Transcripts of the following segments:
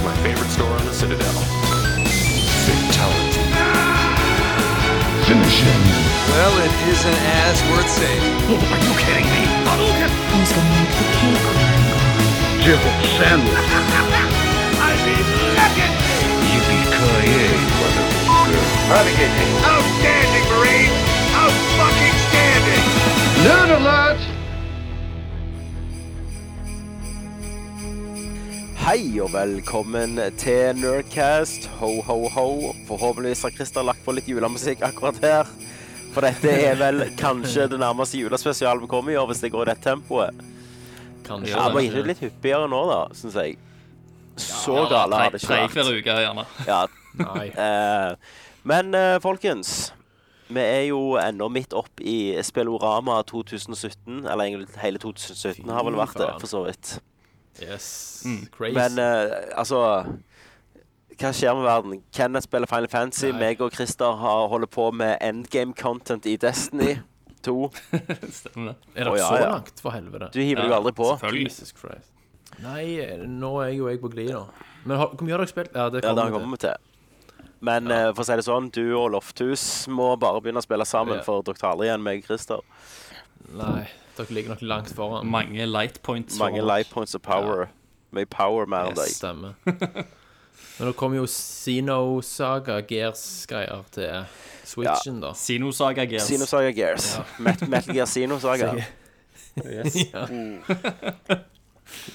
store on the Citadel. Fatality. Finish him. Well, it isn't as worth saving. Who's gonna make the cake? Jill Sandwich. Yippee-ki-yay, motherfucker. Outstanding, Marine! Out fucking standing! Nerd alert! Hei og velkommen til Nerdcast. Ho, ho, ho. Forhåpentligvis har Christer lagt på litt julemusikk akkurat her. For dette er vel kanskje det nærmeste julespesial vi kommer i år, hvis det går i dette tempoet. Kanskje. Ja, Vi er litt hyppigere nå, da, syns jeg. Så gale har det ikke vært. vært. hver uke, gjerne. Ja. Nei. eh, Men eh, folkens, vi er jo ennå midt opp i Spelorama 2017. Eller egentlig hele 2017 har vel vært det, for så vidt. Yes. Crazy. Mm. Men eh, altså Hva skjer med verden? Kenneth spiller Final Fantasy. Nei. Meg og Christer har holder på med endgame-content i Destiny 2. Stemmer det. er det å, ja, så ja. langt, for helvete? Du hiver deg jo aldri på. Selvfølgelig. Jesus Christ. Nei, eh, nå er jo jeg på glid, da. Men har, hvor mye har dere spilt? Ja, det Ja, det kommer kommer vi til. vi til. Men eh, for å si det sånn, du og Lofthus må bare begynne å spille sammen, Ja. for dere tar aldri igjen meg og Christer. Nei, dere ligger nok langt foran. Mange light points. for Mange oss. life points of power. Mye power mer enn Det deg. stemmer. Men nå kommer jo Sino-saga, Gears-greier til Switchen, da. Sinosaga Gears. Sinosaga Gears. Met Metal Gear Sinosaga. Ja.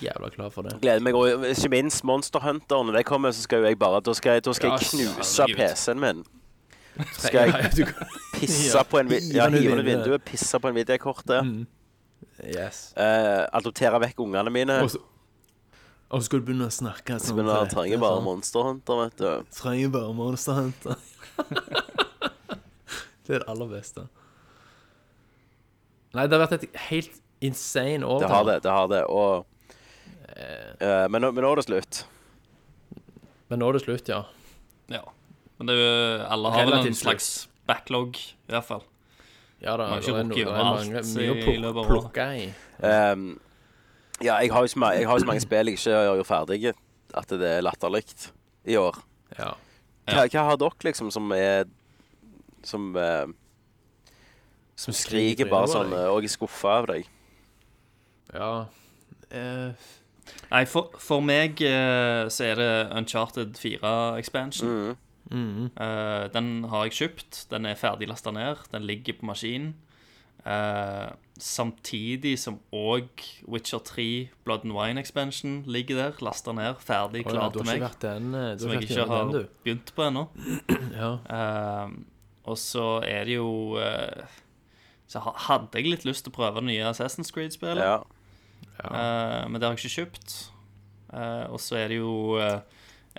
Jævla klar for det. Gleder meg. Og ikke minst Monster Hunter. Når det kommer, så skal jo jeg bare Da skal jeg, da skal Ja, jeg knuse herregud. PC-en min. Skal jeg du, pisse Ja. på en vi- ja, Hive ned hive ned vinduet. Mm. vinduet, pisse på en videokort, yes. eh, adoptere vekk ungene mine. Og så og så skal du begynne å snakke sånn. Men han til- trenger bare Monster Hunter, vet du. Trenger bare Monster Hunter. det er det aller beste. Nei, det har vært et helt insane år. Det har det, det har det. Og, eh, men, nå- men nå er det slutt. Men nå er det slutt, ja. Ja. Men det er jo, alle har vel en Relativt slags backlog, i hvert fall. Ja da, Man har ikke det er rukket no- det er over mange- alt mye å i løpet pluk- av året. plukke i. Ehm, ja, jeg har jo så, ma- jeg har jo så mange spill jeg ikke gjør ferdige, at det er latterlig i år. Ja. Hva, hva har dere, liksom, som er Som eh, Som skriker bare sånn eh, Og jeg er skuffa av deg. Ja. Eh, Nei, for, for meg eh, så er det Uncharted 4-expansion. Mhm. Mm. den har jeg kjøpt. Den er ferdig lasta ned. Den ligger på maskinen. Eh, samtidig som òg Witcher 3 Blood and Wine-expansion ligger der. Lasta ned, ferdig, å ja, klar du til har meg. ikke vært den, eh, du Som har jeg ikke ikke vært har den, du. begynt på ennå. Ja. Ehm, og så er det jo eh, Så ha- hadde jeg litt lyst til å prøve det nye Assassin's Creed-spillet, Ja. eh, men det har jeg ikke kjøpt. Eh, og så er det jo eh,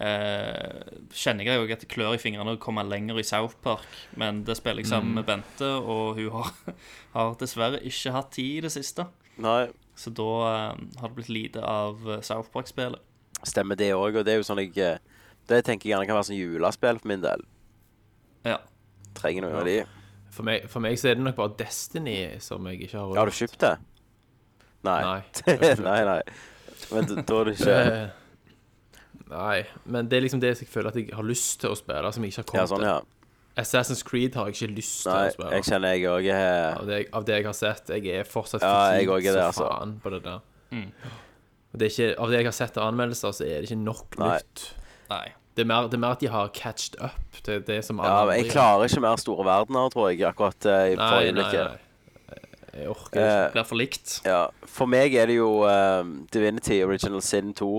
eh, Kjenner jeg jo at det klør i fingrene å komme lenger i South Park, men det spiller jeg sammen med Bente, og hun har, har dessverre ikke hatt tid i det siste. Nei. Så da eh, har det blitt lite av eh, South Park-spillet. Stemmer det òg, og det er jo sånn jeg eh, Det tenker jeg gjerne kan være sånn julespill for min del. Ja. Trenger noen av de. For, meg, for meg så er det nok bare Destiny som jeg ikke har Har du kjøpt det? Nei. Nei, jeg har Nei, ikke kjøpt. nei. Men da- da er det ikke Eh, Nei, men det er liksom det jeg føler at jeg har lyst til å spille, som jeg ikke har Ja, kommet sånn, ja. til. Assassin's Creed har jeg ikke lyst til Nei, å spille. jeg kjenner jeg eh, òg er av, det, jeg- av det jeg har sett. Jeg er fortsatt Ja, jeg også fortvilt er det, som altså. faen på det der. Mm. Og det er ikke, av det jeg har sett av anmeldelser, så er det ikke nok Nei. nytt. Nei. Det er, mer, det er mer at de har catched up til det som alle Ja, men jeg andre gjør. klarer ikke mer store verdener, tror jeg, akkurat eh, i Eh, Nei, forrige nei, øyeblikket. nei. Jeg orker ikke. Blir for likt. Ja, for meg er det jo eh, Divinity Original Sin 2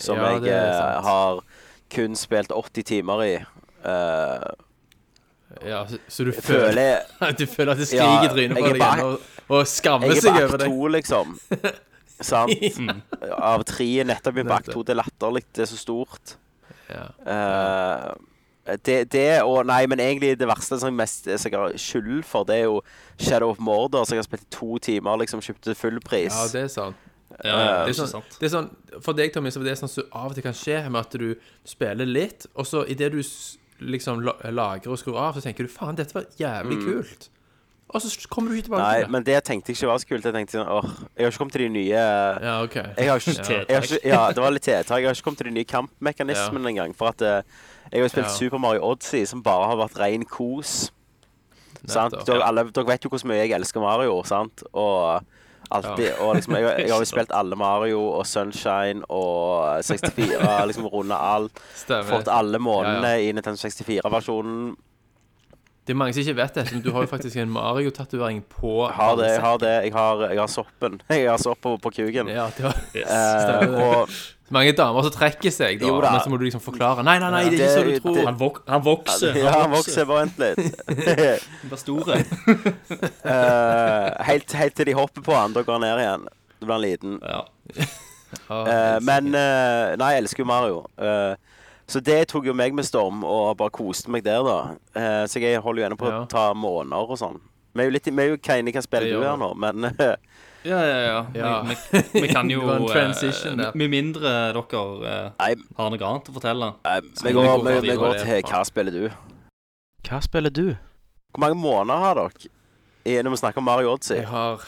som Ja, jeg det er eh, sant. har kun spilt 80 timer i. Eh, Ja, så, så du føler, føler du føler at det Ja, skriker i trynet jeg på er deg bare- igjen, og, og skammer Jeg seg er på over akt det. Mm. to, liksom. Sant? Av tre er nettopp begynt på akt Nettopp. to. Det er latterlig, det er så stort. Ja. Eh, det, det og Nei, men egentlig det verste som jeg, mest, som jeg har skyld for, det er jo Shadow of Mordor, som jeg har spilt i to timer, liksom kjøpte full pris. ja, det er sant. Ja, ja, Eh, det er Det er ikke sånn, sant. det er sånn For deg, Tommy, så er det sånn som av og til kan skje med at du spiller litt, og så idet du s- liksom la- lagrer og skrur av, så tenker du faen, dette var jævlig kult. og så kommer du ikke tilbake Mm. Nei, til det. men det tenkte jeg ikke var så kult. Jeg tenkte sånn, åh, jeg har ikke kommet til de nye jeg Ja, OK. har ikke, Ja. jeg har ikke, ja, Det var litt tiltak. Jeg har ikke kommet til de nye kampmekanismene engang. For at eh, jeg har jo spilt Ja. Super Mario Odyssey, som bare har vært ren kos. Sant? Nettopp. Dere, alle, dere vet jo hvor mye jeg elsker Mario, sant? Og alltid Og liksom, jeg, jeg har jo spilt alle Mario og Sunshine og 64, liksom runde alt. Fått Stemmer. alle månedene i Nintendo 64-versjonen. Det er mange som ikke vet dette, men du har jo faktisk en Mario-tatovering på Har det, jeg har det. Jeg har, jeg har soppen. Jeg har sopp på, på kuken. Ja, det var Eh, stemmer det. og Mange damer som trekker seg, da, Jo da. men så må du liksom forklare. Nei, nei, nei, det er ikke Det- som du tror. det- Han, vok han vokser. Ja, han vokser, bare vent litt. Han blir store. Eh, helt, helt til de hopper på han, da går han ned igjen. Da blir han liten. Ja. Eh, Ah, helt men sikkert. eh, Nei, jeg elsker jo Mario. Eh, så det tok jo meg med storm, og bare koste meg der, da. Eh, så jeg holder jo ennå på Ja. å ta måneder og sånn. Vi er jo litt i- vi er jo Kane, hva spiller Det du gjør her nå? Men eh, Ja, ja, ja. Ja. Vi, vi, vi kan jo Det var en transition eh, der. Med mindre dere eh, nei, har noe annet å fortelle. nei, vi vi går, går vi, videre vi går det, til faen. hva spiller du? Hva spiller du? Hvor mange måneder har dere i- når vi snakker om Mario Odyssey? Jeg har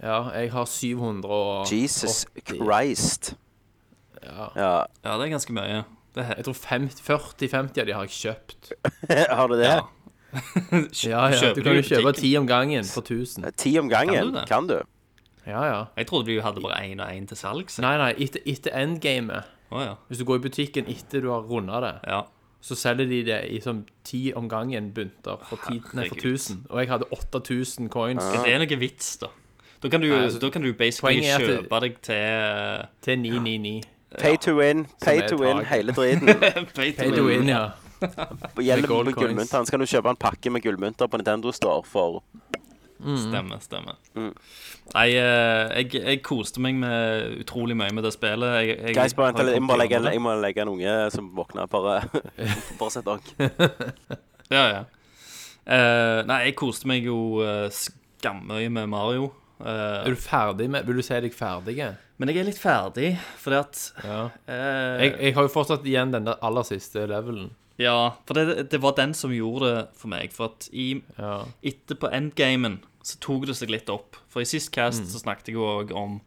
Ja, jeg har 700 og Jesus åtti. Christ. Ja. Ja. Ja, det er ganske mye. Det er Jeg tror 40-50 av de har jeg kjøpt. har du det? Ja. Ja, ja. Du Kjøper kan du jo i kjøpe butikken? 10 om gangen for 1000. Ti om Kan gangen, du det? kan du? Ja, ja. Jeg trodde du hadde bare én og én til salgs. Nei, nei, etter, etter endgamet Å, ja. Hvis du går i butikken etter du har runda det, ja. så selger de det i sånn ti om gangen bunter for, 10, nei, for Herregud. 1000. Og jeg hadde 8000 coins Det er noe vits, da. Da kan du, Nei, altså, da kan du basically poenget er at det- kjøpe deg til eh, til 999. Pay to win, er pay to win, taket. hele driten. pay to Pay to win, ja. Gjelder Med gold med coins. gullmyntene, så kan du kjøpe en pakke med gullmynter på Nintendo Store for Stemmer, stemmer. Mm. Nei, eh, jeg, jeg koste meg med utrolig mye med det spillet. Jeg, jeg, Guys, bare vent har litt, jeg må kommet legge, gjennom det. jeg må legge en unge som våkner, bare fortsett dere. Ja, ja. Eh, nei, jeg koste meg jo uh, skammøye med Mario. eh, Er du ferdig med Vil du si deg ferdig? Ja. men jeg er litt ferdig, fordi at eh, Jeg, jeg har jo fortsatt igjen den der aller siste levelen. Ja, for det, det var den som gjorde det for meg. For at i, Ja. etter på endgamen så tok det seg litt opp. For i sist Mm. cast så snakket jeg jo òg om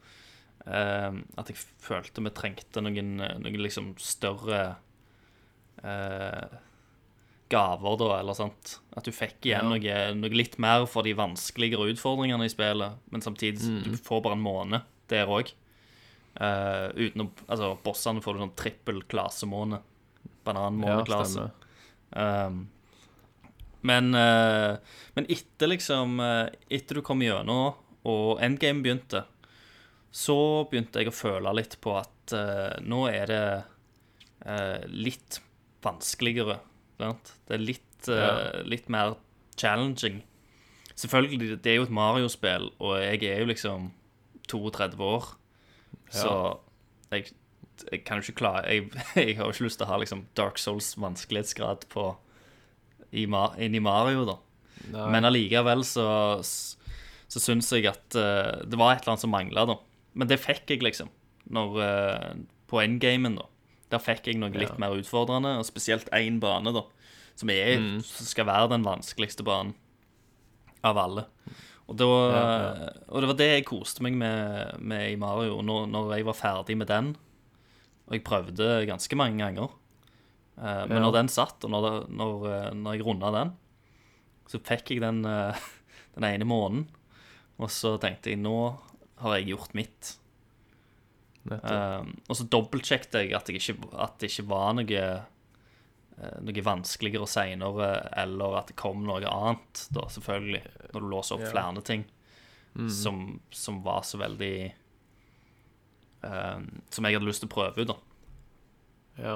eh, at jeg følte vi trengte noen, noen liksom større eh, gaver, da, eller sant. At du fikk igjen noe, noe litt mer for de vanskeligere utfordringene i spillet, men samtidig Mm. så du får bare en måned der òg. Eh, utenom altså, bossene får du sånn trippel klasemåned. ja, Bananmåneklase. stemmer. Um, men, eh, men etter liksom eh, Etter du kom gjennom og endgame begynte, så begynte jeg å føle litt på at eh, nå er det eh, litt vanskeligere. Sant? Det er litt, eh, litt mer challenging. Selvfølgelig, det er jo et Mario-spill, og jeg er jo liksom 32 år, så jeg, jeg kan jo ikke klare jeg, jeg har jo ikke lyst til å ha liksom Dark Souls vanskelighetsgrad på i, Ma- inn i Mario, da. Nei. Men allikevel så, så syns jeg at eh, det var et eller annet som mangla, da. Men det fikk jeg, liksom. Når, eh, på endgamen, da. Der fikk jeg noe litt mer utfordrende, og spesielt én bane, da. Som er, som skal være den vanskeligste banen av alle. Og, da, og det var det jeg koste meg med, med i Mario. Og når, når jeg var ferdig med den, og jeg prøvde ganske mange ganger eh, Men Ja. når den satt, og når, det- når, eh, når jeg runda den, så fikk jeg den, eh, den ene måneden. Og så tenkte jeg nå har jeg gjort mitt. Nettopp. Eh, og så dobbeltsjekket jeg at, jeg ikke, at det ikke var noe eh, noe vanskeligere seinere, eh, eller at det kom noe annet, da, selvfølgelig. Når du låser opp Ja. flere ting som, som var så veldig eh, Som jeg hadde lyst til å prøve ut, da. Ja.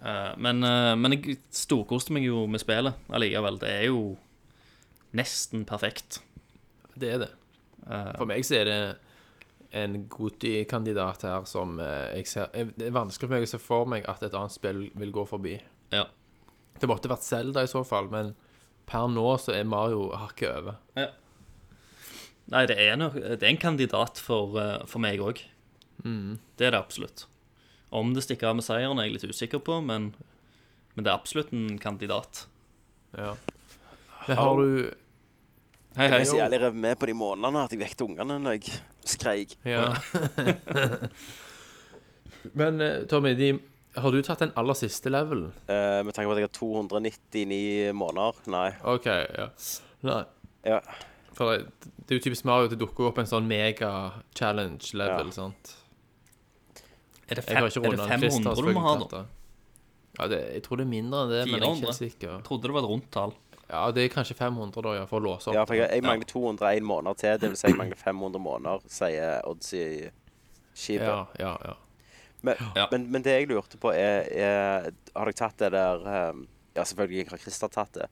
Eh, men, eh, men jeg storkoste meg jo med spillet allikevel. Det er jo nesten perfekt. Det er det. For meg så er det en Goti-kandidat her som eh, jeg ser jeg- Det er vanskelig for meg å se for meg at et annet spill vil gå forbi. Ja. Det måtte vært Zelda i så fall, men per nå så er Mario hakket over. Nei, det er, nok- det er en kandidat for, eh, for meg òg. Mm. Det er det absolutt. Om det stikker av med seieren, er jeg litt usikker på, men, men det er absolutt en kandidat. Ja. Men har du Hei, hei. Jeg er så jævlig revet med på de månedene at jeg vekket ungene når jeg skreik. Ja. Men eh, Tommy, de, har du tatt den aller siste levelen? Eh, med tanke på at jeg har 299 måneder. Nei. OK, ja. Nei. Ja. For det, det er jo typisk Mario at det dukker opp en sånn mega-challenge-level, Ja. sant? Er det, Jeg fem, har ikke er det rundet den. 500 du Christer må ha, selvfølgelig da? tatt det. Ja, det, jeg tror det er mindre enn det, men jeg er ikke 400? helt sikker. Trodde det var et rundt tall. Ja, det er kanskje 500, da, ja, for å låse opp. Ja, for jeg, jeg mangler 201 måneder til. Det vil si jeg mangler 500 måneder, sier Oddsy Skipet. Ja, ja, ja. Men, Ja. men, men det jeg lurte på, er, er Har dere tatt det der ehm, Ja, selvfølgelig har Christer tatt det.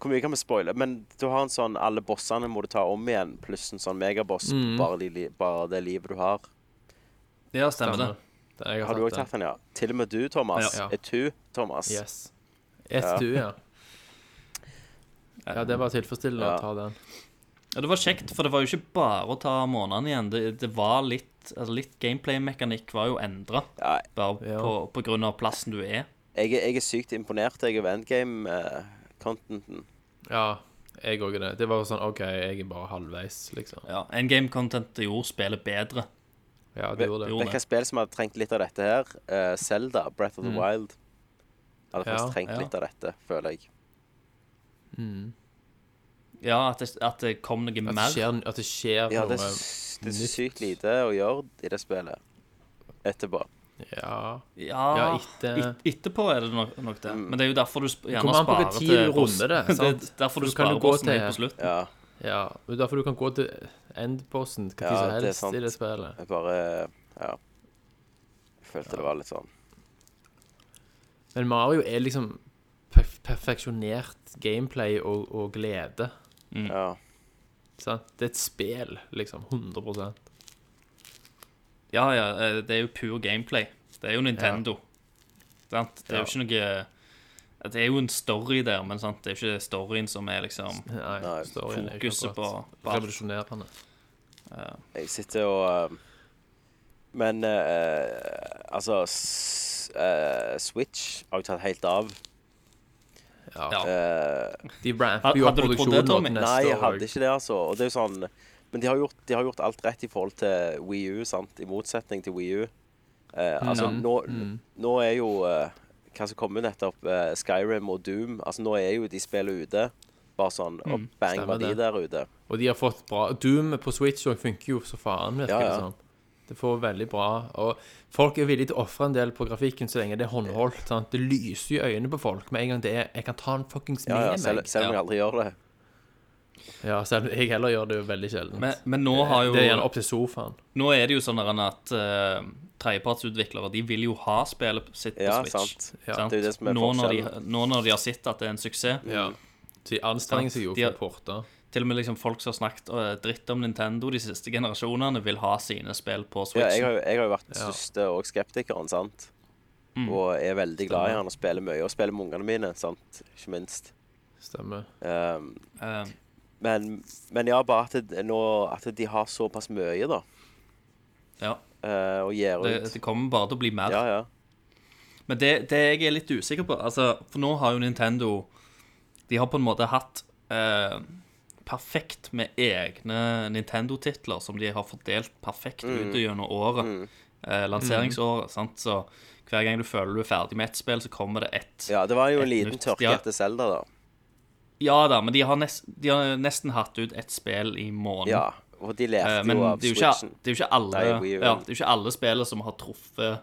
Hvor mye kan vi spoile? Men du har en sånn alle bossene må du ta om igjen, pluss en sånn megaboss. Mm. Bare, de, li- bare det livet du har. Ja, stemmer det. Stemmer. Det- Jeg Har du òg tatt den, ja? Til og med du, Thomas. Ja. Er du, Thomas? Yes. Et Ja. du, ja. Ja, det var tilfredsstillende Ja. å ta den. Ja, det var kjekt, for det var jo ikke bare å ta månedene igjen. Det, det var litt altså litt gameplay-mekanikk var jo endra, Ja, bare Ja. på, på grunn av plassen du er. jeg, er- jeg er sykt imponert jeg over eh, endgame-contenten. Ja, jeg òg er det. Det var sånn OK, jeg er bare halvveis, liksom. Ja, Endgame-content gjorde spillet bedre. Ja, det gjorde det. Jo, Vet du hva det. spill som hadde trengt litt av dette her? Eh, Zelda, Breath of the Wild. Hadde Mm. Ja, faktisk trengt ja. litt av dette, føler jeg. Ja, at det, at det kom noe At det mer. skjer, at det skjer Ja, det, noe er s- det er nytt. sykt lite å gjøre i det spillet etterpå. Ja. Ja, Ja, etter- et, etterpå er det nok, nok Mm. det. Men det er jo derfor du sp gjerne kommer an på hvor sparer tid til du boss- runder det, det sant? er derfor du Så kan du sparer gå bossen til- helt på slutt. Ja, ja. Det er derfor du kan gå til endbossen hva tid Ja, som det er helst sant. i det spillet. jeg bare Ja. Jeg følte det var litt sånn. Men Mario er liksom perf perfeksjonert gameplay og, og glede. Ja. Sant? Det er et spill, liksom. 100 Ja, ja, eh, det er jo pur gameplay. Det er jo Nintendo. Sant? Det er jo Ja. ikke noe Det er jo en story der, men sant? det er jo ikke storyen som er liksom Nei, Nei, storyen er ikke fokuset på, akkurat på alt. Revolusjonerende. Jeg sitter og eh, Men eh, altså s eh, Switch har jeg tatt helt av. Ja. Ja. Eh, De ramper jo Hadde opp du trodd det, produksjonen nå Tommy? til neste nei, jeg år. hadde ikke det, altså. Og det er jo sånn Men de har gjort, de har gjort alt rett i forhold til Wii U, sant? I motsetning til Wii U. Eh, altså, nå, nå er jo eh, Hva som kommer nettopp, eh, Skyrim og Doom Altså, nå er jo de spiller ute. Bare sånn Og bang, stemmer var de det. der ute. Og de har fått bra Doom på Switch òg funker jo så faen, virker Ja, det ja. som. Det får veldig bra. Og folk er villige til å ofre en del på grafikken så lenge det er håndholdt. Sant? Det lyser jo i øynene på folk med en gang det er Jeg kan ta den fuckings med Ja, ja, selv, meg. selv om jeg Ja. aldri gjør det. Ja, selv jeg heller gjør det jo veldig sjelden. Men, men nå har Det er gjerne jo opp til sofaen. Nå er det jo sånn der at eh, tredjepartsutviklere de vil jo ha spillet sitt på Ja, Switch. sant. Ja. Sant? Det er jo det som er nå, når de, forskjellen. nå når de har sett at det er en suksess Ja. Så de anstrenger seg jo De for har- å porte. Til og med liksom folk som har snakket eh, dritt om Nintendo de siste generasjonene, vil ha sine spill på Ja, Switch. jeg, har, jo- jeg har jo vært den Ja. største og skeptikeren, sant. Og er veldig glad i han og spiller mye. Og spiller med ungene mine, sant. Ikke minst. Stemmer. Um, Eh, Men, men ja, bare at, det, nå, at de har såpass mye, da. ja. eh, å gjøre Det, ut. det kommer bare til å bli mer. ja, ja. Men det, det jeg er litt usikker på altså, For nå har jo Nintendo De har på en måte hatt eh, perfekt med egne Nintendo-titler som de har fordelt perfekt Mm. ut gjennom året. Eh, lanseringsåret. sant? Så hver gang du føler du er ferdig med ett spill, så kommer det ett. ja, det var jo en Et liten nytt, tørke ja. Mhm. etter Selda, da. Ja da, men de har, nest, de har nesten hatt ut ett spill i måneden. Ja, og de lærte Eh, men jo det av er jo ikke, Switchen. det er jo ikke alle Nei, Wii U. ja, Det er jo ikke alle spillene som har truffet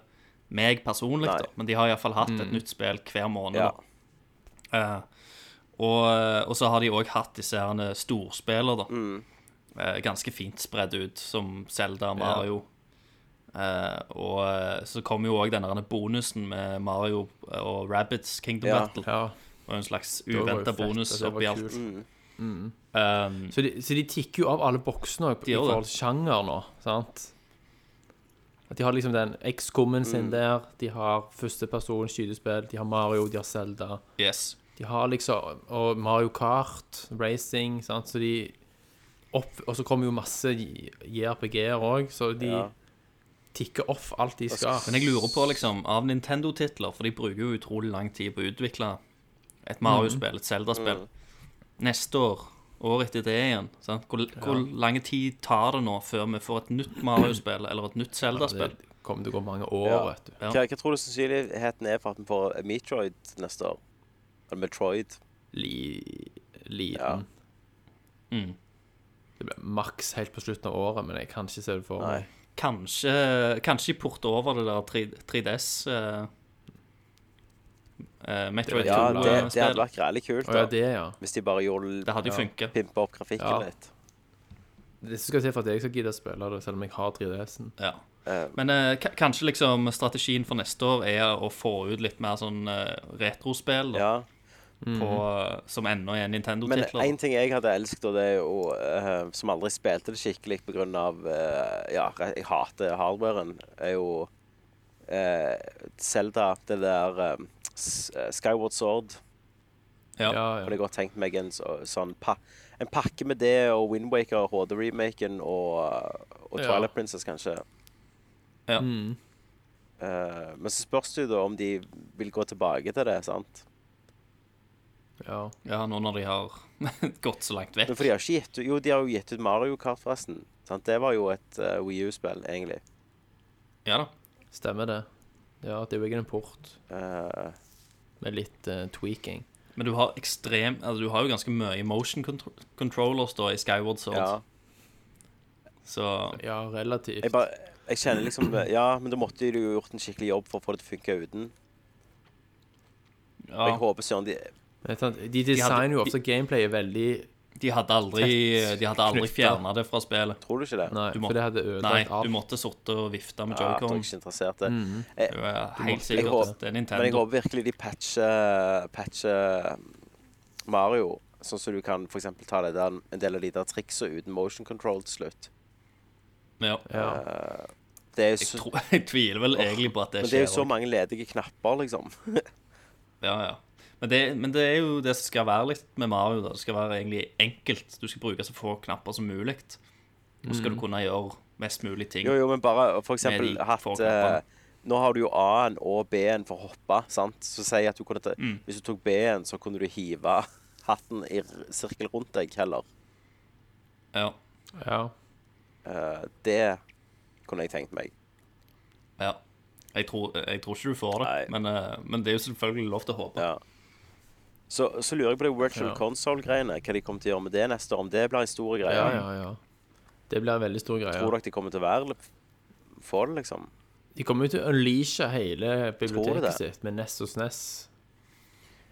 meg personlig, Nei. da. men de har iallfall hatt Mm. et nytt spill hver måned. Ja. da. Eh, og, eh, og så har de òg hatt disse herne storspiller, da. Mm. Eh, ganske fint spredd ut, som Zelda, Mario. Eh, og eh, så kom jo òg denne herne bonusen med Mario eh, og Rabbits Kingdom Ja. Battle. Ja. Og en slags det var jo uventa fett, bonus at det var oppi alt. kult. Um, Så de, så de tikker jo av alle boksene også i gjør det. forhold til sjanger nå, sant? At de har liksom den X-kommen sin der, de har førsteperson skytespill, de har Mario, de har Zelda. Eh, yes. De har liksom Og Mario Kart, racing, sant, så de opp, Og så kommer jo masse J- JRPG-er òg, så de Ja. tikker off alt de skal. Men jeg lurer på, liksom, av Nintendo-titler, for de bruker jo utrolig lang tid på å utvikle et Mario-spill, et Zelda-spill Neste år år etter det igjen. Sant? Hvor, hvor lang tid tar det nå før vi får et nytt Mario-spill eller et nytt Zelda-spill? Det kommer til å gå mange år, Ja. vet du. Ja. Hva, hva tror du sannsynligheten er for at vi får Metroid neste år? Eller Metroid? Li, Ja. liten. Mm. Det blir maks helt på slutten av året, men jeg kan ikke se det for Nei. meg. Kanskje, kanskje de porter over det der 3, 3DS eh, eh, Metroid Ja, det, det 2-spill. hadde vært greit kult Å ja, da, det, ja. hvis de bare gjorde Det hadde jo ja. funket. pimpa opp grafikken Ja. litt. Det skal til for at jeg skal gidde å spille det, selv om jeg har 3DS-en. Ja. Eh, Men eh, ka- kanskje liksom strategien for neste år er å få ut litt mer sånn eh, retrospill da, ja. på, Mhm. eh, som ennå er Men Nintendo-titler. én ting jeg hadde elsket, og det er jo eh, Som aldri spilte det skikkelig pga. Uh, ja, jeg hater hardwaren, er jo eh, Zelda, det der eh, S- eh, Skyward Sword. Ja. Ja, Jeg ja. hadde godt tenkt meg en så, sånn pa en pakke med det og Windwaker, HD-remaken og, og Ja. Twilight Princess, kanskje. Ja. Mm. Eh, men så spørs det jo da om de vil gå tilbake til det, sant? ja. Ja, nå når de har gått så langt Men vekk. for de har ikke gitt ut Jo, de har jo gitt ut Mario Kart, forresten. Sant? Det var jo et uh, WiiU-spill, egentlig. Ja da. Stemmer det. Ja, det er jo ikke en port Eh, med litt eh, tweaking. Men du har ekstrem altså, Du har jo ganske mye motion contro controllers da i Skyward Sword. ja. Så Ja, relativt. Jeg, bare, jeg kjenner liksom Ja, men da måtte de jo gjort en skikkelig jobb for å få det til å funke uten. Og ja, jeg håper søren de Men sant, De designer jo ofte gameplayet veldig de hadde aldri, Tett de hadde aldri knyttet. fjerna det fra spillet. Tror du ikke det? Nei, Du må- for det hadde Nei, ødelagt du alt. måtte sitte og vifte med Ja, jeg tror joycon. jeg ikke interessert det. Du Mhm. er helt Jeg sikkert håper- det er Men jeg Nintendo. håper virkelig de patcher, patcher um, Mario, sånn som du kan for eksempel ta det der, en del av de der triksa uten motion control til slutt. Ja. Ja. Det er jo Jeg, så, tror, jeg tviler vel egentlig på at det men det er skjer. jo så mange ledige knapper, liksom. Ja, ja. Men det, men det er jo det som skal være litt med Mario. da. Det skal være egentlig enkelt. Du skal bruke så få knapper som mulig. Og så skal du kunne gjøre mest mulig ting. Mm. Jo, jo, men bare for eksempel Med de hatt få eh, knappene. Nå har du jo A-en og B-en for å hoppe, sant? Så sier jeg at du kunne ta, Mm. hvis du tok B-en, så kunne du hive hatten i r- sirkel rundt deg heller. Ja, Ja. Eh, det kunne jeg tenkt meg. ja. Jeg tror, jeg tror ikke du får det, Nei. men, eh, men det er jo selvfølgelig lov til å håpe. Ja. Så, så lurer jeg på det virtual Ja. console-greiene. Hva de kommer til å gjøre med det neste år. Om det blir en stor greie. ja, ja, ja. Det blir en veldig stor greie. Tror dere de kommer til å være Få det, liksom? De kommer jo til å unleashe Tror hele du det? biblioteket sitt med NES og SNES.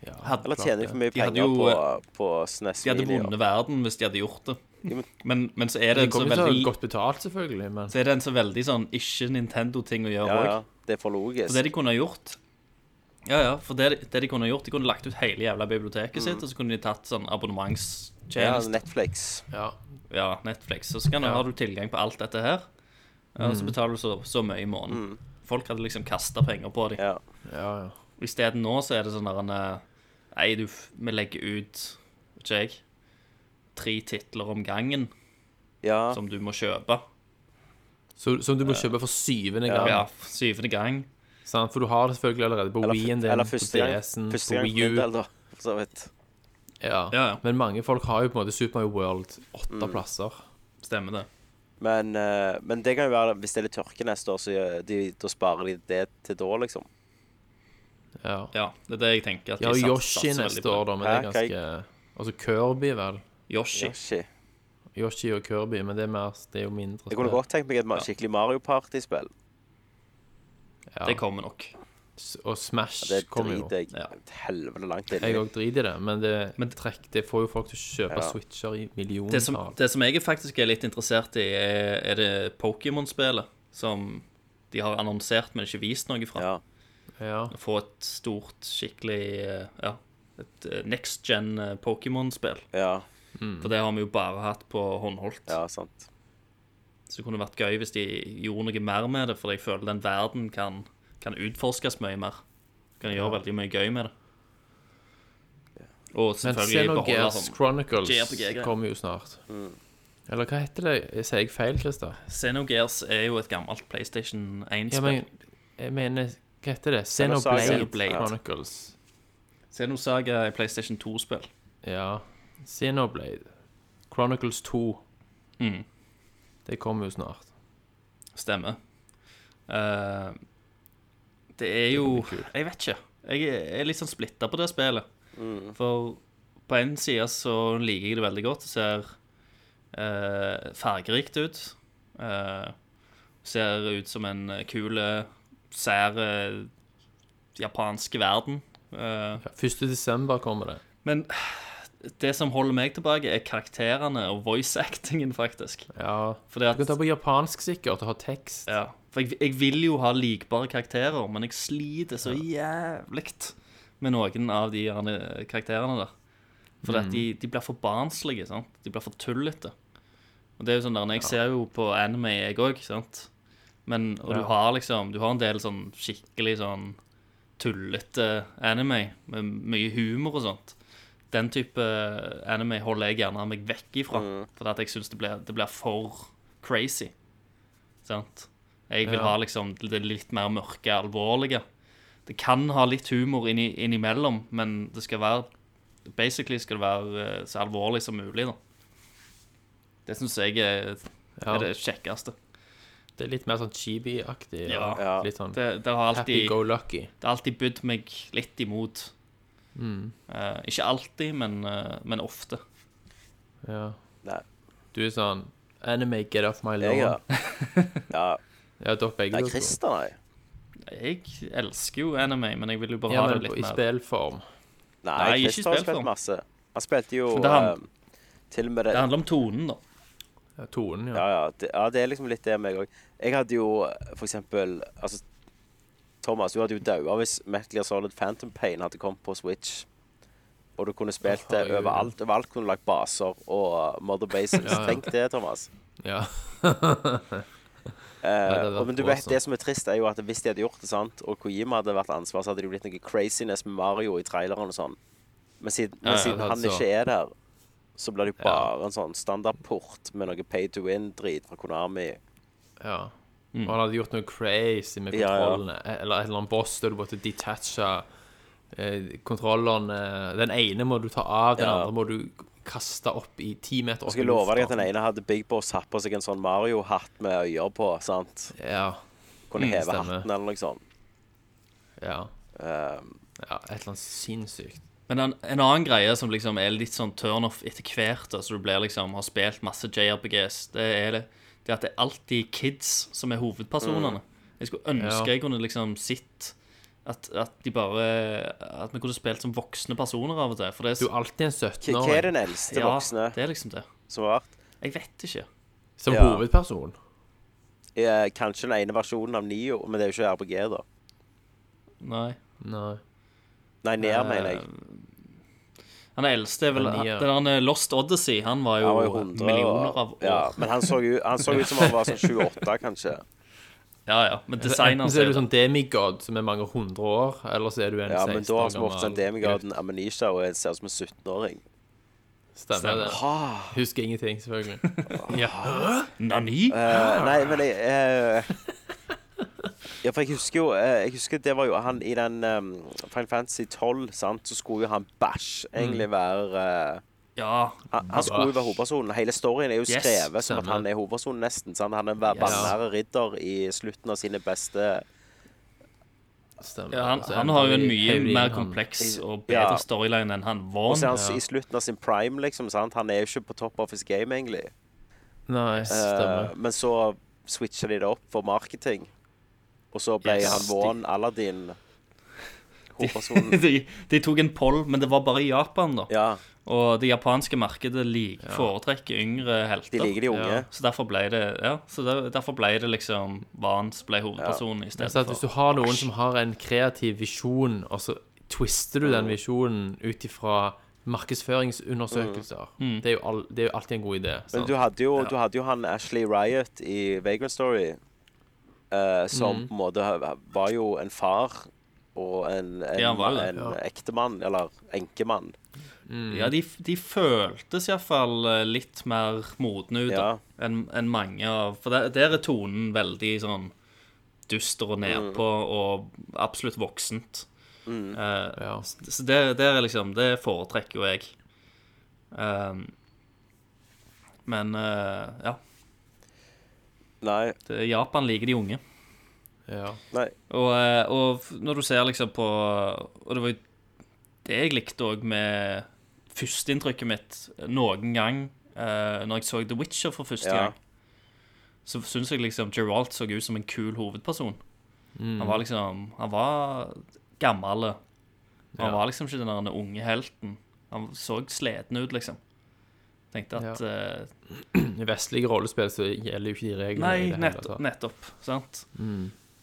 Ja, Hadde- Eller tjener de for mye De hadde penger jo, eh, på, på SNES De hadde Mini? vunnet verden hvis de hadde gjort det. men- Men, men så er det De en så kommer jo til å ha veldig, godt betalt, selvfølgelig, men så er det en så veldig sånn ikke-Nintendo-ting å gjøre Ja, òg. ja. Det er for logisk. For det de kunne ha gjort Ja, ja, for det, det de kunne ha gjort De kunne lagt ut hele jævla biblioteket sitt Og så kunne de tatt sånn Mm. ja, abonnementstjeneste Netflix. ja. ja. Netflix Og så kan, har du tilgang på alt dette her ja, Mm. Og så betaler du så, så mye i måneden Folk hadde liksom kastet penger på dem Ja. ja, ja. Og i stedet nå så er det sånn der en, eh, Nei, du, f- vi legger ut Vet ikke jeg Tre titler om gangen ja. Som du må kjøpe Så, som du må kjøpe for syvende Ja, gang. f- syvende gang Sant? For du har det selvfølgelig allerede på Eller, Wii-en f- din, eller på første gang, DS-en, første på gang Wii for min U. del, da. For så vidt. Ja. Ja, ja. Men mange folk har jo på en måte Super Mario World åtte Mm. plasser. Stemmer det Men, eh, men det kan jo være hvis det er litt tørke neste år, så gjør de, da sparer de det til da, liksom. Ja. Ja, det er det jeg tenker at De har de jo sats- Yoshi satser veldig neste på. år, da, men det er Hæ, hva ganske Altså Kirby, vel. Yoshi Yoshi. Yoshi og Kirby, men det er mer Det er jo mindre Jeg kunne spill. godt tenkt meg et ma- skikkelig Mario Party-spill. Ja. Det kommer nok. S- Og Smash Det kommer jo. driter jeg Ja. helvete langt inn i. Jeg òg driter i det, men det, Men- trekk, det får jo folk til å kjøpe Ja. switcher i millioner. Det som, det som jeg faktisk er litt interessert i, er, er det Pokémon-spillet som de har annonsert, men ikke vist noe fra. Ja. ja. Få et stort, skikkelig eh, Ja, et eh, next gen eh, Pokémon-spill. ja, For det har vi jo bare hatt på håndholdt. ja, sant. Så det kunne vært gøy hvis de gjorde noe mer med det, for jeg føler den verden kan, kan utforskes mye mer. Kan gjøre veldig mye gøy med det. Og Men selvfølgelig beholde Xenogears sånn JRPG-greier. Chronicles kommer jo snart. Mm. Eller hva heter det? Sier jeg feil, Christer? Xenogears er jo et gammelt PlayStation 1-spill. Ja, men jeg mener Hva heter det? Xenosaga. Xenoblade Xenoblade. Chronicles. Xenosaga er PlayStation 2-spill. Ja. Xenoblade. Chronicles 2. Mm. Det kommer jo snart. Stemmer. Eh, det er jo Jeg vet ikke. Jeg er- er litt sånn splitta på det spillet. For på en side så liker jeg det veldig godt. Det ser eh, fargerikt ut. Eh, ser ut som en eh, kul, eh, sær eh, japansk verden. Eh, Ja, 1. desember kommer det. men det som holder meg tilbake, er karakterene og voice-actingen, faktisk. Ja. Fordi Du kan at ta på japansk sikkert og ha tekst. Ja, for jeg, jeg vil jo ha likbare karakterer, men jeg sliter så jævlig med noen av de gjerne karakterene der. For at de, de blir for barnslige, sant? De blir for tullete. Og det er jo sånn der, når Jeg ser jo på anime, jeg òg, sant. Men, og du Ja. har liksom Du har en del sånn skikkelig sånn tullete eh, anime med mye humor og sånt. Den type eh, anime holder jeg gjerne meg vekk ifra, fordi at jeg syns det, blir- det blir for crazy. Sant? Jeg vil Ja. ha liksom det litt mer mørke, alvorlige. Det kan ha litt humor inni, innimellom, men det skal være Basically skal det være eh, så alvorlig som mulig, da. Det syns jeg er, Ja, er det kjekkeste. Det er litt mer sånn chibi-aktig. Ja. og Ja. Litt sånn Det, det har happy alltid, go lucky. det har alltid bydd meg litt imot. Mm. Eh, ikke alltid, men, eh, men ofte. Ja. Nei. Du er sånn Anime, get off my lawn. Jeg Ja, er Ja. dere begge Nei, to. Christer, nei. Jeg elsker jo anime, men jeg vil jo bare Ja, ha men det på- litt i mer spillform. Nei, Nei, ikke Christer har spilt spilt om. masse. Han spilte jo Men det er han- eh, til og med Det det handler om tonen, da. Ja, tonen, ja. Ja, ja. Det, ja, det er liksom litt det meg òg. Jeg hadde jo for eksempel Altså, Thomas, du hadde jo daua hvis Metal Gear Solid Phantom Pain hadde kommet på Switch. Og du kunne spilt det Herregud. overalt. Overalt kunne du lagt baser og uh, Mother Bases. Ja, ja. Tenk det, Thomas. Ja. Eh, hadde vært og, men du vet, awesome. det som er trist, er jo at hvis de hadde gjort det, sant, og Kojima hadde vært ansvar, så hadde det jo blitt noe craziness med Mario i traileren og sånn. Men siden, Ja, men ja, det siden hadde han så. ikke er der, så blir det jo Ja. bare en sånn standardport med noe pay to win-drit fra Konami. ja. Og han hadde gjort noe crazy med Ja, ja. kontrollene. E, Eller et eller annet boss der du måtte detache eh, kontrollene. Den ene må du ta av, den Ja. andre må du kaste opp i ti meter Jeg opp skal i love deg lufta. at den ene hadde Big Boss hatt på seg en sånn Mario-hatt med øyer på, sant? Ja. Kunne heve stemmer. hatten eller noe sånt. Ja. Ehm, ja. Et eller annet sinnssykt. Men en, en annen greie som liksom er litt sånn turnoff etter hvert, altså du blir liksom, har spilt masse JRPGs, det er det, det at det er alltid kids som er hovedpersonene. Jeg skulle ønske Mm. Ja. jeg kunne liksom sitt at, at de bare At vi kunne spilt som voksne personer av og til. For det er så- Du er alltid en hva hva er 17-åring den eldste ja, voksne Det er liksom det. som har vært? Jeg vet ikke. som Ja. hovedperson. Eh, kanskje den ene versjonen av Nio, men det er jo ikke RPG, da. Nei. Nei. Nei, Nier, mener jeg. Han eldste er vel Den nye. Den der Lost Odyssey, han var jo, Han var jo 100 millioner av år. Ja, men han så, jo, han så ut som han var sånn 28, kanskje. ja, ja. Men Enten designeren så er ser du det. sånn demigod som er mange hundre år, eller så er du en Ja, 16 år men da har vi vært gammel en demigod, en amnesia og en ser ut som en 17-åring. Stemmer det. Ah, Husker ingenting, selvfølgelig. ja. Nani? eh, nei, men jeg eh, Ja, for jeg husker jo eh, Jeg husker det var jo han i den um, Final Fantasy 12, sant, så skulle jo han Bæsj egentlig være eh, Ja. han, han skulle jo være hovedpersonen. Hele storyen er jo Yes, skrevet som at stemmer. han er hovedpersonen, nesten. Sant? Han er en vanære ridder i slutten av sine beste Stemmer. Ja, han, Og så han endte har jo en vi i mye Halloween, mer han. kompleks og Ja. bedre storyline enn han Og så er var. han s- i slutten av sin prime, liksom. Sant? Han er jo ikke på top of his game, egentlig. Nei, Eh, stemmer. men så switcha de det opp for marketing, og så ble Yes. han Vaughn Aladdin. Hovedpersonen. De, de tok en poll, men det var bare i Japan, da. sånn- Ja, Og det japanske markedet lik, foretrekker yngre helter. de liker de unge. Ja. Så derfor ble det ja, så der, derfor ble det liksom Vans ble hovedpersonen i stedet Så at hvis du for har noen som har en kreativ visjon, og så twister du den visjonen ut ifra markedsføringsundersøkelser, det, er jo all, det er jo alltid en god idé. Men sant? du hadde, jo, du hadde jo han Ashley Riot i Vagrant Story, eh, Mhm. som på en måte ha- var jo en far og en, en, Ja, han var det, en ektemann, eller enkemann. Ja, de, de føltes iallfall eh, litt mer modne ut da, Ja. enn enn mange av For der, der er tonen veldig sånn duster og nedpå og absolutt voksent. Eh, Ja. Så det, det er liksom Det foretrekker jo jeg. Ehm, Eh, Men eh, ja, Nei. det, Japan liker de unge. Ja. nei. Og, eh, og f- når du ser liksom på Og det var jo det jeg likte òg med førsteinntrykket mitt noen gang eh, når jeg så The Witcher for første Ja. gang. Så syns jeg liksom Geralt så ut som en kul hovedperson. Han var liksom Han var gammel. og Han Ja. var liksom ikke den der unge helten. Han så sliten ut, liksom. Tenkte at Ja. eh, I vestlige rollespill så gjelder jo ikke de reglene. i Nei, det hele nett, tatt. Mm. nettopp. Sant?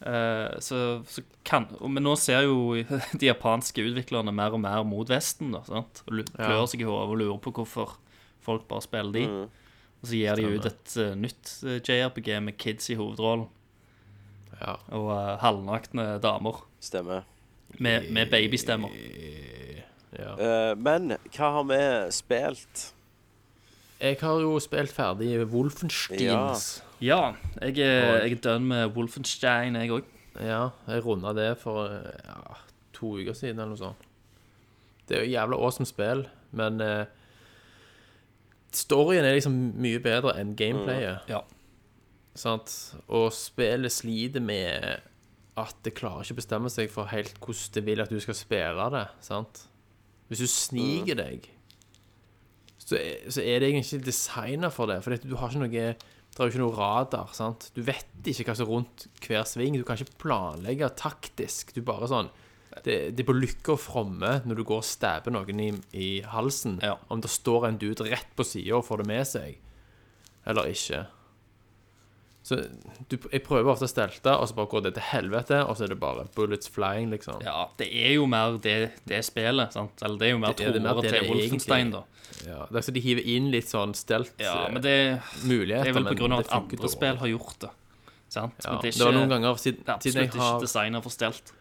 Eh, så, så kan og- Men nå ser jo de japanske utviklerne mer og mer mot Vesten. Da, sant? Og lu- Ja. Mm. klør seg i hodet og lurer på hvorfor folk bare spiller de. Mm, Og så gir de ut et eh, nytt eh, JRPG med kids i hovedrollen Ja. og uh, halvnakne damer Stemmer. med, med babystemmer. Ja. Eh, men hva har vi spilt? Jeg har jo spilt ferdig Wolfensteins. Ja, jeg er, jeg er done med Wolfenstein, jeg òg. Ja, jeg runda det for ja, to uker siden eller noe sånt. Det er jo jævla awesome spill, men eh, storyen er liksom mye bedre enn gameplayet. Ja. Sant? Og spillet sliter med at det klarer ikke å bestemme seg for helt hvordan det vil at du skal spille det. sant? Hvis du sniker Mm. deg, så er, så er det egentlig ikke designa for det. For det, at du har ikke noe det er jo ikke noe radar. sant? Du vet ikke hva som er rundt hver sving. Du kan ikke planlegge taktisk. Du bare sånn det, det er på lykke og fromme når du går og stabber noen i, i halsen, Ja. om det står en dude rett på sida og får det med seg eller ikke. Så du, jeg prøver ofte å stelte, og så bare går det til helvete, og så er det bare bullets flying, liksom. Ja, det er jo mer det, det spillet. Sant? Eller det er jo mer Det er det mer troere det det til Wolfenstein, egentlig da. Ja, det er så de hiver inn litt sånn stelt Ja, men det muligheter, Det er vel men på grunn av det at funker andre dårlig. spill har gjort det. Sant? ja, Men det, det er ikke, var noen ganger siden, det er absolutt siden jeg ikke har, designet for stelt. Um,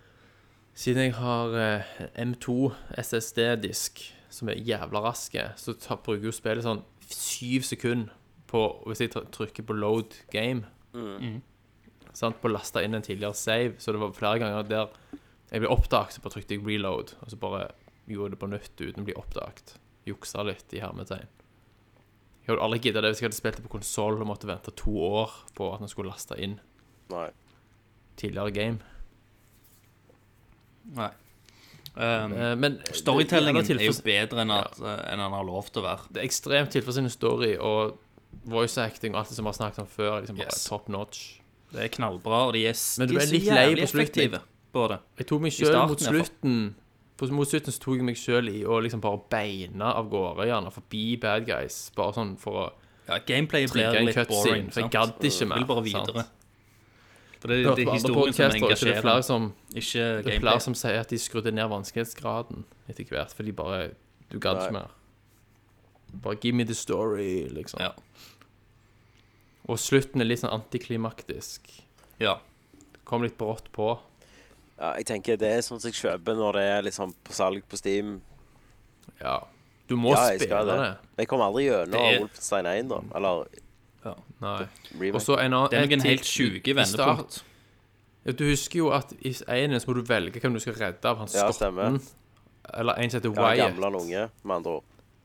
siden jeg har eh, M2 SSD-disk, som er jævla raske, så tar, bruker jo spillet sånn syv sekunder på Hvis jeg tr- trykker på load game, Mm. sant, på å laste inn en tidligere save, så det var flere ganger der jeg ble oppdaget, så bare trykte jeg reload, og så bare gjorde det på nytt uten å bli oppdaget. Juksa litt i hermetegn. Jeg hadde aldri giddet det hvis jeg hadde spilt det på konsoll og måtte vente to år på at den skulle laste inn Nei. tidligere game. Nei. Um, Eh, Men storytellingen det- det er jo tilfreds- bedre enn, at, eh, enn han har lov til å være. det er ekstremt tilfredsstillende story og voice acting og alt det som vi har snakket om før. er Liksom bare Yes. top notch. Det er knallbra, og de er, s- Men du de er er så litt lei jævlig på slutten. effektive på det. Jeg tok meg I sjøl starten, mot iallfall. slutten på, Mot slutten så tok jeg meg sjøl i å liksom bare beine av gårde, gjerne forbi bad guys. Bare sånn for å Ja, Gameplayet blir trigge en litt boring. cutscene. For jeg gadd ikke mer. Vil bare sant? videre. For det, Jeg hørte det er på andre historien som podcaster, ikke det er flere engasjerer, som, ikke det er flere gameplay. som sier at de skrudde ned vanskelighetsgraden etter hvert, fordi bare Du gadd ikke Nei. mer. Bare give me the story, liksom. Ja. Og slutten er litt sånn antiklimaktisk. Ja. Kom litt brått på. Ja, jeg tenker det er sånn som jeg kjøper når det er liksom på salg på Steam. Ja. Du må Ja, jeg spille skal det. det. Jeg kommer aldri gjennom Det er- Wolfenstein 1, da. Eller Nei. Og remake. så en annen Det er et noen til- helt sjuke i start- vendepunkt. Ja, Du husker jo at i enen så må du velge hvem du skal redde av han Ja, skotten. stemmer. Eller en som heter Ja, Wyatt. gamle eller unge, med andre ord.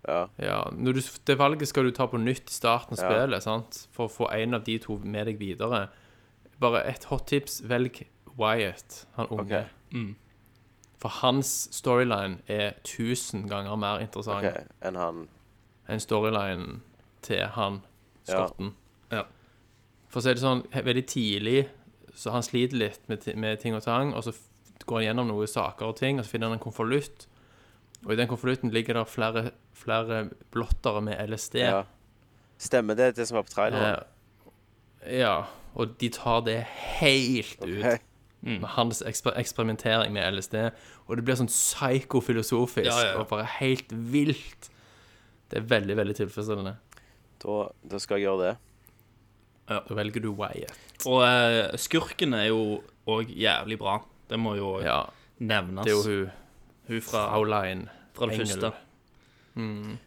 Ja, når du, det valget skal du ta på nytt i starten av Ja. spillet, sant? For å få en av de to med deg videre. Bare et hot tips, velg Wyatt, han unge. Ok. Mm. For hans storyline er tusen ganger mer interessant Sånn. OK, enn han enn storylinen til han Ja. skotten. Ja. For så er det sånn, he- veldig tidlig, så han sliter litt med, ti- med ting og tang, og så f- går han gjennom noen saker og ting, og så finner han en konvolutt, og i den konvolutten ligger det flere, flere blottere med LSD. Ja. Stemmer det, det som var på traileren? Eh, ja, og de tar det helt ut Ok. med hans eksper eksperimentering med LSD, og det blir sånn psykofilosofisk Ja, ja, ja. og bare helt vilt. Det er veldig, veldig tilfredsstillende. Da, da skal jeg gjøre det. Da velger du Wyatt. Og eh, skurken er jo òg jævlig bra. Det må jo Ja, nevnes. det er jo hun Hun fra, Fraulein. fra det Engel. første.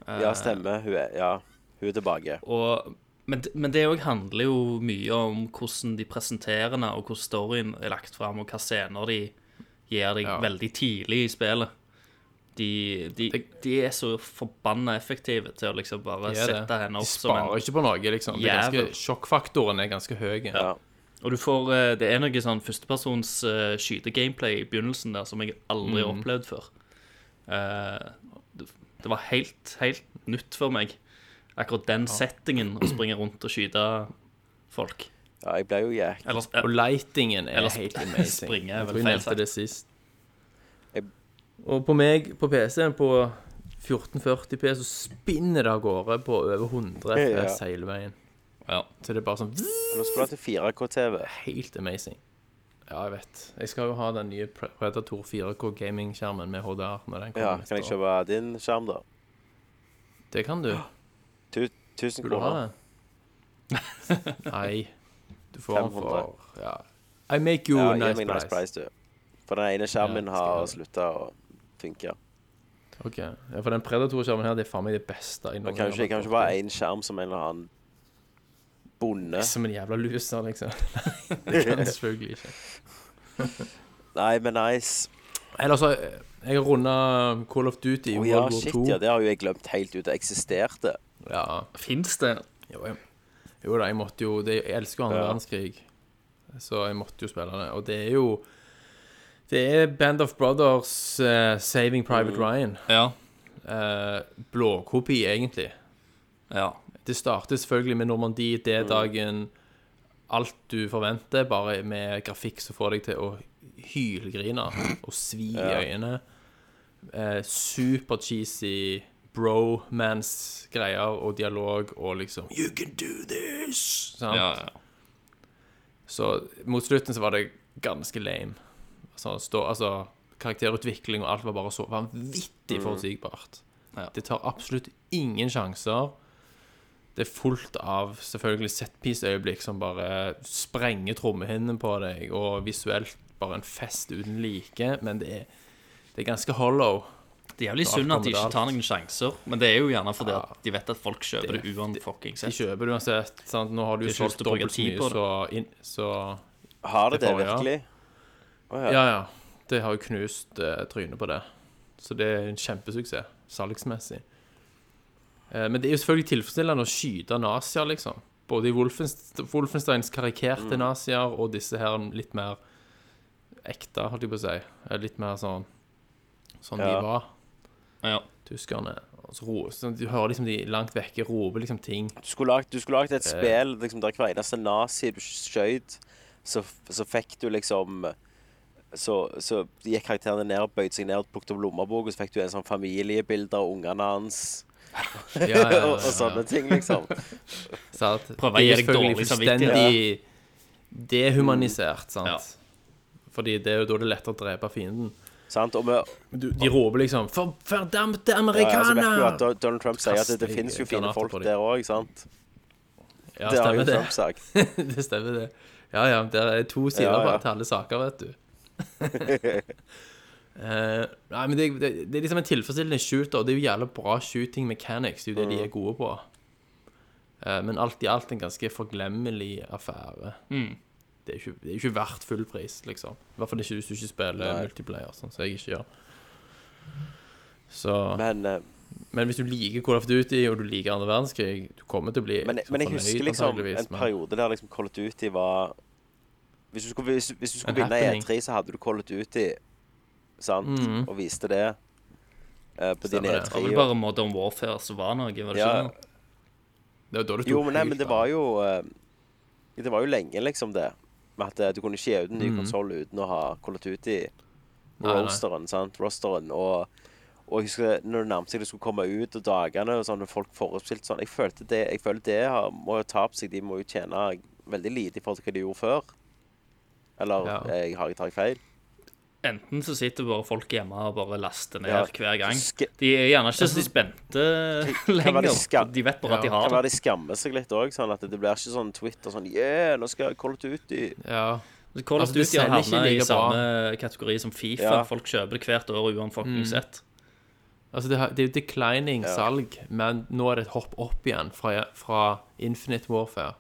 Ja, stemmer. Hun er, ja, hun er tilbake. Og, men, d- men det òg handler jo mye om hvordan de presenterer den, og hvordan storyen er lagt fram, og hva scener de gir deg Ja. veldig tidlig i spillet. De, de, de er så forbanna effektive til å liksom bare De er det. sette henne De opp som en sparer ikke på noe, liksom. Det jævel. er ganske, sjokkfaktoren er ganske høy. Ja. Og du får, eh, det er noe sånn førstepersons eh, skyte-gameplay i begynnelsen der som jeg aldri Mhm. har opplevd før. Eh, det, det var helt, helt nytt for meg. Akkurat den settingen å springe rundt og skyte folk. Ja, jeg ble jo jæk. Eller, eh, Og lightingen er Eller sp- helt amazing. springe er Jeg vel tror jeg feil nevnte sagt. det sist. Jeg- Og på meg, på PC-en, på 1440P, så spinner det av gårde på over Ja, 100 FPS ja. hele veien. Ja. Så det er bare sånn Nå skulle du ha til 4K-TV. helt amazing. Ja, jeg vet. Jeg skal jo ha den nye Pre- Predator 4K gaming-skjermen med HDR når den kommer. Ja, neste kan jeg år. kjøpe din skjerm, da? Det kan du. Tu- 1000 Vil du ha kroner. den? Nei. Du får den 500. for Ja. I make you Ja, a gi nice, meg nice price. price, du. For den ene skjermen min Ja, skal jeg har ha. slutta å funke. Ok, ja, For den Predator-skjermen her, det er faen meg det beste. i Det Norge kan jeg har ikke, kan fått. ikke bare én skjerm som en eller annen bonde. Som en jævla loser, liksom. Nei, det kan jeg selvfølgelig ikke. Nei, men nice. Eller så eh, Jeg har runda Call of Duty i Å World ja, War shit, 2. ja. Det har jo jeg glemt helt ut. Det eksisterte. ja. Fins det? Jo, jeg, jo da, jeg måtte jo det, Jeg elsker jo andre Ja. verdenskrig, så jeg måtte jo spille det. Og det er jo Det er Band of Brothers, eh, Saving Private Ryan. Ja. Eh, Blåkopi, egentlig. ja. Mm. Det starter selvfølgelig med Normandie, D-dagen, alt du forventer, bare med grafikk som får deg til å hylgrine og svi i øynene. Eh, super cheesy bromance-greier og dialog og liksom You can do this! Sant? ja, ja. Så mot slutten så var det ganske lame. Altså, stå, altså karakterutvikling og alt var bare så vanvittig forutsigbart. Mm. Ja. Det tar absolutt ingen sjanser. Det er fullt av selvfølgelig setpiece-øyeblikk som bare sprenger trommehinnen på deg, og visuelt bare en fest uten like, men det er, det er ganske hollow. Det er jævlig Når alt synd at de kommer til ikke tar noen sjanser, men det er jo gjerne fordi at de vet at folk kjøper Det- det uanfuckings. De kjøper det uansett. Sant? Nå har du Det er ikke lyst solgt til å bruke dobbelt så tid på mye, så, inn, så Har det Det det, får jeg, ja. virkelig? Å ja. Ja, ja. Det har jo knust eh, trynet på det. Så det er en kjempesuksess salgsmessig. Eh, men det er jo selvfølgelig tilfredsstillende å skyte nazier, liksom. Både i Wolfenst Wolfensteins karikerte Mm. nazier og disse her litt mer ekte, holdt jeg på å si. Eh, Litt mer sånn sånn Ja. de var, Ja. tyskerne. Og så ro- så du hører liksom de langt vekke rope liksom ting. Du skulle lagd, du skulle lagd et spill liksom, der hver eneste nazi du skjøt, så, så fikk du liksom så, så gikk karakterene ned, bøyde seg ned, plukket opp lommebok, og så fikk du en sånn familiebilde av ungene hans Ja, ja, ja, og, og sånne ting, liksom. Sant? Prøver å Det er gi deg selvfølgelig dårlig samvittighet. Fullstendig dehumanisert, sant. Ja. Fordi det er jo da det er lettere å drepe fienden. Sant? Og vi, Du, de roper liksom For fordamte ja, ja, så vet amerikaner! du at Do- Donald Trump sier at det, det Kaster finnes jo fine granater folk på dem. der òg, sant? Ja, det har stemmer jo sånn. det. Trump sagt. det stemmer det. Ja, ja. Det er to sider Ja, ja. bare til alle saker, vet du. Eh, nei, men det, det, det er liksom en tilfredsstillende shooter, og det er jo jævla bra shooting mechanics. Det er jo det Mm. de er gode på. Eh, men alt i alt en ganske forglemmelig affære. Mm. Det, er jo ikke, det er jo ikke verdt full pris, liksom. I hvert fall ikke hvis du ikke spiller Nei. multiplayer, sånn som jeg ikke gjør. Så Men, eh, Men hvis du liker Call of Duty, og du liker andre verdenskrig, du kommer til å bli men, så men jeg fornøyd, husker liksom antageligvis, en men- periode der liksom Call of Duty var Hvis du skulle, hvis, hvis du skulle En vinne happening. E3, så hadde du Call of Duty, sant? Mhm. Og viste det eh, på din Stemmer det. Det E3. var vel og- bare Modern Warfare som var noe, var det ikke Ja. det? Det var da det tok Jo, men, nei, men helt det av. var jo eh, Det var jo lenge, liksom, det. Med at eh, du kunne ikke gi ut en ny Mhm. konsoll uten å ha Call of Duty. Nei, nei. Rosteren, sant? Rosteren. Og, og jeg husker når det nærmet seg det skulle komme ut, og dagene og sånn, og folk forutspilte sånn Jeg følte det, jeg føler det har, må jo tape seg. De må jo tjene veldig lite i forhold til hva de gjorde før. Eller eh, Ja. jeg har jeg tatt feil? Enten så sitter bare folk hjemme og bare laster ned Ja. hver gang. Sk- De er gjerne ikke Altså, så spente være de lenger. skal- De vet bare at de Ja. har det. Kan være de skammer seg litt òg, sånn at det blir ikke sånn Twitter sånn Yeah, nå skal Call of Duty Ja. Call of Altså, det Duty har selger ikke havnet i like bra. samme kategori som Fifa. Ja. Folk kjøper det hvert år uansett. Altså, det, har- det er jo declining salg, men nå er det et hopp opp igjen fra, fra Infinite Warfare.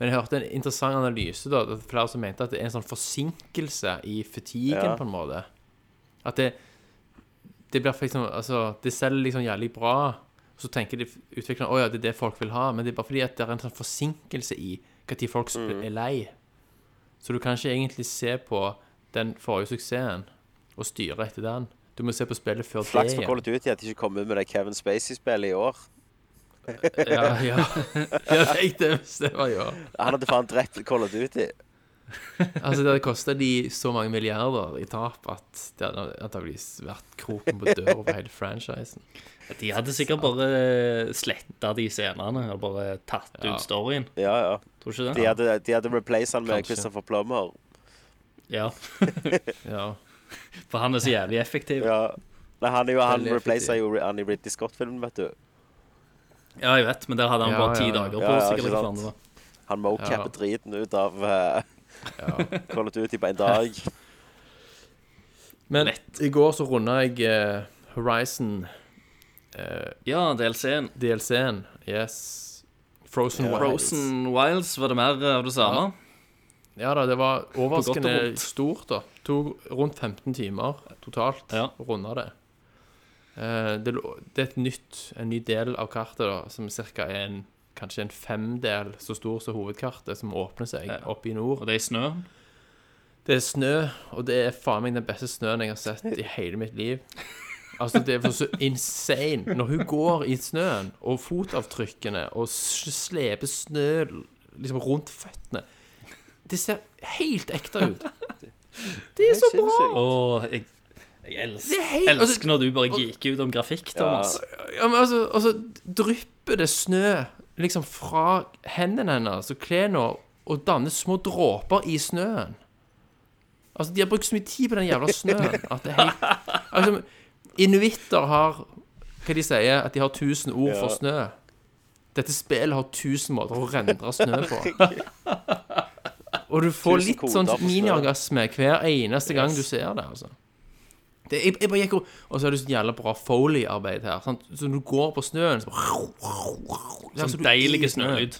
Men jeg hørte en interessant analyse, da. Det er flere som mente at det er en sånn forsinkelse i fatiguen, Ja. på en måte. At det det blir liksom, altså, de selger liksom jævlig bra, og så tenker de utviklerne å ja, det er det folk vil ha, men det er bare fordi at det er en sånn forsinkelse i hva tid folk sp- Mm. er lei. Så du kan ikke egentlig se på den forrige suksessen og styre etter den. Du må se på spillet før det Flaks for Call of Duty at de ikke kom ut med det Kevin Spacey-spillet i år. Ja, ja. ja nei, det, det var jo Han hadde faen drept Call of Duty. Altså, det hadde kosta de så mange milliarder i tap at det hadde antakeligvis vært kroken på døra over hele franchisen. Mm. De hadde sikkert bare sletta de scenene og bare tatt Ja. ut storyen. Ja, ja. Tror du ikke De det? hadde, de hadde replaced han med Kanskje. Christopher Plummer. Ja. Ja. For han er så jævlig effektiv. Ja. Nei, han, er jo, han Veldig replaced jo han i Ridley Scott-filmen, vet du. Ja, jeg vet, men der hadde han Ja, bare ja, ti ja. dager Ja, på ja, seg. ikke eller hva faen sant. det var. Han mocapper Ja. driten ut av eh, ja. Call of Duty på en dag. Men i går så runda jeg eh, Horizon Ja, DLC-en. DLC-en. Yes. Frozen Wilds. Frozen Wilds, var det mer av det samme? Ja da, det var På godt og overraskende vondt. stort, da. Tok rundt 15 timer totalt Ja. å runde det. Eh, det. lå- Det er et nytt, en ny del av kartet da, som cirka er en, kanskje en femdel så stor som hovedkartet, som åpner seg Ja. oppe i nord. Og det er i snøen? Det er snø, og det er faen meg den beste snøen jeg har sett i hele mitt liv. Altså, det er så insane. Når hun går i snøen, og fotavtrykkene, og s- sleper snø liksom rundt føttene Det ser helt ekte ut. Det er så bra! Åh, jeg, jeg elsker, Det er helt- altså, elsker når du bare geeker ut om grafikk, Thomas. Ja, men altså, altså drypper det snø liksom fra hendene hennes og klærne og danner små dråper i snøen. Altså, de har brukt så mye tid på den jævla snøen at det er helt Altså, inuitter har Hva de sier? At de har 1000 ord for Ja. snø. Dette spillet har 1000 måter å rendre snø på. Og du får 1000 litt koder sånn for snø. miniorgasme hver eneste gang du ser det, altså. Det, jeg, jeg bare gikk og Og så er det så jævla bra Foley-arbeid her. Sant? Så når du går på snøen så bare, Ja, så Sånn du- deilig snølyd.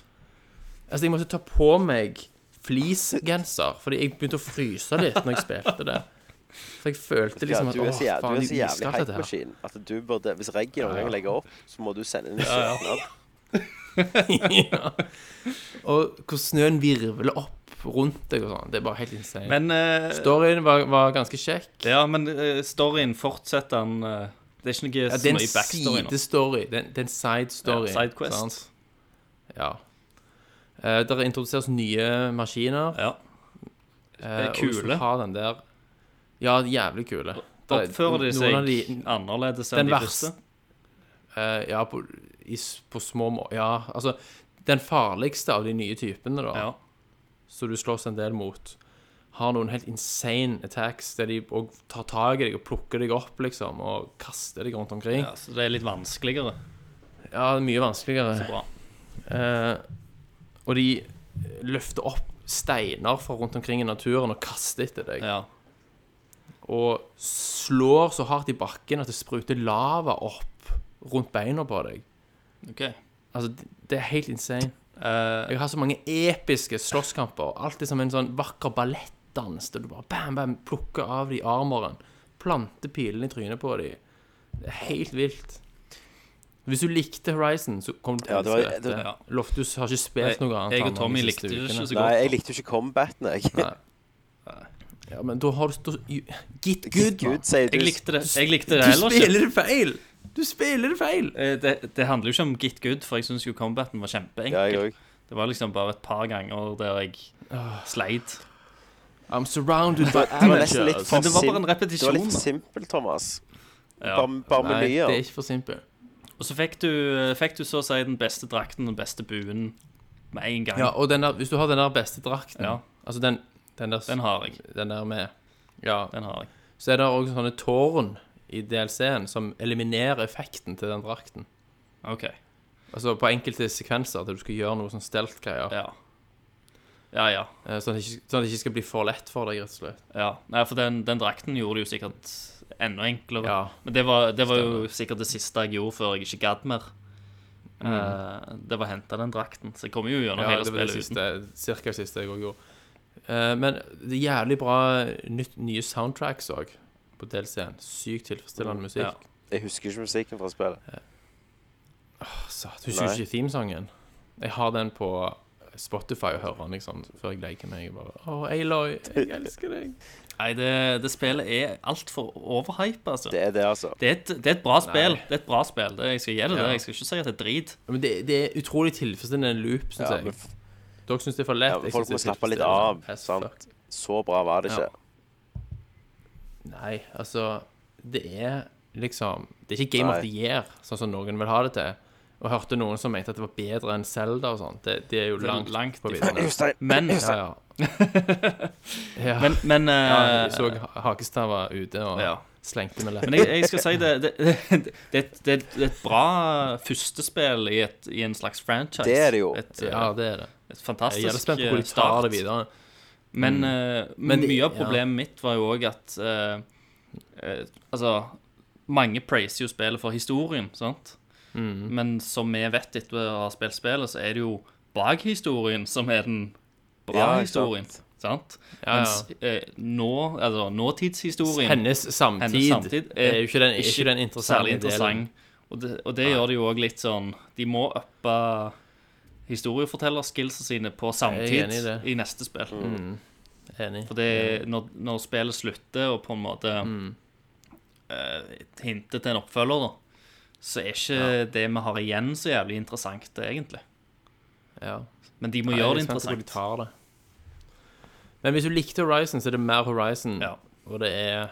Altså, jeg måtte ta på meg fleecegenser, fordi jeg begynte å fryse litt når jeg spilte det. For jeg følte Ja, liksom at du er åh, så, jæv, faen, du er det så er jævlig iskaldt, dette her. hypemaskin at du burde Hvis Reggie noen gang legger opp, så må du sende inn en Ja, ja. søknad. ja. Og hvor snøen virvler opp rundt deg og sånn. Det er bare helt insane. Men, eh, Storyen var, var ganske kjekk. ja, men eh, storyen fortsetter han eh, Det er ikke noe Ja, så det er mye en backstory nå. sidestory. Det er en- det er en side story. Ja, Sidequest. sant? Ja. Eh, der introduseres nye maskiner. Ja. eh, og kule. hvis du har den der Ja, jævlig kule. Der er Oppfører de noen seg av de- annerledes Den enn de første? verste- Eh, ja, på, i, s- på små må... Ja, altså Den farligste av de nye typene, da, Ja. som du slåss en del mot, har noen helt insane attacks der de og tar tak i deg og plukker deg opp, liksom, og kaster deg rundt omkring. ja, så det er litt vanskeligere. Ja, det er mye vanskeligere. Så bra. Eh, og de løfter opp steiner fra rundt omkring i naturen og kaster etter deg. Ja. Og slår så hardt i bakken at det spruter lava opp rundt beina på deg. OK. Altså, det- det er helt insane. Eh, Jeg har så mange episke slåsskamper. Alltid som en sånn vakker ballettdans der du bare bam, bam, plukker av de armoren. Planter pilene i trynet på de. Det er helt vilt. Hvis du likte Horizon, så kom du til å Ja, det var- elske dette. det- ja. Loftus har ikke spilt noe annet. jeg han, og Tommy de siste likte det ukene. ikke så Nei, godt. jeg likte jo ikke combaten, jeg. Ja, men da har du da, Gitt Gud, good, mann. sier du. Jeg likte det Jeg likte det Du heller ikke. spiller det feil! Du spiller det feil! Eh, Det, det handler jo ikke om Git Good, for jeg syns jo combaten var kjempeenkel. Ja, jeg òg. Det var liksom bare et par ganger der jeg Ah. sleit. I'm surrounded by Det var nesten litt amateurs. for Men det var bare sim- en Det var repetisjon. litt for da. simpelt, Thomas. Ja. Bare, bare Nei, det er menyer. ikke for simpelt. Og så fikk du, eh, fikk du så å si den beste drakten og den beste buen med en gang. Ja, og den der, hvis du har den der beste drakten Ja. Altså den, den, der, Den har jeg. den der med Ja. Den har jeg. Så er det òg sånne tårn i DLC-en som eliminerer effekten til den drakten. OK. Altså på enkelte sekvenser der du skal gjøre noe sånn stelt-greier. Ja. Ja, ja. eh, Sånn, at det ikke- sånn at det ikke skal bli for lett for deg, rett og slett. ja. Nei, for den, den drakten gjorde det jo sikkert enda enklere. Ja. Men det var, det var jo sikkert det siste jeg gjorde før jeg ikke gadd mer. Eh, det var henta den drakten. Så jeg kommer jo gjennom Mm. Ja, hele det var det spillet uten. siste, cirka det siste jeg også gjorde. Eh, men det er jævlig bra nytt, nye soundtracks òg på på DLC-en. Sykt tilfredsstillende musikk. Mm. Ja. Jeg husker ikke musikken fra spillet. Så, Altså, du husker Nei. ikke themesangen? Jeg har den på Spotify og hører den liksom, før jeg legger meg. Jeg bare, Å, Aloy, jeg elsker deg. Nei, det, det spillet er altfor overhypa, altså. Det er det, altså. Det er, et, det er et bra spill. Det er et bra spill. Det, jeg skal gi det Ja. det. Jeg skal ikke si at det er drit. Men det, det er utrolig tilfredsstillende loop, syns Ja, men jeg. f- Dere syns det er for lett. Ja, men jeg folk synes det må er slappe litt tilfredsstillende. av, As sant? fuck. Så bra var det ikke. Ja. Nei, altså Det er liksom Det er ikke Game Nei. of the Year, sånn som noen vil ha det til. Og jeg hørte noen som mente at det var bedre enn Zelda og sånn. Det, det er jo Det er langt, langt på ifra. viddene. Men, Ja, ja. ja. men, men ja, eh, jeg så ha- hakestaver ute og Ja. slengte med Men leppa. jeg, jeg skal si det det, det, det, det, det er et bra førstespill i, et, i en slags franchise. Det er det jo. Et, eh, Ja, det er det. et Jeg er jævlig fantastisk eh, spent på hvor de tar start. det videre. Men, eh, men Mm. det- mye av ja. problemet mitt var jo òg at eh, eh, Altså, mange praiser jo spillet for historien, sant? Mm. Men som vi vet etter å ha spilt spillet, så er det jo bak historien som er den bra Ja, ikke historien. Sant? Ja, Mens eh, nå, altså, nåtidshistorien Hennes samtid, hennes samtid er, jo ikke den, er ikke den interessante særlig delen. interessant. Og det, og det gjør det jo òg litt sånn De må uppe historiefortellerskillsene sine på Jeg er samtid enig i det. Mm. i neste spill. Enig. For det, når, når spillet slutter, og på en måte Mm. eh, hinter til en oppfølger, da, så er ikke det vi har igjen, så jævlig interessant, egentlig. Ja. Men de må Nei, gjøre det jeg er spent på hvor de interessant. tar det. Men hvis du likte Horizon, så er det mer Horizon. Ja. Og det er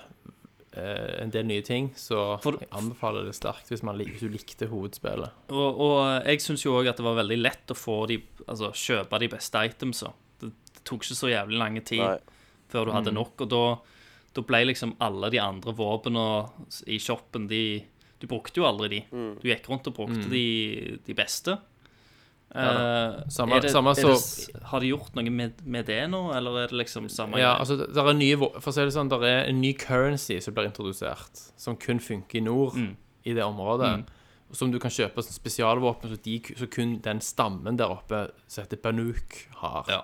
eh, en del nye ting, så For- jeg anbefaler det sterkt hvis, man, lik- hvis du likte hovedspillet. Og, og eh, jeg syns jo òg at det var veldig lett å få de, altså, kjøpe de beste itemsa. Det, det tok ikke så jævlig lang tid Nei. før du Mm. hadde nok. Og da, da ble liksom alle de andre våpnene i shoppen de, Du brukte jo aldri de. Mm. Du gikk rundt og brukte de, de beste. Eh, Samme- er det, samme er det, så- s- Har de gjort noe med, med det nå, eller er det liksom samme Ja, greie? altså, det der er nye, vå- for å si det sånn, der er en ny currency som blir introdusert, som kun funker i nord, Mm. i det området. og Som du kan kjøpe som spesialvåpen, så, de, ku- så kun den stammen der oppe som heter Banuk, har. Ja.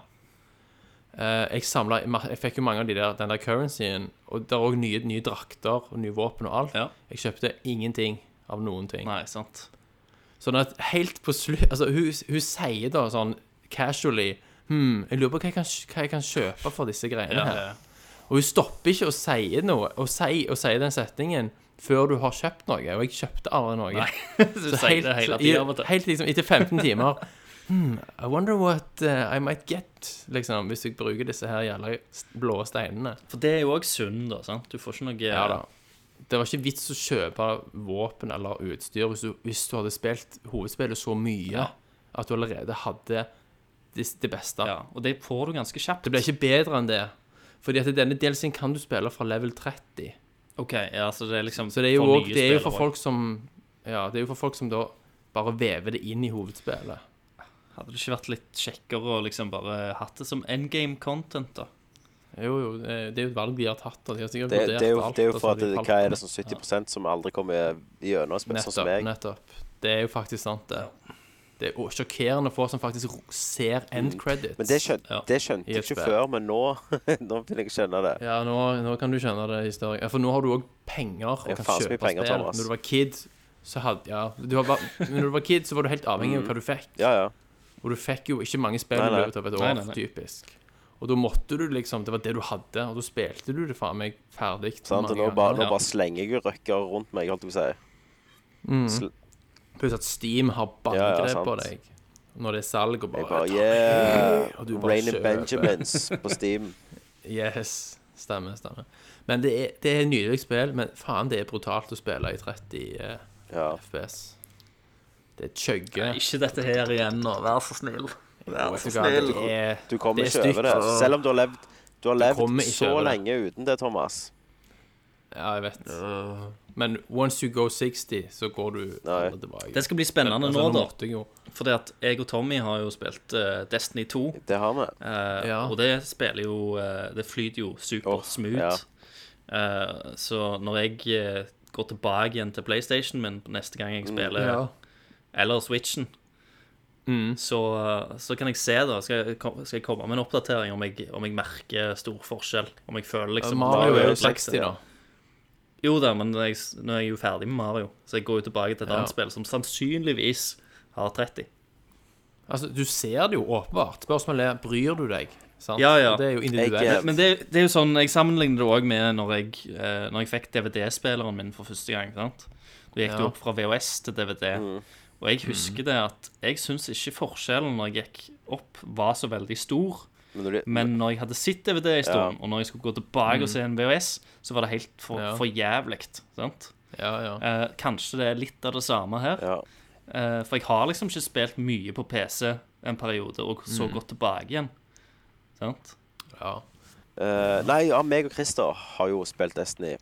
Eh, jeg, samlet, ma- jeg fikk jo mange av de der, den der currencyen, og det er òg nye, nye drakter og nye våpen og alt. Ja. Jeg kjøpte ingenting av noen ting. Nei, sant. Sånn at helt på slutt Altså, hun, hun sier da sånn casually Hm, jeg lurer på hva jeg kan, hva jeg kan kjøpe for disse greiene Ja, her. Og hun stopper ikke å si noe, og si, og si den setningen før du har kjøpt noe. Og jeg kjøpte aldri noe. Nei, du sier det hele tida av og til. helt liksom etter 15 timer hmm, I wonder what eh, I might get, liksom, hvis jeg bruker disse her jævla s- blå steinene. For det er jo òg sunn, da. sant? Du får ikke noe Ja da. Det var ikke vits å kjøpe våpen eller utstyr hvis du, hvis du hadde spilt hovedspillet så mye Ja. at du allerede hadde det, det beste. Ja, Og det får du ganske kjapt. Det ble ikke bedre enn det. Fordi at denne delsen kan du spille fra level 30. Ok, ja, så det er liksom Så det er jo, for også, nye det er jo spillere for også. folk som Ja, det er jo for folk som da bare vever det inn i hovedspillet. Hadde det ikke vært litt kjekkere å liksom bare hatt det som endgame content, da? Jo, jo, eh, det er jo et valg de har tatt. og De har sikkert Det, vurdert det, er jo, alt, altså. det er jo for og at så har de det, falt hva er på det sånn 70 som aldri kommer gjennom, sånn som Nettopp. meg? nettopp. Det er jo faktisk sant, det. Det er jo sjokkerende få som faktisk ro- ser end credits. Mm. Men det, skjøn, Ja. det skjønte I jeg et ikke spill. før, men nå, nå vil jeg skjønne det. Ja, nå, nå kan du skjønne det i større Ja, For nå har du òg penger og Ja, kan faen så mye kjøpe penger, spill. Thomas. Når du var kid, så hadde Ja. Du var, bare- men når du var kid, så var du helt avhengig av hva du fikk. Mm. Ja, ja. Og du fikk jo ikke mange spill Nei, i nei. løpet av et år, Nei, nei, nei. typisk. Og da måtte du liksom Det var det du hadde, og da spilte du det faen meg ferdig. Sant? mange Og nå ganger. bare, nå Ja. bare slenger jeg jo røkker rundt meg, holdt jeg på å si. Pluss at Steam har Ja, ja, bannegrep på sant. deg når det er salg, og bare, Jeg bare ta- Og du Yeah! bare Rain and kjøper. Benjamins på Steam. Yes. Stemmer, stemmer. Men det er, det er et nydelig spill, men faen, det er brutalt å spille i 30 eh, Ja. FPS. Det er chugge. Ikke dette her igjen nå, vær så snill. Vær så snill. Det er, Du kommer det er ikke over det. stygt. Selv om du har levd, du har kommer levd ikke så over det. lenge uten det, Thomas. Ja, jeg vet. Men once you go 60, så går du Nei. aldri tilbake. Det skal bli spennende Altså, nå, da. måtte jeg jo- Fordi at jeg og Tommy har jo spilt eh, Destiny 2, Det har vi. eh, Ja. og det spiller jo eh, Det flyter jo Åh, supersmooth. ja. Eh, så når jeg eh, går tilbake igjen til PlayStation min neste gang jeg spiller Ja. eller Switchen, så, så kan jeg se, da. Skal jeg, kom- skal jeg komme med en oppdatering om jeg, om jeg merker stor forskjell? Om jeg føler liksom Mario er jo Mario er 60, da. Jo da, men jeg, s- nå er jeg jo ferdig med Mario, så jeg går jo tilbake til et Ja. annet spill som sannsynligvis har 30. Altså, du ser det jo åpenbart. Spørsmålet er bryr du deg. Sant? Ja, ja. Og Det er jo Jeg, individuelt. eh, Men det, det er jo sånn, jeg sammenligner det òg med når jeg, eh, når jeg fikk DVD-spilleren min for første gang. sant? Da gikk det Ja. Mm. opp fra VHS til DVD. Og jeg husker det at jeg syns ikke forskjellen når jeg gikk opp, var så veldig stor. Men når de- Men når jeg hadde sett DVD en stund, og når jeg skulle gå tilbake og se en VHS, så var det helt for, Mm. Ja. for jævlig. sant? Ja, ja. Eh, kanskje det er litt av det samme her. ja. Eh, for jeg har liksom ikke spilt mye på PC en periode, og så Mm. gått tilbake igjen. Sant? ja. Eh, nei, ja, meg og Christer har jo spilt Destiny.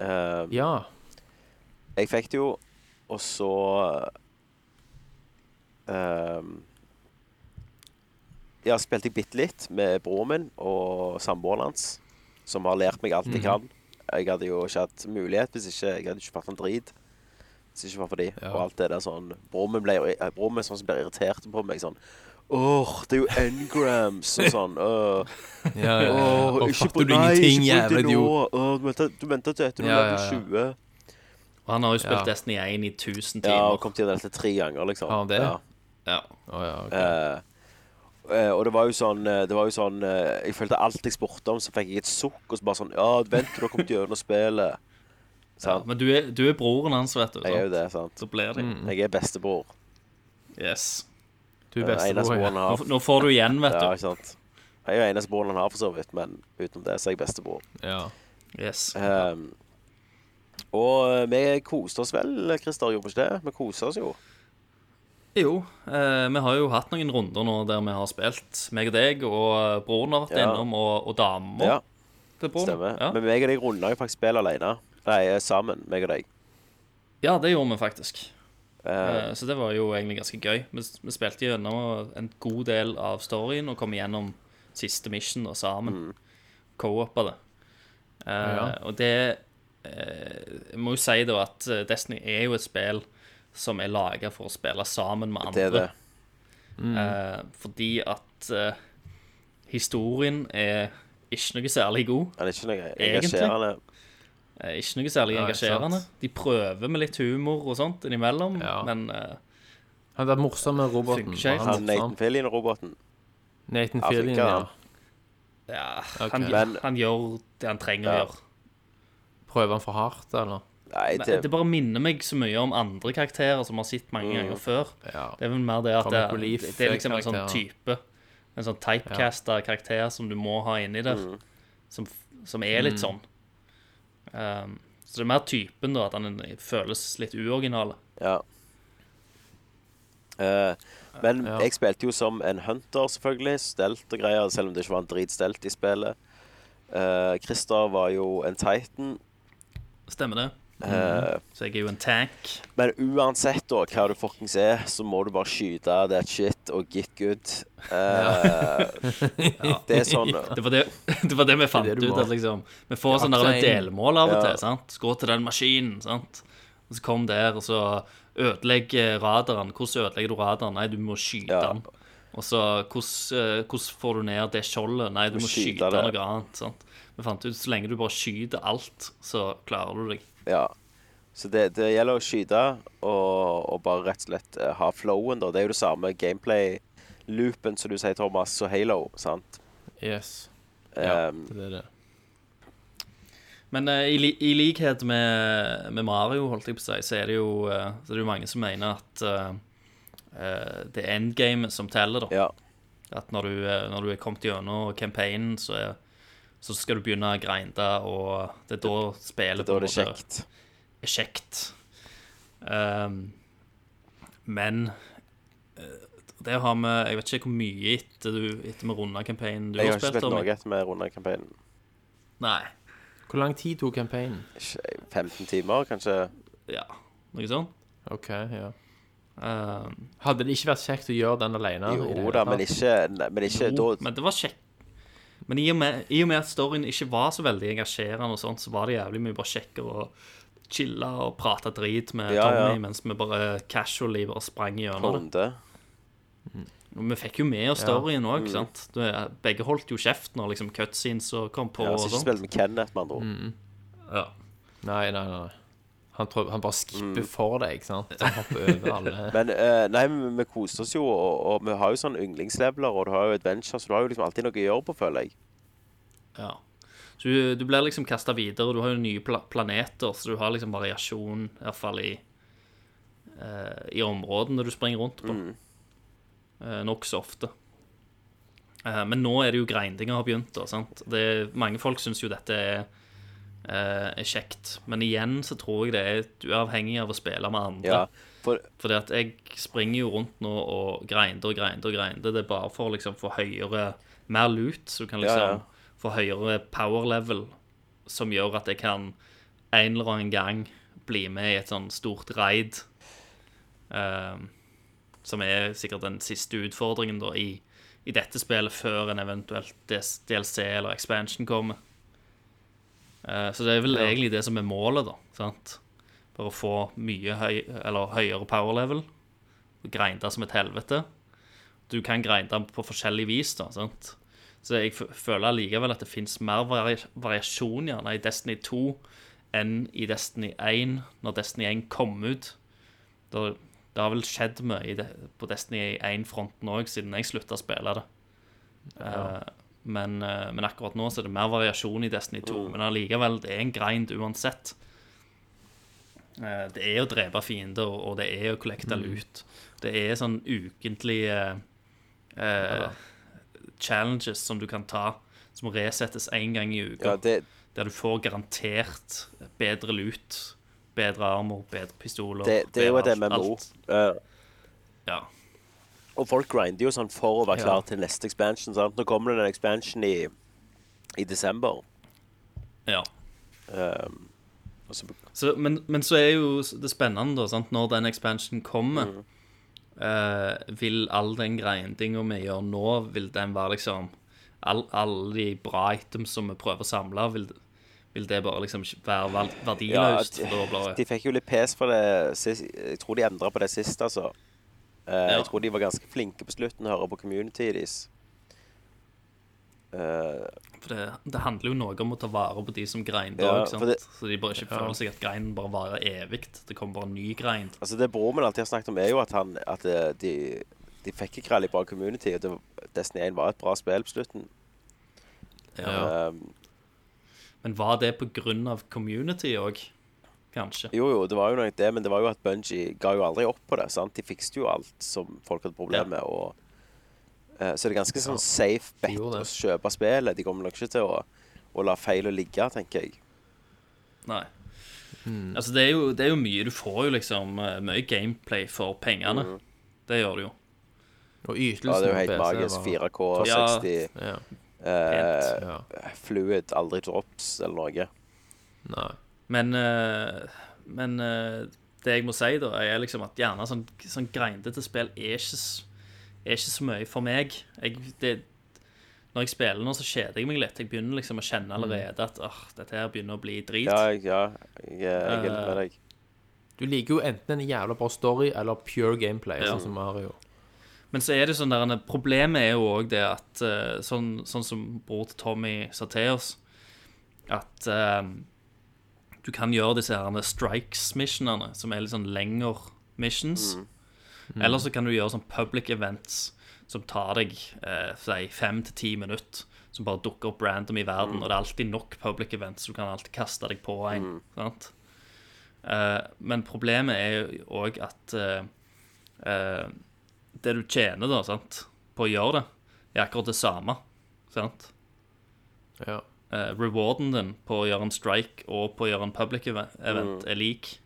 Eh, ja. Jeg fikk det jo, og så ehm, Ja, spilte jeg bitte litt med broren min og samboeren hans, som har lært meg alt Mhm. jeg kan. Jeg hadde jo ikke hatt mulighet hvis ikke jeg hadde ikke fått en drit. Hvis ikke det var for de. Ja. Og alt det der sånn Broren min ble jo- eh, broren min er sånn som blir irritert på meg sånn Åh, det er jo engrams og sånn. øh. ja, ja. Åh, Og ikke fatter bruk du nei, ingenting, ikke bruk jævla det nå. idiot? Åh, du venter- du venter til etter du Ja, er ja, ja. 20. Og han har jo spilt Ja. Destiny 1 i 1000 Ja, og timer. kom til dette tre ganger, liksom. Har han det? Ja. Ja. Å, ja, ok. Eh, eh, og det var jo sånn, eh, det var jo sånn eh, Jeg følte alt jeg spurte om, så fikk jeg et sukk, og så bare sånn Ja, vent til du har kommet gjennom spillet. Sant? Men du er, du er broren hans, vet du. Jeg er jo Sant? det, Mm. sant. Så blir det. Jeg er bestebror. Yes. mm. Du er Den eneste bestebror. broren Ja. han Nå, har. nå får du igjen, vet Ja, du. ikke sant. Jeg er jo eneste broren han har, for så vidt, men utenom det så er jeg bestebror. Ja. Yes. Ehm, og eh, vi koste oss vel, Christer, gjorde vi ikke det? Vi koste oss jo. Jo, eh, vi har jo hatt noen runder nå der vi har spilt, meg og deg, og broren har vært Ja. innom, og, og dama Ja, til broren. stemmer. Ja. Men meg og deg runda jo faktisk spillet alene. Nei, eh, sammen, meg og deg. ja, det gjorde vi faktisk. Eh, Eh, Så det var jo egentlig ganske gøy. Vi, s- vi spilte gjennom en god del av storyen og kom gjennom siste mission da, sammen. Mm. Co-opa det. Eh, Ja. Og det eh, Jeg må jo si da at eh, Destiny er jo et spill som er laga for å spille sammen med andre. det er det. Mm. Eh, fordi at eh, historien er ikke noe særlig god. Han er ikke noe Egentlig. engasjerende. Eh, ikke noe særlig Nei, engasjerende. sant. De prøver med litt humor og sånt innimellom, Ja. men eh, Han der morsomme roboten. Funker ikke helt. var Han morsom? Nathan Fillion-roboten. Nathan Ja, funker Fillion, ja. han. ja, Ok. han, Men- han gjør det han trenger å Ja. gjøre. Prøver han for hardt, eller? Nei, Nei, det, det bare minner meg så mye om andre karakterer som vi har sett mange Mm. ganger før. Ja. Det er vel mer det at det, Comic relief, det er liksom en sånn karakterer. type En sånn typecasta karakter som du må ha inni der, Mm. som, som er litt sånn. Um, så det er mer typen, da, at han føles litt uoriginal. ja. Eh, men Ja. jeg spilte jo som en hunter, selvfølgelig. Stelt og greier, selv om det ikke var en dritstelt i spillet. Eh, Christer var jo en titan. Stemmer det? Eh, Så jeg er jo en tank. Men uansett da, hva du fuckings er, så må du bare skyte that shit og get good. Eh, Det er sånn Det var det, det, var det vi fant Det er det du ut. må. At liksom, vi får Det er sånne der akseien. delmål av og Ja. til. sant? Gå til den maskinen. sant? Og så kom der, og så ødelegg eh, radaren. Hvordan ødelegger du radaren? Nei, du må skyte Ja. den. Og så hvordan, eh, hvordan får du ned det skjoldet? Nei, du må skyte skyte det. noe annet. sant? Vi fant ut så lenge du bare skyter alt, så klarer du deg. Ja. Så det, det gjelder å skyte og, og bare rett og slett eh, ha flowen, da. Det er jo det samme gameplay-loopen som du sier, Thomas, og Halo, sant? Yes. Ja. Det er det. Men eh, i, li i likhet med, med Mario, holdt jeg på å si, så er det jo, eh, så er det jo mange som mener at eh, eh, det er endgamet som teller, da. ja. At når du, eh, når du er kommet gjennom campaignen, så, er, så skal du begynne å grinde, og det er da spillet Da er det på en måte kjekt. er kjekt. Ehm, men eh, det har vi Jeg vet ikke hvor mye etter du etter vi runda campaignen du Jeg har har ikke spilt. spilt Tommy. noe etter vi runda kampanjen. Nei. Hvor lang tid tok campaignen? Ikke- 15 timer, kanskje? Ja, noe sånt. OK, ja. Ehm, Hadde det ikke vært kjekt å gjøre den alene? i Jo det hele da, tatt? men ikke, nei, men ikke da jo, Oh, men det var kjekt. Men i og, med, i og med at storyen ikke var så veldig engasjerende, og sånt, så var det jævlig mye bare kjekkere å chille og prate drit med Ja, ja. Tommy mens vi bare casually bare sprang gjennom det. runde. Og vi fikk jo med oss storyen Mm. òg, sant. eh, Det- Begge holdt jo kjeft når liksom cutscenes og kom på Ja, og så ikke sånt. Mm. spilt med Kenneth, med andre ord. Ja. Nei, nei, nei. Han, prøv, han bare Mm. skipper for deg, sant? Han hopper over alle. Men eh, nei, men vi koste oss jo, og, og vi har jo sånn yndlingsleveler, og du har jo adventure, så du har jo liksom alltid noe å gjøre på, føler jeg. Ja. Så du, du blir liksom kasta videre, og du har jo nye pla planeter, så du har liksom variasjon, i hvert fall i, eh, i områdene du springer rundt på. Eh, Nokså ofte. Eh, men nå er det jo greindinger har begynt. Da, sant? Det, mange folk syns jo dette er, eh, er kjekt, men igjen så tror jeg det er du er avhengig av å spille med andre. Ja. For, Fordi at jeg springer jo rundt nå og grinder og grinder og grinder. Det er bare for å liksom få høyere Mer lut, så du kan liksom Ja, ja. få høyere power level, som gjør at jeg kan en eller annen gang bli med i et sånn stort raid. ehm, som er sikkert den siste utfordringen da i, i dette spillet, før en eventuelt DS DLC eller expansion kommer. Eh, så det er vel egentlig det som er målet, da. sant? Bare å få mye høy, eller høyere power level. Grinde som et helvete. Du kan grinde på forskjellig vis, da. sant? Så jeg f- føler likevel at det fins mer vari variasjon gjerne i Destiny 2 enn i Destiny 1, når Destiny 1 kom ut. Da, det har vel skjedd mye i det- på Destiny 1-fronten òg, siden jeg slutta å spille det. Eh, men, eh, men akkurat nå så er det mer variasjon i Destiny 2. Men allikevel, det er en grind uansett. Eh, Det er å drepe fiender, og og det er å kollekte lut. Det er sånn ukentlige eh, challenges som du kan ta, som resettes én gang i uka. ja, det, Der du får garantert bedre lut, bedre armor, bedre pistoler. det, det er jo et bedre alt- MMO. alt. eh, Ja. Og folk grinder jo sånn for å være Ja. klar til neste expansion. Sant? Nå kommer det en expansion i, i desember. ja. Um, og så, Så, men, men så er jo det spennende, da, sant? når den expansionen kommer Mm. eh, Vil all den grindinga vi gjør nå, vil den være liksom all, Alle de bra items som vi prøver å samle, vil, vil det bare liksom ikke være val- ja, verdiløst? de, for da blir de det fikk jo litt pes for det sist. Jeg tror de endra på det sist, altså. Eh, Ja. Jeg tror de var ganske flinke på slutten, hører på community deres. Eh, For det, det handler jo noe om å ta vare på de som grinder Ja, òg, sant? for det- så de bare ikke føler seg at grinden bare varer evig. Det kommer bare ny grind. altså Det broren min alltid har snakket om, er jo at, han, at eh, de, de fikk ikke veldig bra community. Og det, Destiny 1 var et bra spill på slutten. Ja. Um, Men var det på grunn av community òg? Kanskje. Jo, jo, det var jo noe det, men det var jo at Bungie ga jo aldri opp på det. sant? De fikste jo alt som folk hadde problemer med. og eh, Så det er ganske sånn safe bet å gjorde det. kjøpe spillet. De kommer nok ikke til å, å la feilene ligge, tenker jeg. Nei. Hmm. Altså, det er, jo, det er jo mye. Du får jo liksom eh, mye gameplay for pengene. Mm. Det gjør du jo. Og Ja, det ytelsen er jo på helt PC magisk. var- 4K, Ja. 60, Ja, eh, Pent. ja. fluid, aldri drops eller noe. Nei. Men, eh, men eh, det jeg må si, da, er liksom at gjerne sånn, sånn grindete spill er ikke, s- er ikke så mye for meg. Jeg, det, når jeg spiller nå, så kjeder jeg meg litt. Jeg begynner liksom å kjenne allerede at åh, dette her begynner å bli drit. Ja, jeg- ja jeg, jeg er litt med deg. Eh, Du liker jo enten en jævla bra story eller pure gameplay, Ja. sånn som Mario. Men så er det sånn der, problemet er jo òg det at eh, sånn, sånn som bror til Tommy sa til oss, at eh, du kan gjøre disse her strikes-missionene, som er litt sånn lengre missions. Eller så kan du gjøre sånn public events som tar deg eh, si fem til ti minutter. Som bare dukker opp random i verden. Og det er alltid nok public events, så du kan alltid kaste deg på en. Sant? Eh, men problemet er jo òg at eh, eh, det du tjener da, sant, på å gjøre det, er akkurat det samme. Sant? Ja. Eh, rewarden din på å gjøre en strike og på å gjøre en public eve- event er lik.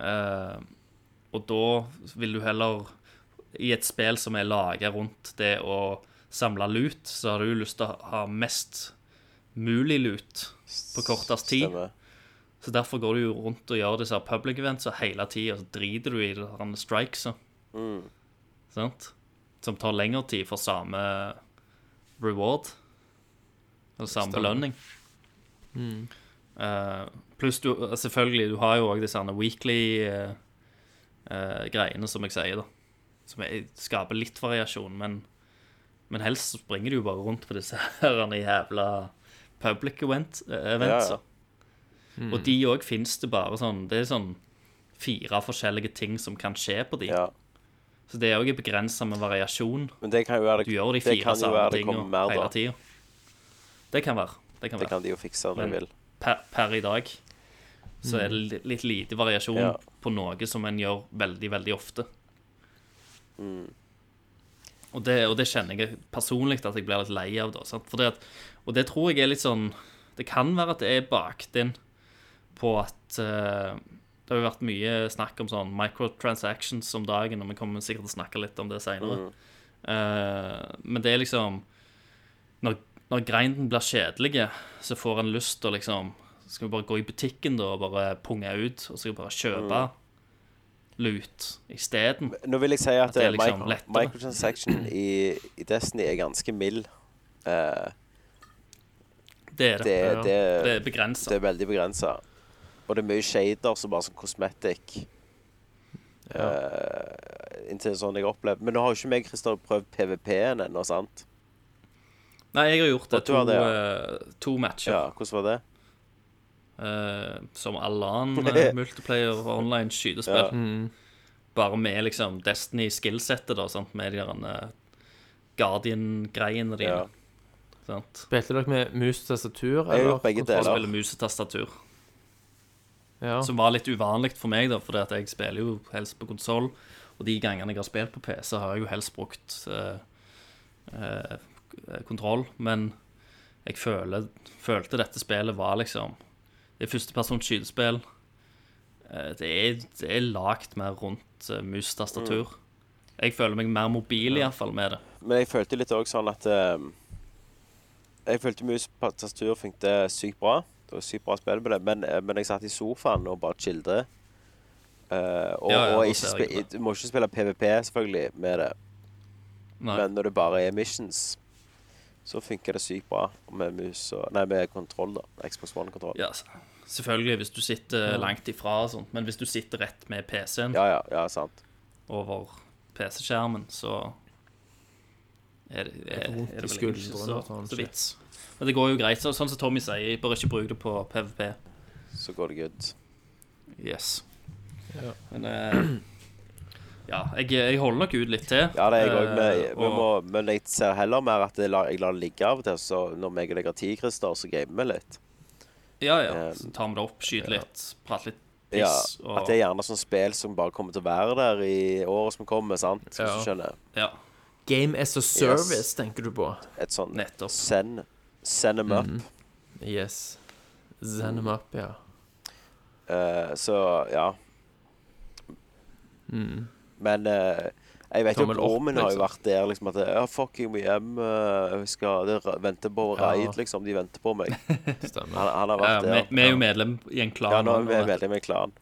Eh, og da vil du heller I et spill som er laga rundt det å samle lut, så har du jo lyst til å ha mest mulig lut på kortest tid. Stemmer. Så derfor går du jo rundt og gjør disse her public events og hele tida, så driter du i de her strikes. og- Sant? Som tar lengre tid for samme reward. Og samme Stemmer. belønning. Eh, Pluss du selvfølgelig, du har jo òg disse her weekly eh, eh, greiene, som jeg sier, da. Som er, skaper litt variasjon, men, men helst så springer du jo bare rundt på disse her jævla public event, eh, events. Ja, ja. Og de òg fins det bare sånn Det er sånn fire forskjellige ting som kan skje på de. Ja. Så det òg er begrensa med variasjon. Men det kan jo være Du gjør de det fire kan jo samme være det kommer tingene mer, hele da. tida. Det kan være. Det kan være. Det kan de jo fikse når Men- de vil. Per, per i dag så er det li- litt lite variasjon Mm. Ja. på noe som en gjør veldig, veldig ofte. Mm. Og, det, og det kjenner jeg personlig at jeg blir litt lei av. da sant? For det at, Og det tror jeg er litt sånn Det kan være at det er bakt inn på at eh, Det har jo vært mye snakk om sånn microtransactions om dagen, og vi kommer sikkert til å snakke litt om det seinere. Mm. men det er liksom Når, når grinden blir kjedelig, så får en lyst til å liksom Skal vi bare gå i butikken da og bare punge ut, og så skal vi bare kjøpe Mm. lut isteden? Nå vil jeg si at, At det er eh, liksom micro- lettere. microtransaction i, i Destiny er ganske mild. Eh, Det er det. Det er- Ja. det er- det er begrensa. det er veldig begrensa. Og det er mye shader som bare sånn cosmetic. Eh, inntil sånn jeg opplever Men nå har jo ikke meg Christer prøvd PVP-en ennå, sant? Nei, jeg har gjort det. Og du To, har det, eh, to matcher. Ja, Hvordan var det? eh, som alle annen eh, multiplayer og online skytespill. Ja. Bare med liksom Destiny-skillsettet, da, sant? med de der Guardian-greiene dine. Ja. Sant? Spilte dere med mus og tastatur? Jeg har eller gjort begge Og kontroll? Eller- spille musetastatur. Ja. Som var litt uvanlig for meg, da, fordi at jeg spiller jo helst på konsoll. Og de gangene jeg har spilt på PC, har jeg jo helst brukt eh, eh, kontroll. Men jeg føler, følte dette spillet var liksom Det er førstepersons skytespill. Eh, det er, det er lagt mer rundt uh, mus-tastatur. Jeg føler meg mer mobil, iallfall, med det. Men jeg følte litt òg sånn at eh, Jeg følte mus på tastatur funket sykt bra. Det var sykt bra spill på det, men, eh, men jeg satt i sofaen og bare chillet. Eh, og Ja, ja, og da ikke ser spi jeg det. du må ikke spille PVP selvfølgelig med det, Nei. men når det bare er missions, så funker det sykt bra med mus og Nei, med kontroll, da. Xbox One-kontroll. Ja, s- selvfølgelig hvis du sitter langt ifra og sånt, men hvis du sitter rett med PC-en Ja, ja, ja, sant. over PC-skjermen, så er det, er, er det vondt i vel ikke skuldrene så, og sånn så shit. vits. Men det går jo greit. Så, sånn som Tommy sier, jeg bør ikke bruke det på PVP. Så går det good. Yes. Ja. Men eh, ja, jeg, jeg holder nok ut litt til. Ja, det er jeg òg. eh, Men, vi og- må- men jeg ser heller mer at jeg lar, jeg lar det ligge av og til. Så når meg og deg har tid, Christer, så gamer vi litt. Ja, ja. eh, Så tar vi det opp, skyter litt, prater litt Ja, piss. og, At det er gjerne sånn spill som bare kommer til å være der i året som kommer, sant? Hvis Ja. du skjønner. ja, Game as a service, tenker du på? Et sånn nettopp. send, send them Mm. up. Yes. Send them up, ja. Eh, så, ja. Men eh, jeg vet jo Tommel at Mm. opp, Ormen har jo liksom. vært der liksom at Ja, fuck, jeg må hjem. eh, Jeg skal det r- vente på Ja. raid, liksom. De venter på meg. Han, Stemmer. han har Ja, vært vi, der. vi Eh, er jo medlem i en klan. Ja, nå er nå, vi vet medlem i klan.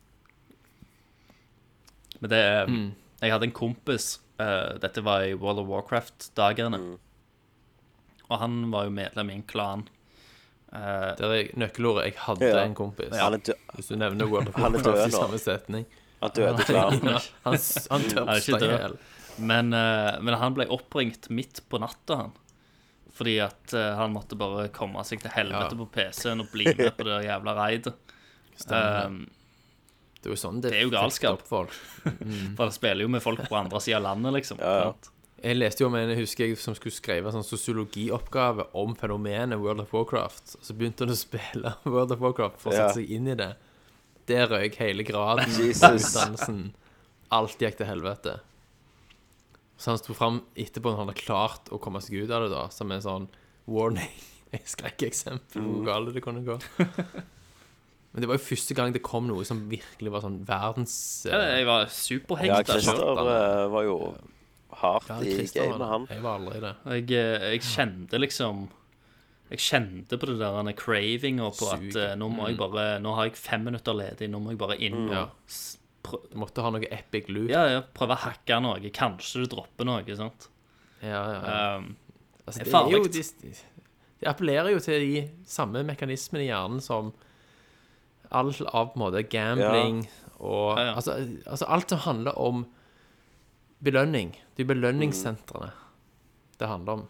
Men det er Mm. Jeg hadde en kompis eh, Dette var i World of Warcraft-dagene. Mm. Og han var jo medlem i en klan. Eh, Der er nøkkelordet 'jeg hadde Ja. en kompis'. Han er, dø Hvis du nevner World of Han er død Warcraft i nå. samme setning. han døde i klan. Han, han, s- han Han er ikke tørster i død. hjel. men, eh, men han ble oppringt midt på natta, han. Fordi at eh, han måtte bare komme seg til helvete Ja. på PC-en og bli med på det jævla raidet. Stemmer. Eh, Det er jo sånn det, det er jo fekter galskap. opp folk. Eh, for han spiller jo med folk på andre sida av landet, liksom. ja. sant? Jeg leste jo om en jeg husker jeg som skulle skrive en sånn sosiologioppgave om fenomenet World of Warcraft. Så begynte han å spille World of Warcraft for å Ja. sette seg inn i det. Der røyk hele graden, Jesus. utdannelsen. Alt gikk til helvete. Så han sto fram etterpå når han hadde klart å komme seg ut av det, da, som en sånn warning. Et skrekkeksempel Mm. på hvor galt det kunne gå. Men det var jo første gang det kom noe som virkelig var sånn verdens Ja, eh, jeg var Ja, superhengta Christer sjøl. eh, var jo hardt ja, i Christer gamet, var det. han. eh, Jeg var aldri det. Og Jeg, eh, jeg kjente liksom Jeg kjente på det der denne cravinga på at Suget. eh, nå må jeg bare Nå har jeg fem minutter ledig, nå må jeg bare inn Mm. Ja. og s- prø Du måtte ha noe epic loot. ja, ja, prøve å hacke noe. Kanskje du dropper noe, sant. Ja, ja, ja. Um, Altså, det det, er er jo, farligt. de, de appellerer jo til de samme mekanismene i hjernen som all av på en måte gambling og Ja, ja. Altså, altså alt som handler om belønning. De belønningssentrene det handler om.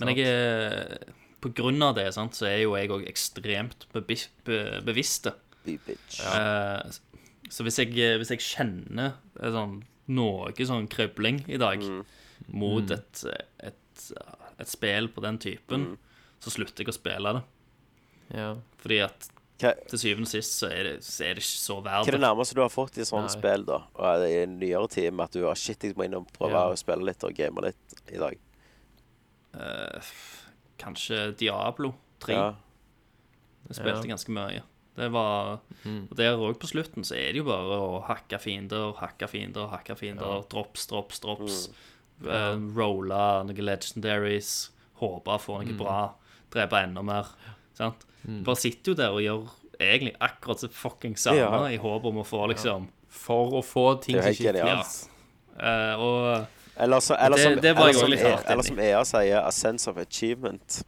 men jeg er eh, på grunn av det sant, så er jo jeg òg ekstremt bebi- be bevisst. Bitch. Eh, så hvis jeg, eh, hvis jeg kjenner eh, sånn, noe sånn krøbling i dag Mm. mot et, et, eh, et spill på den typen, Mm. så slutter jeg å spille det. Ja. Fordi at Hva, til syvende og sist så er det, så er det ikke så hva er verdt det det. nærmeste du har fått i sånne Nei. spill, da? Og I nyere tid med at du har shit, jeg må inn og prøve Ja. å spille litt og game litt i dag. Eh, f- kanskje Diablo 3. Ja. Jeg spilte ganske mye. Det var, Mm. Og der òg på slutten så er det jo bare å hakke fiender, hakke fiender, hakke fiender. Drops, drops, drops. Eh, rolle noen legendaries. Håpe få Mm. noe bra. Drepe enda mer. Sant? Du bare sitter jo der og gjør egentlig akkurat det fucking samme Ja. i håp om å få, liksom. For å få ting Det er som jo ikke helt genialt. finnes. Eh, og Eller, så, eller, Det- som, det var eller, jeg som, også litt E- hardt eller enig i. som EA sier, a sense of achievement.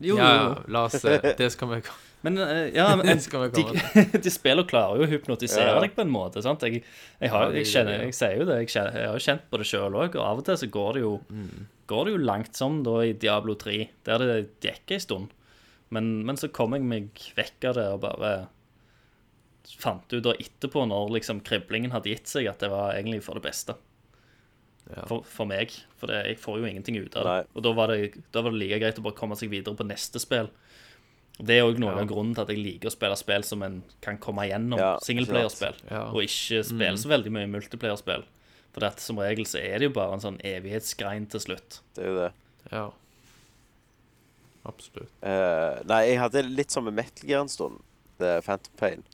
jo, Ja, jo, jo. la oss eh, Det skal vi Men eh, ja, men, Det skal vi komme de, de spiller og klarer jo å hypnotisere Ja, ja. deg på en måte. sant? Jeg, jeg, har, Ja, jeg, det gjør kjenner, det, ja. jeg sier jo det, jeg, kjenner, jeg har jo kjent på det sjøl òg. Og av og til så går det jo, Mm. går det jo langt som da i Diablo 3, der det gikk ei stund. Men, men så kom jeg meg vekk av det og bare fant ut da etterpå, når liksom kriblingen hadde gitt seg, at det var egentlig for det beste. Ja. For, for meg. For det, jeg får jo ingenting ut av det. Nei. Og da var det, da var det like greit å bare komme seg videre på neste spill. Det er òg noe Ja. av grunnen til at jeg liker å spille spill som en kan komme igjennom. Ja, Singleplayerspill. Ja. Og ikke Mhm. spille så veldig mye multiplayerspill. For det at som regel så er det jo bare en sånn evighetsgrein til slutt. Det er jo det. Ja. Absolutt. Eh, nei, jeg hadde litt som med Metal Gear en stund. Det er Phantom Pain.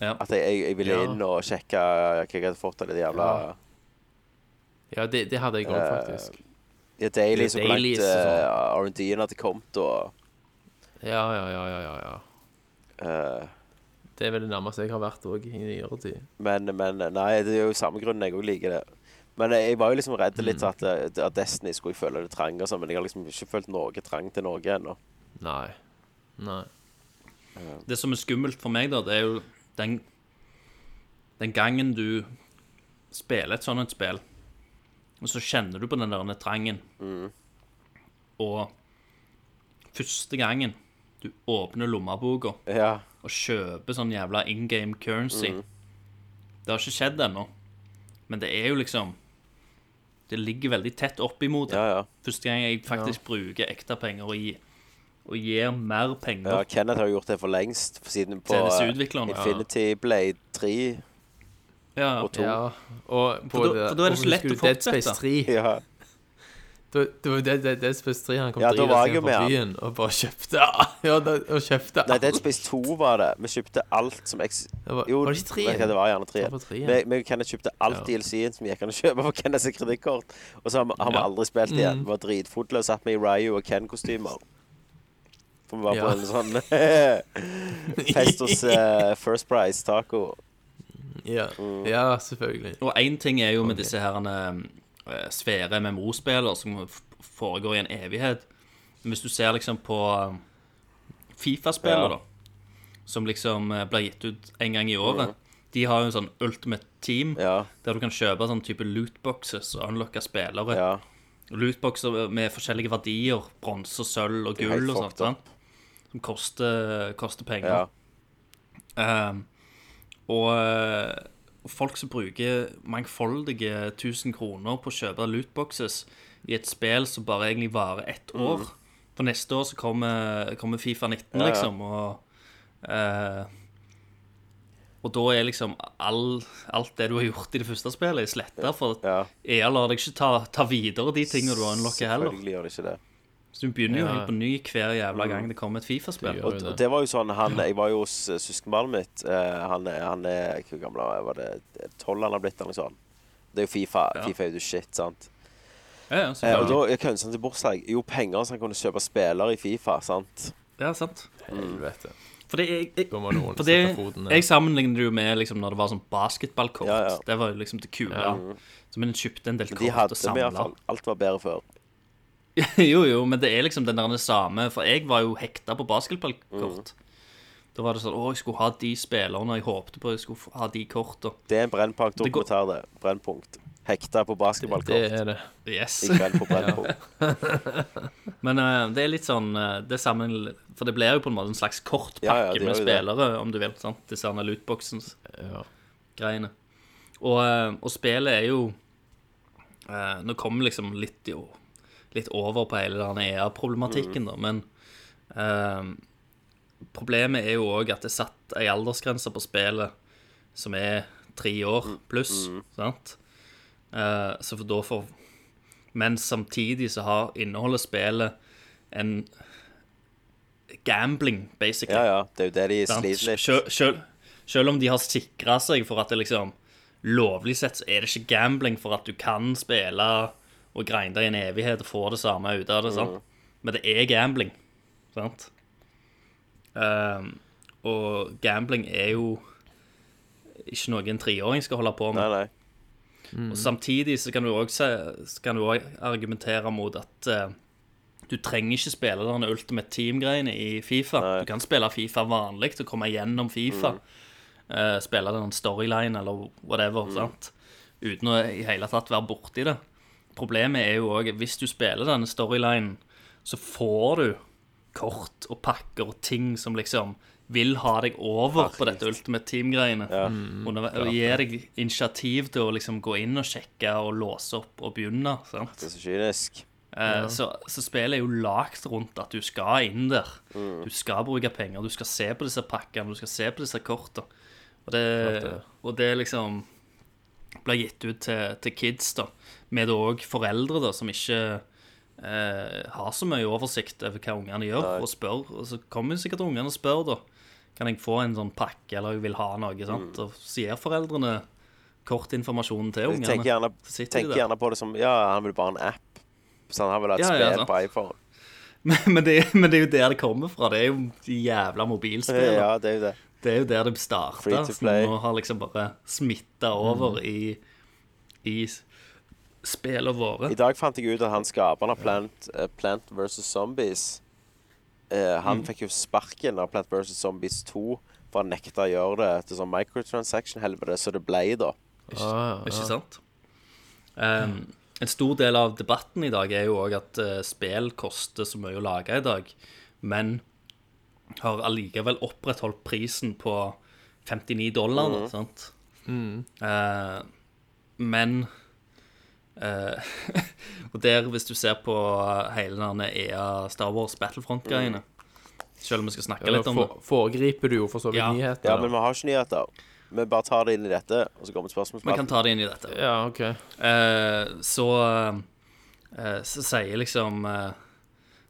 Ja. At jeg, jeg, jeg ville Ja. inn og sjekke hva jeg hadde fått av det jævla Ja. Ja, det, det hadde jeg òg, Eh, faktisk. ja, Dailies og hvor Dailies langt og eh, R&D-en hadde kommet og Ja, ja, ja, ja, ja, ja. eh, Det er vel det nærmeste jeg har vært òg i nyere tid. men, men nei, det er jo samme grunnen jeg òg liker det. Men jeg var jo liksom redd litt at, eh, at Destiny skulle jeg føle det trang og sånn, men jeg har liksom ikke følt noe trang til noe ennå. Nei. Nei. Det som er skummelt for meg, da, det er jo den, den gangen du spiller et sånt et spill, og så kjenner du på den der trangen. Mhm. Og første gangen du åpner lommeboka Ja. og kjøper sånn jævla in game currency Mm. Det har ikke skjedd ennå, men det er jo liksom Det ligger veldig tett opp imot det. Ja, ja. Første gang jeg faktisk bruker ekte penger og, gi, og gir mer penger Ja, Kenneth har jo gjort det for lengst, for siden på til disse eh, utviklerne. Infinity Blade 3 Ja. og 2. Ja. Og på da- for da er det så og lett å husker du Dead fortsette. Space 3. Ja. Da, det var jo Dead, Dead, Dead Space 3 han kom Ja, til da å var gi jeg jo seg på med byen og bare kjøpte Ja, da, og kjøpte Nei, Dead Space 2 var det. Vi kjøpte alt som eks... Det var- Jo, var det ikke tre? vet ikke, Det var gjerne 3. Det var tre, ja. Vi, vi og Kenneth kjøpte alt Ja. DLC-en som vi gikk an å kjøpe for Kenneths kredittkort. Og så har vi- har vi Ja. Mm. aldri spilt igjen. Vi var dritfotløse, satt med i Ryu og Ken-kostymer. For vi var på Ja. en sånn fest hos eh, First Price Taco. Ja. Mm. ja, selvfølgelig. Og én ting er jo med disse her eh, svære MMO-spiller som f- foregår i en evighet. Men hvis du ser liksom på eh, Fifa-spiller, Ja. da, som liksom eh, blir gitt ut en gang i Mm. året De har jo en sånn Ultimate Team, Ja. der du kan kjøpe sånn type lootboxes og unlocke spillere. ja. Lootboxer med forskjellige verdier, bronse, sølv og Det er helt gull og fucked sånt, sant? som koster, koster penger. ja. Um, og eh, folk som bruker mangfoldige 1000 kroner på å kjøpe lootboxes i et spill som bare egentlig varer ett Mm. år. For neste år så kommer, kommer Fifa 19, ja. liksom, og eh, Og da er liksom all, alt det du har gjort i det første spillet, er sletta. For ja. EA E, lar deg ikke ta, ta videre de tingene du har unlocket heller. Selvfølgelig gjør det ikke det. Så du begynner jo Ja. helt på ny hver jævla gang det kommer et Det Fifa-spill. gjør Og det. Og, og det var jo sånn han, Jeg var jo hos eh, søskenbarnet mitt. eh, han, er- han er Hvor gammel var jeg? var det? Tolv han har blitt? eller noe sånt. Det er jo Fifa. Ja. Fifa er jo the shit, sant. Ja, ja, Eh, og da selvfølgelig. er kunstneren til bursdag jo penger så han kunne kjøpe spillere i Fifa, sant. ja, sant. Helvete. For det er, jeg, Da må noen For sette det, foten ned. jeg sammenligner det jo med liksom, når det var sånn basketballkort. Ja, ja. Det var jo liksom det kule. Så vi kjøpte en del Men de kort og hadde vi samla. iallfall. Alt var bedre før. jo, jo, men det er liksom den der det samme. For jeg var jo hekta på Mm. basketballkort. Da var det sånn Å, jeg skulle ha de spillerne jeg håpte på. Jeg skulle få- ha de korta. Det er en Brennpunkt Det går- dokumentar, det. Brennpunkt. hekta på Det basketballkort er det. Yes. i kveld på Brennbo. Men eh, det er litt sånn eh, det samme, For det blir jo på en måte en slags kortpakke Ja, ja, det med gjør jo det. spillere, om du vil. sant? Disse her lootboxens-greiene. Ja. Og, eh, og spillet er jo eh, Nå kommer vi liksom litt, i, å- litt over på hele den Mm. EA-problematikken, da, men eh, Problemet er jo òg at det er satt ei aldersgrense på spillet som er tre år Mm. pluss, sant? Eh, så for da får Men samtidig så har inneholder spillet en gambling, basically. Ja, ja. Det er jo det de sant? sliter litt Sjøl, sjøl, sjøl om de har sikra seg for at det liksom Lovlig sett så er det ikke gambling for at du kan spille og grinde i en evighet og få det samme ut av det, sant? Mm. Men det er gambling, sant? Ehm, og gambling er jo ikke noe en treåring skal holde på med. Nei, nei. Og samtidig så kan du òg se- så kan du også argumentere mot at eh, du trenger ikke spille den Ultimate Team-greiene i Fifa. Nei. Du kan spille Fifa vanlig og komme gjennom Fifa. Eh, spille den storyline eller whatever, sant? uten å i hele tatt være borti det. Problemet er jo òg hvis du spiller denne storylinen, så får du kort og pakker og ting som liksom vil ha deg over på dette Ultimate Team-greiene. Og og gir deg initiativ til å liksom gå inn og sjekke og låse opp og begynne. sant? Det er så kynisk. Eh, Så, så spillet er jo lagt rundt at du skal inn der. Mm. Du skal bruke penger, du skal se på disse pakkene, du skal se på disse kortene. Og det, det. og det liksom blir gitt ut til, til kids, da. Med òg foreldre da, som ikke eh, har så mye oversikt over hva ungene gjør, og spør. Og så kommer jo sikkert ungene og spør, da. Kan jeg få en sånn pakke, eller jeg vil ha noe? sant? Mm. Og så gir foreldrene kort informasjon til Jeg tenker ungene. gjerne, Så sitter de tenker der. gjerne på det som Ja, han vil bare ha en app. Så han vil ha et Ja, ja, spill sant. på iPhone. men, det, men det er jo der det kommer fra. Det er jo de jævla mobilspillene. Ja, det er jo det. Det er jo der det starta. Free to play. Mhm. Nå har liksom bare smitta over i, i s- spillene våre. I dag fant jeg ut at han skaperen av Plant, eh, Plant vs. Zombies eh, Mm. Han fikk jo sparken av Plant vs. Zombies 2 for han nekta å gjøre det til sånn microtransaction-helvete, så det ble, da. Ah, Ikke ja. sant? Um, en stor del av debatten i dag er jo òg at eh, spill koster så mye å lage i dag, men har allikevel opprettholdt prisen på 59 dollar, da, sant? Mm. Eh, men eh, Og der, hvis du ser på hele den EA Star Wars Battlefront-greiene Selv om vi skal snakke Eller litt om det. for, foregriper du jo for så vidt Ja. nyheter. Ja, da. men vi har ikke nyheter. Vi bare tar det inn i dette, og så kommer spørsmålet. Vi kan ta det inn i dette. ja, OK. Eh, så, eh, så sier liksom eh,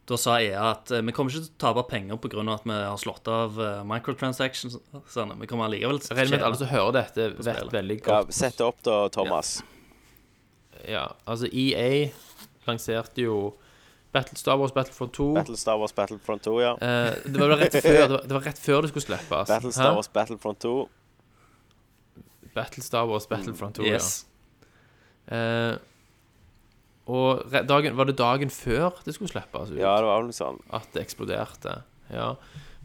Da sa EA at eh, vi kommer ikke til å tape penger pga. at vi har slått av eh, microtransactions. Sånn, vi kommer allikevel til å Regner med at tjene. alle som hører dette, vet spillet. veldig ja, godt. Sett det opp, da, Thomas. Ja, altså EA lanserte jo Battle Star Wars Battlefront 2. Battlestar Wars Battlefront 2, ja. Eh, det, var vel rett før, det, var, det var rett før det skulle slippes. Battlestar Hæ? Wars Battlefront 2. Battle Star Wars Battlefront 2, Yes. ja. Eh, og re- dagen, var det dagen før det skulle slippes ut, Ja, det var vel noe sånn. at det eksploderte? Ja.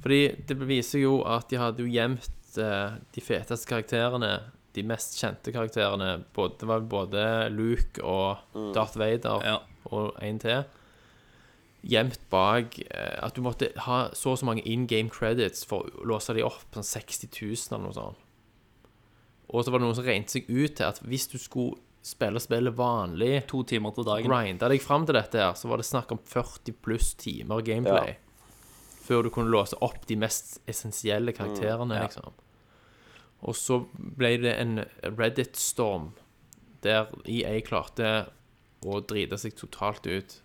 Fordi det viser jo at de hadde jo gjemt eh, de feteste karakterene, de mest kjente karakterene, både, det var vel både Luke og Darth Vader Ja. og en til, gjemt bak eh, at du måtte ha så og så mange in game credits for å låse de opp, sånn 60 000 eller noe sånt. Og så var det noen som regnet seg ut til at hvis du skulle spille spillet vanlig, To timer til dagen. grinda deg fram til dette her, så var det snakk om 40 pluss timer gameplay. Før du kunne låse opp de mest essensielle karakterene, liksom. Og så ble det en Reddit-storm der EA klarte å drite seg totalt ut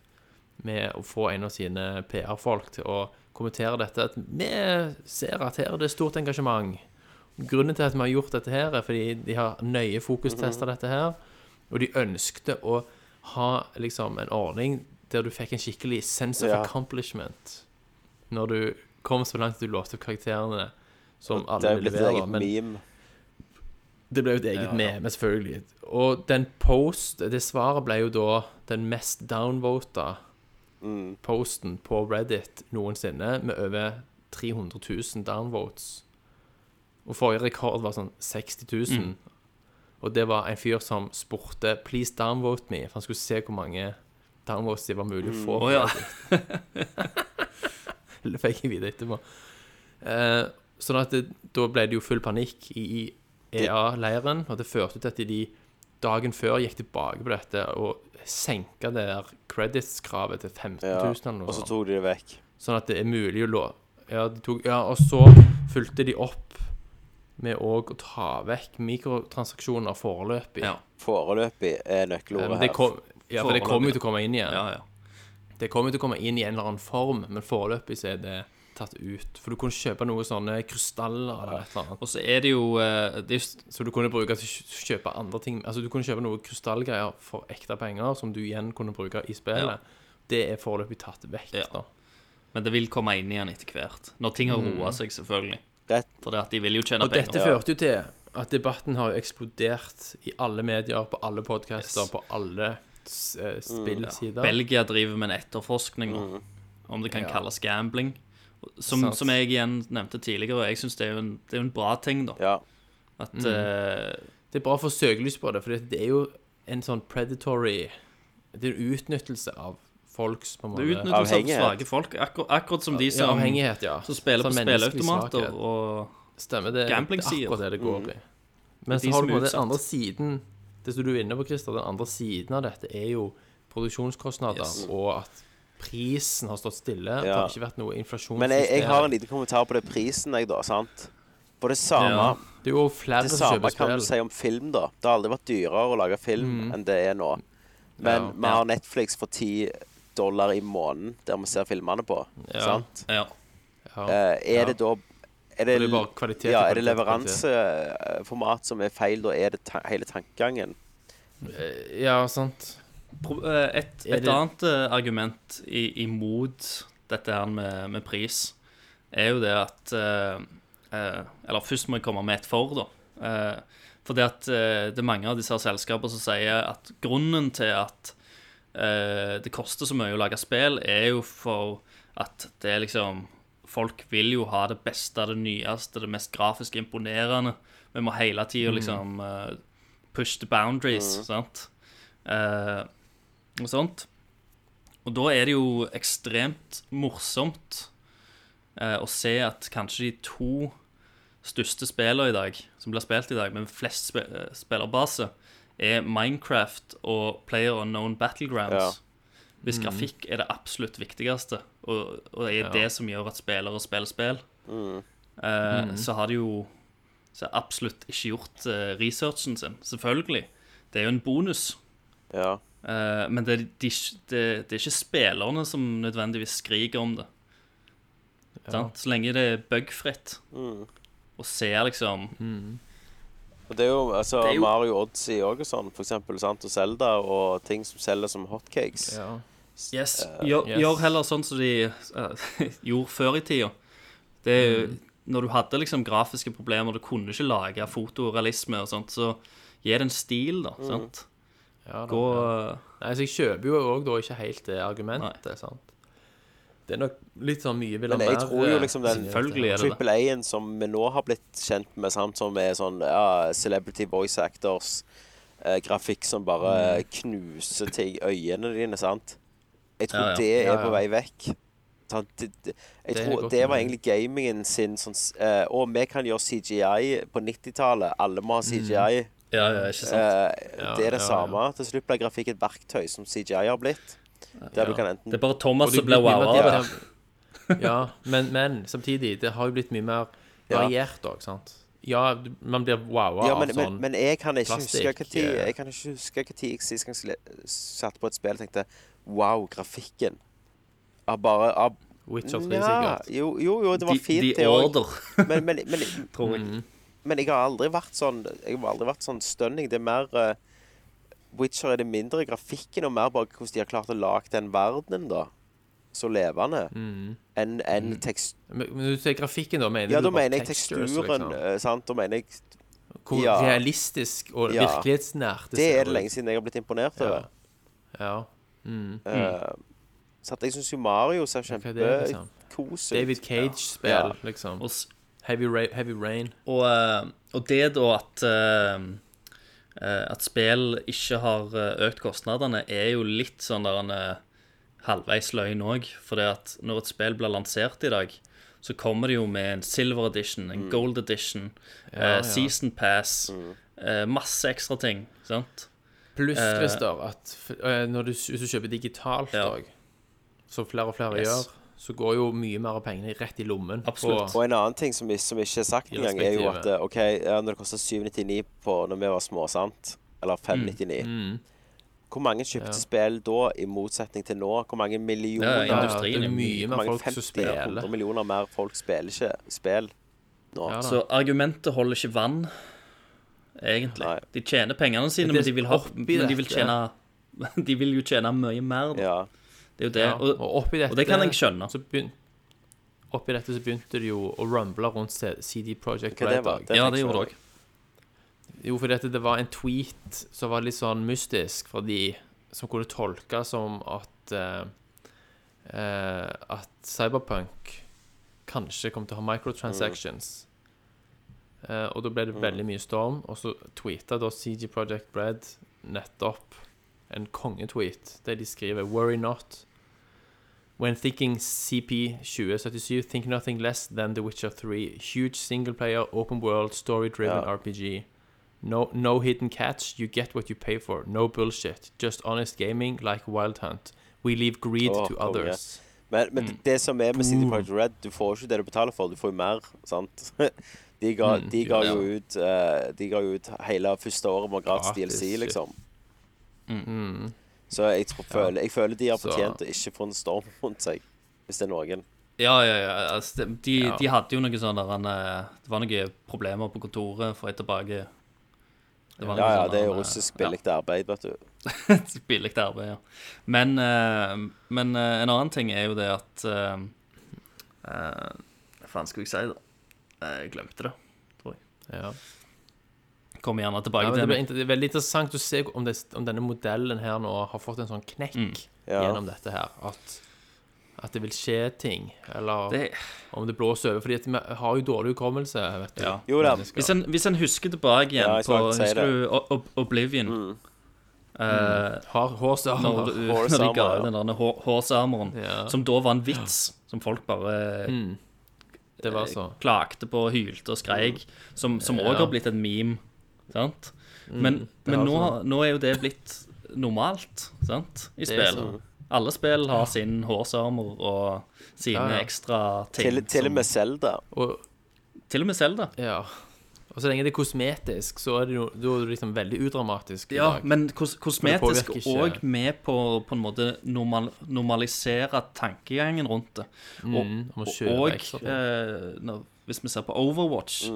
med å få en av sine PR-folk til å kommentere dette. At vi ser at her er det stort engasjement. Grunnen til at vi har gjort dette her, er fordi de har nøye fokustesta Mhm. dette her. Og de ønskte å ha liksom en ordning der du fikk en skikkelig sense of Ja. accomplishment når du kom så langt at du låste opp karakterene som Det alle er jo ville blitt et levere. eget Men meme. det ble jo et eget meme, selvfølgelig. Og den post, det svaret ble jo da den mest downvota Mm. posten på Reddit noensinne, med over 300 Mm. 000 downvotes. Og forrige rekord var sånn 60 000. Og det var en fyr som spurte 'please downvote me', for han skulle se hvor mange downvotes det var mulig å få. Mm. Å ja. Det fikk jeg vite etterpå. Eh, sånn at det, da ble det jo full panikk i, i EA-leiren, og det førte til at de dagen før gikk tilbake på dette og senka det der credits-kravet til 15 Ja. 000 eller Og noe så sånt. tok de det vekk. Sånn at det er mulig å lå... Ja, de tok, ja, og så fulgte de opp med òg å ta vekk mikrotransaksjoner foreløpig. Ja. Foreløpig er Eh, nøkkelordet Men det kom, ja, for det kommer jo til å komme inn igjen. ja, ja. Det kommer til å komme inn i en eller annen form, men foreløpig så er det tatt ut. For du kunne kjøpe noen sånne krystaller eller et eller annet. Og så er det jo eh, det er jo Så du kunne bruke til å kjø- kjøpe andre ting. Altså du kunne kjøpe noen krystallgreier for ekte penger, som du igjen kunne bruke i spillet. Ja. Det er foreløpig tatt vekk, Ja. da. Men det vil komme inn igjen etter hvert. Når ting har roa seg, selvfølgelig. Det- For det at de vil jo tjene Mm. Og dette penger. førte jo til at debatten har jo eksplodert i alle medier, på alle podkaster, Yes. Mm. på alle s- eh, spillsider. Belgia driver med en etterforskning Mm. nå, om det kan Ja. kalles gambling. Som, Sant. som jeg igjen nevnte tidligere, og jeg syns det, er jo en- det er jo en bra ting, da. Ja. At Mm. eh, Det er bra å få søkelys på det, for det det er jo en sånn predatory Det er en utnyttelse av folks på en det er måte. utnyttelse av Avhengighet. svake folk. Akkur akkurat som de Ja, som, avhengighet, ja. som spiller på Sånn menneskelig spilleautomater. svakhet. Og Stemmer, det, det er Gambling-sider. akkurat det det går opp i. Men Mm. De så har som du er på den utsatt. andre siden Det som du er inne på, Christer, den andre siden av dette er jo produksjonskostnader, Yes. og at prisen har stått stille. Det Ja. har ikke vært noe inflasjon. Men jeg, jeg har en liten kommentar på det prisen, jeg, da. sant? På det samme, Ja. Det er jo flere det som samme kjøper kan du spill. Mm. si om film, da. Det har aldri vært dyrere å lage film enn det er nå. Men Ja. vi har Netflix for 10 dollar i måneden der vi ser filmene på. Ja. sant? ja. Ja. Eh, er Ja. det da er det, Og det er bare kvalitet, ja, er det kvalitet, kvalitet. leveranseformat som er feil, da er det ta hele tankegangen? ja, sant. Pro- eh, Et, Er et det- annet eh, argument i, imot dette her med, med pris, er jo det at eh, eh, Eller først må jeg komme med et for, da. Eh, for det at eh, det er mange av disse her selskapene som sier at grunnen til at eh, det koster så mye å lage spill, er jo for at det er liksom Folk vil jo ha det beste, det nyeste, det mest grafisk imponerende. Vi må hele tida Mm. liksom eh, push the boundaries, sant? Eh, og sånt. Og da er det jo ekstremt morsomt eh, å se at kanskje de to største spillene i dag, som blir spilt i dag, med flest spe eh, spillerbase, er Minecraft og Player Unknown Battlegrounds. Hvis grafikk er det absolutt viktigste, og, og det er Ja. det som gjør at spillere spiller spill, eh, så har de jo så har absolutt ikke gjort eh, researchen sin. Selvfølgelig. Det er jo en bonus. Ja. Eh, men det, er de, det, det er ikke spillerne som nødvendigvis skriker om det. Sant? Så lenge det er bugfritt, Mm. og ser liksom Mm. Og det er jo, altså, Det er jo- Mario Odyssey òg og sånn, for eksempel. Sant? Og Zelda og ting som selger som hotcakes. Ja. Yes, Eh, gjør, yes. gjør heller sånn som de eh, gjorde før i tida. Det er jo, Mm. Når du hadde liksom grafiske problemer, du kunne ikke lage fotorealisme og sånt, så gi det en stil, Mm. da. Sant? Ja, da, Gå eh, ja. Nei, så jeg kjøper jo òg da ikke helt det argumentet, sant. Det er nok litt sånn mye vil ha Men jeg mer, tror jo eh, liksom den Selvfølgelig er det det. Triple A-en som vi nå har blitt kjent med, sant? som er sånn ja, celebrity voice actors, eh, grafikk som bare Mm. knuser til øynene dine, sant? Jeg tror Ja, ja. det er Ja, ja. på vei vekk. Sant? Det, det, jeg Det er tror godt det var mulig. egentlig gamingen sin sånn s- eh, Å, vi kan gjøre CGI på 90-tallet. Alle må ha CGI. Mm. Ja, ja, ikke sant? Eh, Ja, det er ja, det ja. samme. Til slutt ble grafikk et verktøy, som CGI har blitt. Der du kan enten det er bare Thomas Og det som blir blitt mye wow av mer- det. Ja, men, men samtidig, det har jo blitt mye mer Ja. variert òg, sant. Ja, du- man blir wowa Ja, av men, sånn. men, men jeg kan ikke huske plastikk, hva tid eh. Jeg kan ikke huske hva tid jeg sist gang sle- satt på et spill og tenkte Wow, grafikken. Av bare av, Witcher 3, Nja, sikkert. jo, jo, jo, det var fint, de, det de òg. Order. Men, men, men, Mm. tror jeg. men jeg har aldri vært sånn Jeg har aldri vært sånn stunning. Det er mer eh, Witcher er det mindre grafikken og mer bare hvordan de har klart å lage den verdenen, da. Så levende. Mm. Enn enn tekst... Men, men når du sier grafikken, da mener Ja, du da bare mener jeg textures, teksturen, liksom. eh, sant. Da mener jeg Hvor ja. realistisk og Ja. virkelighetsnært Det ser er det ut. lenge siden jeg har blitt imponert over. Ja. Ja. Så at jeg syns jo Mario ser Hva er det, liksom? kjempekos ut. David Cage-spill, Ja. liksom. Og, s- Heavy, ra heavy Rain. og, eh, og det da at eh, eh, at spill ikke har eh, økt kostnadene, er jo litt sånn der en eh, halvveis løgn òg. For at når et spill blir lansert i dag, så kommer det jo med en silver edition, en gold edition, eh, Mm. ja. Mm. season pass, eh, masse ekstra ting. Sant? Pluss, Eh, Christer, at f- eh, når du, hvis du kjøper digitalt Ja. òg, som flere og flere Yes. gjør, så går jo mye mer av pengene rett i lommen. Absolutt. Og en annen ting som, som ikke er sagt I engang, er jo at respektive. eh, OK, ja, når det kosta 799 på når vi var små, sant? Mm, Eller 599. Hvor mange kjøpte spill da, i motsetning til nå? Hvor mange millioner Ja, På, industri. ja, det er industrien. Hvor mye mer mange folk 50 som spiller. Mm. 100 millioner mer folk spiller ikke spill nå? Ja da. Så argumentet holder ikke vann, egentlig. Nei. De tjener pengene sine, Det er men de vil, ha, oppi men de vil dette. tjene De vil jo tjene mye mer, da. Ja. Det er jo det. Ja, og, Og, oppi dette, og det kan jeg skjønne. Så begyn, oppi dette så begynte det jo å rumble rundt C- CD Projekt Hva det Red var? Dog. Det- ja, tenker det gjorde jeg. jeg. Jo, for dette, det var en tweet som var litt sånn mystisk for de som kunne tolke som at eh, eh, At Cyberpunk kanskje kom til å ha microtransactions. Eh, og da ble det veldig mye storm. Og så tweeta da CG Project Red nettopp en kongetweet der de skriver Worry not. When thinking CP 2077, think nothing less than The Witcher 3. Huge single player, open world, story driven Ja. RPG. No, no hidden catch, you get what you pay for. No bullshit. Just honest gaming like Wild Hunt. We leave greed Åh, to konge. others. Men, men det som er med City Mm. Project Red, du får ikke det du betaler for, du får jo mer, sant? De ga, Mm, de ga ja. jo ut eh, De ga jo ut hele første året med gratis Gratis, DLC, shit. liksom. Mm. Så jeg, tror- føler, jeg føler de har Så- fortjent å ikke få en storm rundt seg, hvis det er noen. Ja, ja, ja. Altså, de, de, Ja. de hadde jo noe sånn der en, eh, Det var noen problemer på kontoret for et tilbake. Det var noe Ja, ja, sånn det er der, jo eh, russisk billig arbeid, vet du. et billig arbeid, ja. Men, eh, men eh, en annen ting er jo det at eh, eh, Hva faen skulle jeg si, da? Eh, Jeg glemte det. Ja. Kommer gjerne Ja, tilbake men det, til blir det. inter- det er veldig interessant å se om, det, om denne modellen her nå har fått en sånn knekk Mm. Ja. gjennom dette her. At, at det vil skje ting, eller Det- om det blåser over. Fordi at vi har jo dårlig hukommelse, vet du. Ja. Jo da. mennesker. Hvis en, hvis en husker tilbake igjen Ja, jeg på skulle akkurat si Husker det. Mm. du Ob- Ob- Oblivion? Eh, Har når, hårsarmer. du, Horse når de ga armor, ja. ut den der hår- hårsearmoren, Ja. som da var en vits, som folk bare Det var så. klagde på, hylte og skreik, som, som Ja. Mm, også har blitt en meme. Sant? Men, men har nå, nå er jo det blitt normalt sant? i Det er spill. sånn. Alle spill har sin hårsamor og sine Ja, ja. ekstra ting. Til, til og med Zelda. Og, som, til og med Zelda. ja. og så lenge det er kosmetisk, så er det jo da er det liksom veldig udramatisk. i Ja, dag. men kos kosmetisk påvirker ikke- òg med på på en måte normal normalisere tankegangen rundt det. Mm, om Og, å kjøre og ekstra. eh, når, hvis vi ser på Overwatch,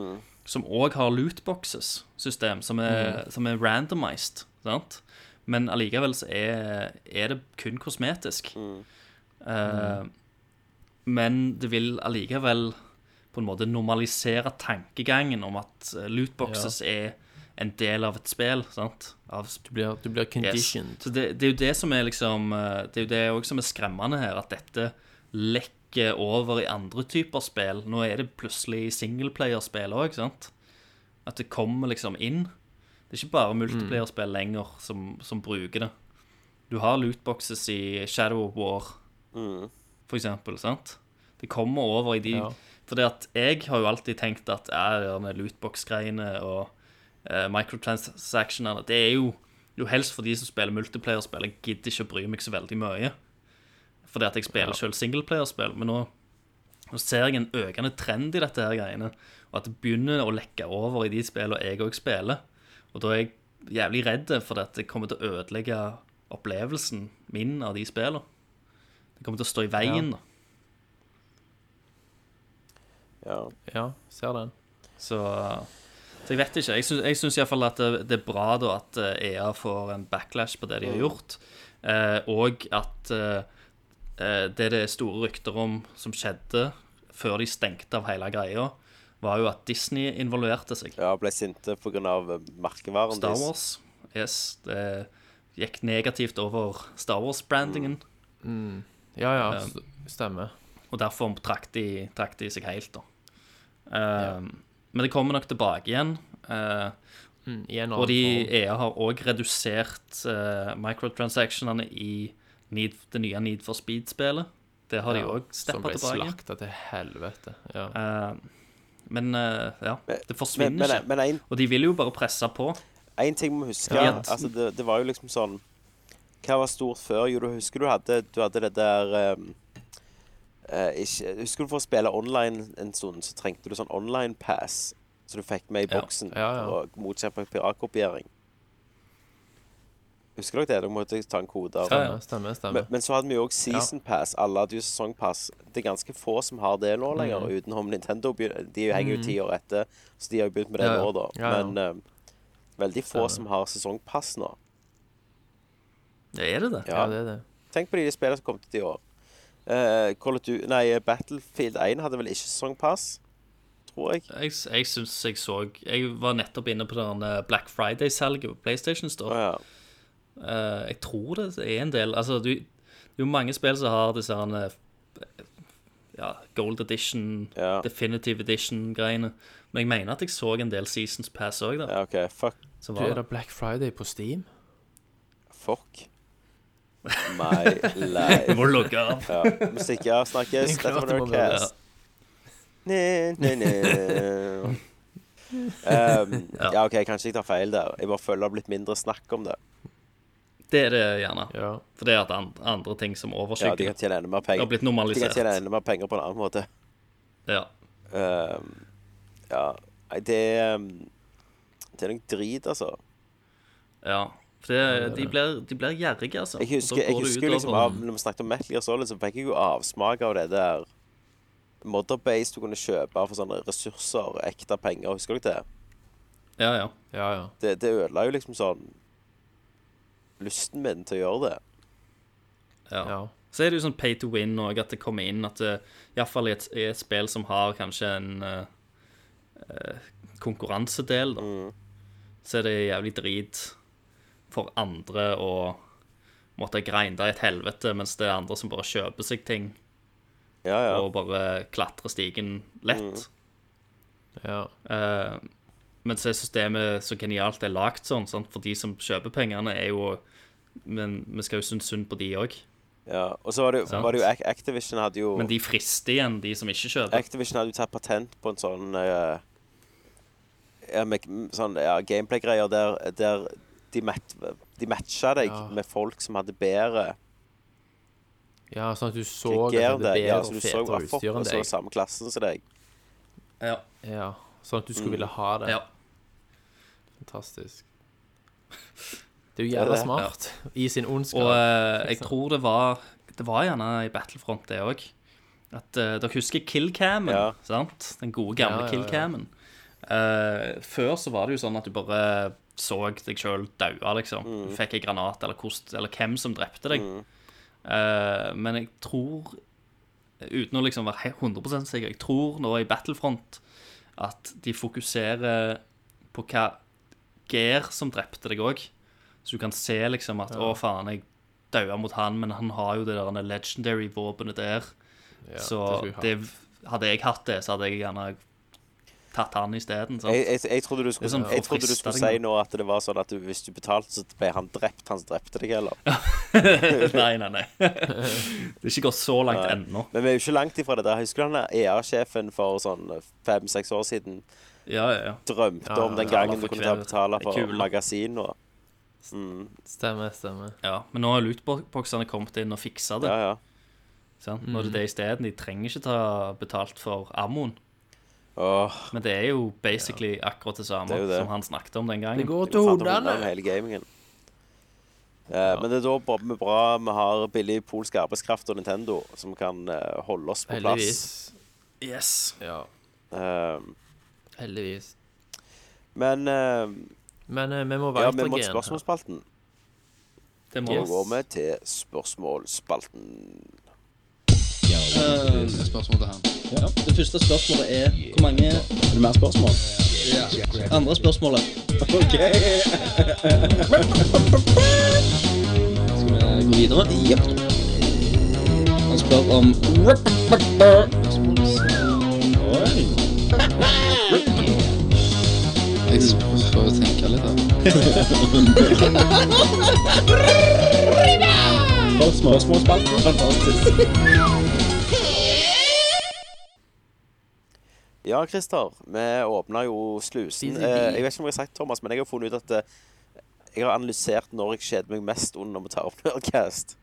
som òg har lootboxes-system, som, er- som er randomized, sant? men allikevel så er, er det kun kosmetisk. Eh, Men det vil allikevel på en måte normalisere tankegangen om at eh, lootboxes er en del av et spill. sant? Av sp- Du blir, du blir Yes. conditioned. Så det, det er jo det som er liksom eh, Det er jo det også som er skremmende her, at dette lekker over i andre typer spill. Nå er det plutselig singleplayerspill òg, sant? At det kommer liksom inn. Det er ikke bare multiplayerspill Mm. lenger som, som bruker det. Du har lootboxes i Shadow of War, for eksempel, sant? Det kommer over i de Ja. Fordi at jeg har jo alltid tenkt at ja, det er lootbox-greiene og eh, microtransactionene Det er jo, jo helst for de som spiller multiplayerspill. Jeg gidder ikke å bry meg så veldig mye. Fordi at jeg spiller selv singleplayerspill. Men nå, nå ser jeg en økende trend i dette her greiene. Og at det begynner å lekke over i de spillene jeg òg spiller. Og da er jeg jævlig redd for at det kommer til å ødelegge opplevelsen min av de spillene. Det kommer til å stå i veien. da. Ja. Ja, ser den. Så, så jeg vet ikke. Jeg syns, jeg syns iallfall at det, det er bra da at eh, EA får en backlash på det de har gjort, eh, og at eh, eh, det det er store rykter om som skjedde før de stengte av hele greia, var jo at Disney involverte seg. ja, sånn ble sinte pga. merkevaren Star deres. Wars. Yes, det gikk negativt over Star Wars-brandingen, Ja, Eh, ja, s- stemmer. og derfor trakk de, trakk de seg helt, da. Eh, Men det kommer nok tilbake igjen. eh, Mm, i en eller Og de annen form. EA har òg redusert eh, microtransactionene i Need, det nye Need for Speed-spillet. Det har de Ja, òg Som steppa ble tilbake. slakta til helvete. Ja. Eh, men eh, ja, det Men, forsvinner men, ikke. men en, Og de vil jo bare presse på. en ting må huske Ja. altså det, det var jo liksom sånn Hva var stort før? Jo, du husker du hadde, du hadde det der ehm, eh, ikke, Husker du for å spille online en stund, så trengte du sånn online pass som du fikk med i Ja. boksen Ja, ja. for å motkjempe piratkopiering? Husker dere det? Dere måtte ta en kode. av- Ja, ja. Stemmer, stemmer. Men, stemmer. men så hadde vi jo òg season pass. Alle hadde jo sesongpass. Det er ganske få som har det nå Mm. lenger, utenom Nintendo. begy- De henger jo ti år etter, så de har jo begynt med det Ja, ja. nå, da. Ja, ja. Men eh, veldig få Stemmer. som har sesongpass nå. Det er det det. Ja. Ja, det er det. Tenk på de spillene som kom til i år. Eh, Call of Duty- nei, Battlefield 1 hadde vel ikke sesongpass, tror jeg. Jeg, jeg syns jeg så Jeg var nettopp inne på den eh, Black Friday-salget på PlayStation Å Store. ja. Eh, jeg tror det er en del Altså, du, det er jo mange spill som har disse her eh, ja, Gold Edition, Ja. Definitive Edition-greiene. Men jeg mener at jeg så en del Seasons Pass òg, da. ja. OK. Fuck. som Du, var er der. det Black Friday på Steam? Fuck. My Du life. må logge av. Ja. Musikk, ja. Snakkes. Dette var klart det må være Nerdcast. Næ, næ, næ. Um, Ja. ja, OK, kanskje jeg tar feil der. Jeg bare føler det har blitt mindre snakk om det. Det er det gjerne. Ja. For det er at an- andre ting som Ja, overskygger De kan tjene enda mer det har penger blitt De kan normalisert. tjene enda mer penger på en annen måte. Ja. Um, ja, nei, det um, Det er noe drit, altså. ja. For det, de, blir, de blir gjerrige, altså. Jeg husker, Og da jeg går det husker utover- liksom av, Når vi snakket om Metal Gear Solid, så fikk jeg jo avsmak av det der Modderbase du kunne kjøpe for sånne ressurser, ekte penger. Husker dere det? Ja, ja. Ja, ja. det, det ødela jo liksom sånn lysten min til å gjøre det. ja. ja. Så er det jo sånn pay to win òg, at det kommer inn at eh, i hvert fall i et, i et spill som har kanskje en eh, eh, konkurransedel, da, Mm. så er det jævlig drit for andre å måtte grinde i et helvete, mens det er andre som bare kjøper seg ting Ja, ja. og bare klatrer stigen lett. ja. Eh, men så er systemet så genialt det er lagt sånn, sant? for de som kjøper pengene, er jo Men vi skal jo synes synd på de òg. ja. Og så var det, jo- Sant. var det jo Ac- Activision hadde jo Men de frister igjen, de som ikke kjøper. Activision hadde jo tatt patent på en sånn eh, ja, med, sånn ja, gameplay-greier der, der de, mat, de matcha deg Ja. med folk som hadde bedre ja, sånn at du så at det gear. ble der. Ja, bedre så og du så fetere at folk utstyr enn var deg. samme klassen som deg. Ja, Ja, sånn at du Mm. skulle ville ha det. ja. Fantastisk. Det er jo jævla det. smart i sin ondskap. Og eh, jeg tror det var Det var gjerne i Battlefront, det òg. At eh, Dere husker killcammen? Ja. sant? Den gode, gamle Ja, ja, ja. killcammen. Eh, før så var det jo sånn at du bare så deg sjøl daue, liksom. Du fikk ei granat, eller, kost, eller hvem som drepte deg. Eh, men jeg tror, uten å liksom være he- 100 sikker, jeg tror nå i Battlefront at de fokuserer på hva gear som drepte deg òg. Så du kan se liksom at 'å, faen, jeg daua mot han', men han har jo det der legendary-våpenet der. Ja, så skulle jeg ha. det, hadde jeg hatt det, så hadde jeg gjerne tatt han isteden. sant? Jeg, jeg, jeg trodde du skulle, Det er sånn jeg trodde du forfristende skulle ting, si nå at det var sånn at du, hvis du betalte, så ble han drept. Han som drepte deg, eller? nei, nei, nei. det er ikke gått så langt Nei. ennå. Men vi er jo ikke langt ifra det der. Husker du han EA-sjefen for sånn fem-seks år siden Ja, ja, ja. drømte Ja, om den betaler gangen du for kunne ta kveld. betale Det er for kul. magasin og Stemmer, stemmer. ja. Men nå har lootboxene kommet inn og fiksa det. Ja, ja. Sant? Nå er det det isteden. De trenger ikke ta betalt for ammoen. Åh, Men det er jo basically akkurat det samme Det er jo det. som han snakket om den gangen. går det går faen til hodene om hele gamingen. Eh, Men det er da bra vi, bra vi har billig polsk arbeidskraft og Nintendo som kan eh, holde oss på Heldigvis. Yes. Ja, plass. Eh, heldigvis. men eh, Men eh, vi må ja, være vi må til igjen. spørsmålsspalten. Det må Nå Yes. går vi til spørsmålsspalten. Det første spørsmålet er hvor mange Er det mer spørsmål? Ja. Andre spørsmålet. OK. Skal vi gå videre? Jepp. Han spør om Oi. prøver å tenke litt her. Ja, Christer. Vi åpna jo slusen. BZB. Eh, jeg vet ikke om jeg har sagt Thomas, men jeg har funnet ut at eh, jeg har analysert når jeg kjeder meg mest under å ta opp Nerdcast.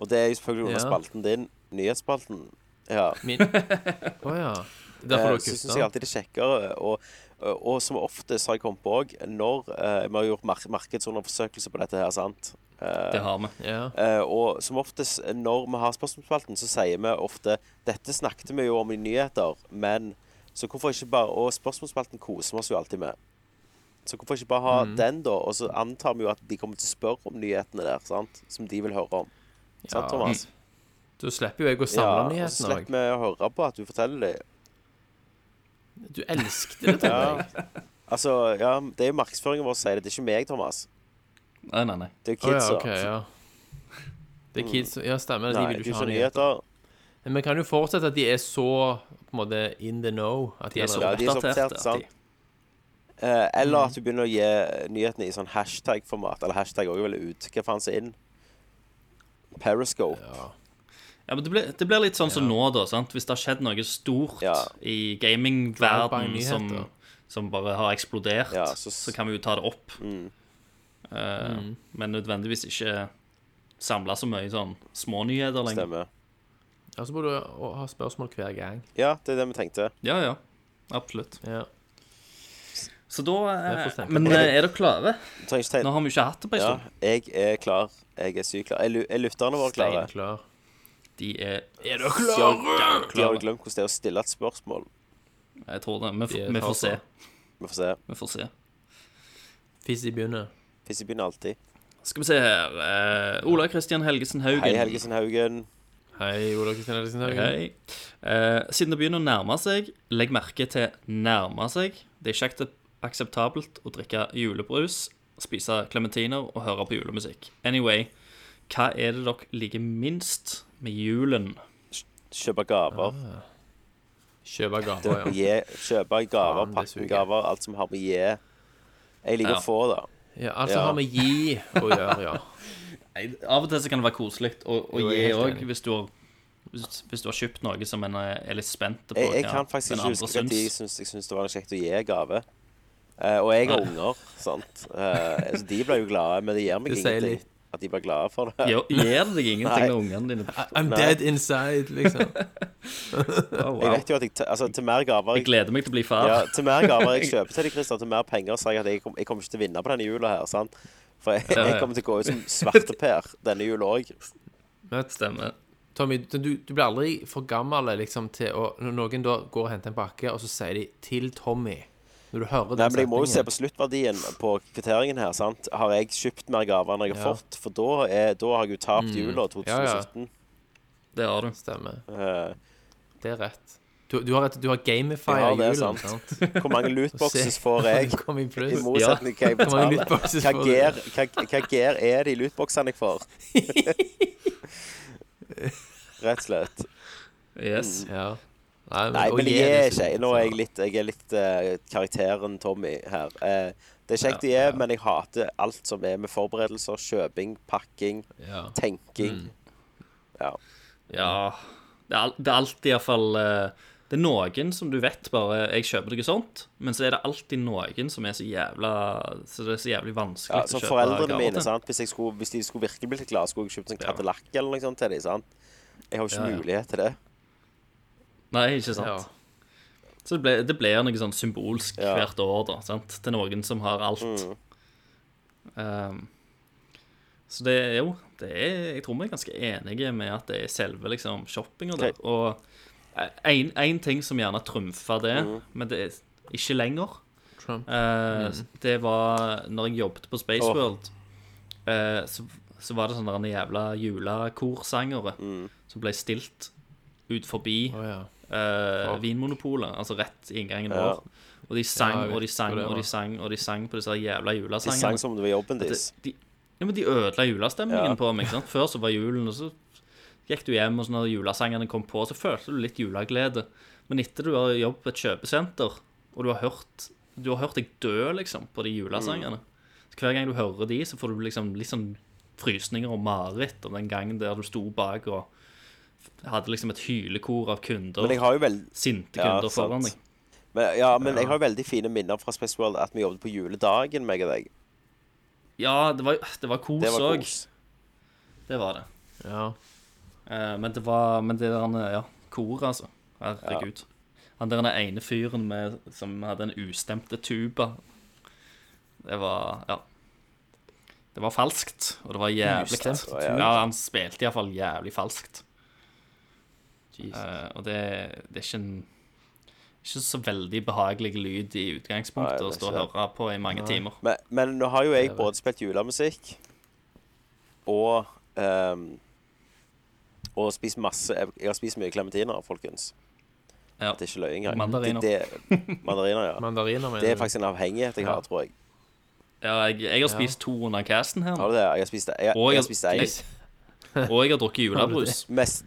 Og det er jo selvfølgelig under Ja. spalten din, nyhetsspalten. Ja. Min Å ja. Derfor Eh, du så syns jeg kutta? alltid det er kjekkere. Og, og, og som oftest har jeg kommet på òg, når eh, vi har gjort mar markedsundersøkelse på dette her, sant Eh, Det har vi. Ja. eh, og som oftest eh, når vi har spørsmålsspalten, så sier vi ofte Dette snakket vi jo om i nyheter, men Så hvorfor ikke bare Og spørsmålsspalten koser vi oss jo alltid med. Så hvorfor ikke bare ha Mm. den, da? Og så antar vi jo at de kommer til å spørre om nyhetene der, sant? Som de vil høre om. Ja. Sant, Thomas? Da slipper jo jeg å Ja, samle og så nyhetene òg. slipper vi å høre på at du forteller dem. Du elsket det, tenkte Ja. jeg. Altså, ja, det er jo markedsføringen vår som sier det. Det er ikke meg, Thomas. Nei, nei, nei. Det er jo Å ja, kidsa. OK, ja. Det er kids Ja, Mm. stemmer. Nei, De det vil jo er ikke ikke ha nyheter. nyheter. Men vi kan jo fortsette at de er så på en måte in the know. At de er er så- Ja, så de er så Oppdaterte, oppdatert, sant? Eh, eller Mm. at du begynner å gi nyhetene i sånn hashtag-format. Eller hashtag òg vel ut. Hva faen som er inn? Periscope. Ja, men det blir, det blir litt sånn som nå, da. sant? Hvis det har skjedd noe stort Ja. i Drive-by gamingverden som, nyheter. som bare har eksplodert, Ja, så, så s- Mm. kan vi jo ta det opp. Eh, Men nødvendigvis ikke samle så mye sånn smånyheter lenger. Stemmer. Ja, så må du ha- ha spørsmål hver gang. Ja, det er det vi tenkte. Ja, ja. Absolutt. Ja. Så da eh, Det får stemme. Men eh, er dere klare? Du trenger Nå ikke tegne. har vi jo ikke hatt det på en Ja, stund. jeg er klar. Jeg er sykt klar. Er lu- Er lytterne våre klare? Steinklar. De er Er dere De har, de har klare. glemt hvordan det er å stille et spørsmål. Jeg tror det. Vi, f- De er vi får se. klare. Vi får se. Vi får se. Fizzy begynner. Hvis jeg begynner alltid. Skal vi se her eh, Ola Kristian Helgesen Haugen. Hei, Helgesen Haugen. Hei, Ola Kristin Ellison Haugen. Hei. Eh, siden det begynner å nærme seg, legg merke til 'nærme seg'. Det er kjekt akseptabelt å drikke julebrus, spise klementiner og høre på julemusikk. Anyway, hva er det dere liker minst med julen? Kjøpe gaver. Ah. Kjøpe Det gaver, å ja. gi, kjøpe gaver, Faen, det pakke suger. gaver, alt som har med å gi. Jeg liker Ja. å få, da. ja altså Ja. har vi gi å gjøre, ja. Nei, Av og til så kan det være koselig å, å Jo, jeg gi er helt òg, enig. hvis, du har- hvis, hvis du har kjøpt noe som en eh, er litt spent på. Jeg, jeg hva kan faktisk den ikke andre huske at de syns. syns, jeg syns det var kjekt å gi gave. Eh, og jeg har unger, sant. Eh, så de ble jo glade, men det gjør meg Det sier ingenting litt. at de blir glade for det. Gjør gjør det deg Nei. ingenting når ungene dine I'm Nei. dead inside, liksom. oh, Jeg wow. vet jo at jeg, t- altså, til mer gaver Jeg jeg, gleder meg til å bli far. ja, til mer gaver jeg kjøper til deg, Christer, til mer penger sier jeg at jeg, kom, jeg kommer ikke til å vinne på denne jula her, sant. For jeg, Ja, ja. jeg kommer til å gå ut som svarteper denne jula òg. Stemmer. Tommy, du, du blir aldri for gammel liksom, til å Når noen da går og henter en pakke, og så sier de 'til Tommy' Når du hører den Nei, men jeg må jo se på sluttverdien på kvitteringen her, sant. Har jeg kjøpt mer gaver enn jeg har Ja. fått? For da, er, da har jeg jo Mm. tapt jula Ja, ja. 2017. Det har du. Stemmer. Eh, Det er rett. Du, du har, et- du har Ja, gamifier det er julen, sant. sant? Hvor mange lootboxes får jeg? Kom i pluss. I motsetning til hva jeg Hvor mange betaler. lootboxes Hva får du? gear, hva, hva gear er det i lootboxene jeg får? Rett og slett. Yes. Ja. Nei, Nei, og men jeg gi er det ikke så- Nå er jeg litt, jeg er litt eh, karakteren Tommy her. Eh, det er kjekt det er, men jeg hater alt som er med forberedelser, kjøping, pakking, ja. Mm. tenking. Ja. Ja. Det er, al- det er alltid iallfall eh, Det er noen som du vet bare Jeg kjøper noe sånt, men så er det alltid noen som er så jævla Så det er så jævlig vanskelig Ja, så å kjøpe foreldrene gaver mine, til. sant? Hvis, jeg skulle, hvis de skulle virkelig blitt glade, skulle jeg kjøpt en Cadillac eller noe sånt til dem. sant? Jeg har jo ikke Ja, ja. mulighet til det. Nei, ikke sant. Ja. Så det ble- det blir noe sånn symbolsk Ja. hvert år, da, sant? Til noen som har alt. Um, så det er jo det er, Jeg tror vi er ganske enige med at det er selve liksom, shoppinga der. Og én ting som gjerne trumfa det, men det er ikke lenger, Trump. eh, det var når jeg jobbet på Åh. Spaceworld. eh, så, så var det sånne der jævla julekorsangere som ble stilt ut forbi Å ja. eh, Ja. Vinmonopolet, altså rett i inngangen Ja. vår. Og de sang Ja, jeg vet og de sang hva det og de var. sang og de sang på disse her jævla Sånn De sang julesangene. som om det var jobben Det- deres. de, ja, men de ødela julestemningen Ja. på meg. ikke sant? Før så var julen, og så gikk du hjem, og så når julesangene kom på, så følte du litt juleglede. Men etter du har jobbet på et kjøpesenter, og du har hørt du har hørt deg dø, liksom, på de Mm. julesangene. Så hver gang du hører de, så får du liksom litt sånn frysninger og mareritt om den gangen der du sto bak og hadde liksom et hylekor av kunder, Men jeg har jo vel... sinte Ja, kunder sant. foran deg. Men, ja, men jeg har jo veldig fine minner fra Space World at vi jobbet på juledagen, meg og deg. Ja, det var, det var kos Det var òg. kos. Det var det. Ja. Eh, men det var Men det der Ja, koret, altså. Herregud. Han der den ene fyren med, som hadde en ustemte tuba. Det var Ja. Det var falskt, og det var jævlig Ustemte tuba. Ja, han spilte iallfall jævlig falskt. Jesus. Eh, og det, det er ikke en ikke så veldig behagelig lyd i utgangspunktet Nei, å det er stå og ikke høre på i mange timer. Men, men nå har jo jeg Det er både spilt julemusikk og ehm, Og spist masse Jeg har spist mye klementiner, folkens. Ja. Det er ikke løye engang. Mandariner. Det, det, mandariner, ja. Mandariner, mener Det er faktisk en avhengighet jeg har, Ja. tror jeg. Ja, jeg, jeg har spist to under casten her, Har nå, du det? Jeg har spist det. Jeg, Og jeg jeg- har spist det. jeg- og jeg har drukket julebrus. Mest,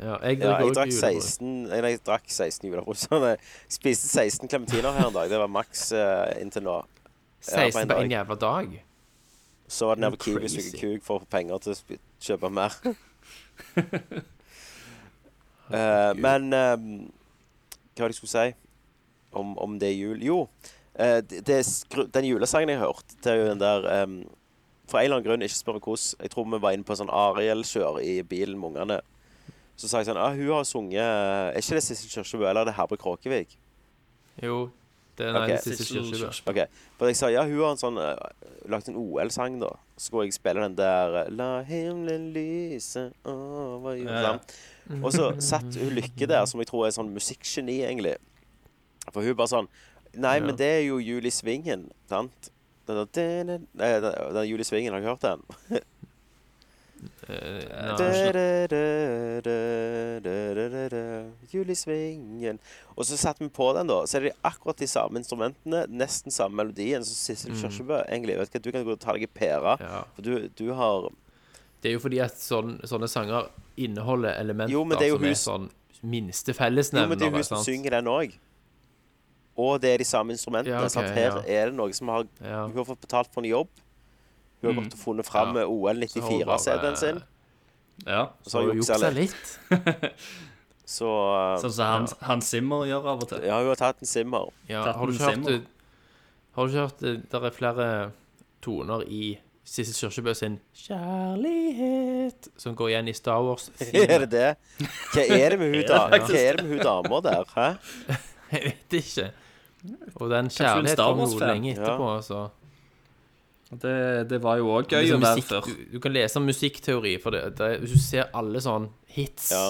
Ja, jeg ja, drikker jeg også drakk julebrus. 16 Nei, jeg drakk 16 julebrus. Nei, jeg Spiste 16 klementiner her en dag. Det var maks eh, inntil nå. Ja, på en 16 på dag. en jævla dag. Så var det nede på You're Kiwi og suge crazy. kuk for å få penger til å sp- kjøpe mer. Eh, men eh, hva var det jeg skulle si om, om det er jul? Jo, eh, det, det er skru, den julesangen jeg hørte, det er jo den der eh, For en eller annen grunn, ikke spør meg hvordan. Jeg tror vi var inne på en sånn Ariel-kjør i bilen med ungene. Så sa jeg sånn ah, Hun har sunget eh, Er ikke det Sissel Kyrkjebø eller er det Herbe Kråkevik? Jo, det er nei, Ok. det siste kirkebø. Ok, for jeg sa ja, hun har en sånn eh, lagt en OL-sang da. Så skulle jeg spille den der eh, La himmelen lyse over Ja, ja. jorda. Og så satt hun Lykke der, som jeg tror er en sånn musikkgeni, egentlig. For hun bare sånn Nei, Ja. men det er jo Jul i Svingen, sant? Den der den- den- Nei, den, den Jul i Svingen, har du hørt den? Eh, nei. Da-da-da-da-da-da-da-da. Jul i svingen Og så satte vi på den, da. Så er det akkurat de samme instrumentene, nesten samme melodien som Sissel Mm. Kyrkjebø. Egentlig, vet du hva, du kan gå og ta deg en pære. Ja. For du, du har Det er jo fordi at sånn, sånne sanger inneholder elementer Jo, men det er jo som hun er s- sånn Jo, minste men det fellesnevner. er jo hun som synger den òg. Og det er de samme instrumentene. Ja, ok, sant? Her er det noe som har Ja. Hun har fått betalt for en jobb. Hun har Mm. gått og funnet fram Ja. med OL Så har hun bare- 94-CD-en sin. Ja. Og Så så har hun juksa litt. litt. Så eh, Sånn som han, han Simmer gjør av og til. Ja, hun har tatt en simmer. Ja, Tatt har du en ikke hørt semmer. det- Har du ikke hørt det? Der er flere toner i Sissel Kyrkjebø sin 'Kjærlighet' som går igjen i Star Wars. Er det det? Hva er det med hun, da? det Hva er det med hun dama der? Hæ? Jeg vet ikke. Og den hun er kjærligheten Star kom jo Wars-fan? lenge etterpå, altså. Det, det var jo òg Det gøy er å sånn være musikk- før. Du, du kan lese om musikkteori, for det, det, hvis du ser alle sånne hits Ja.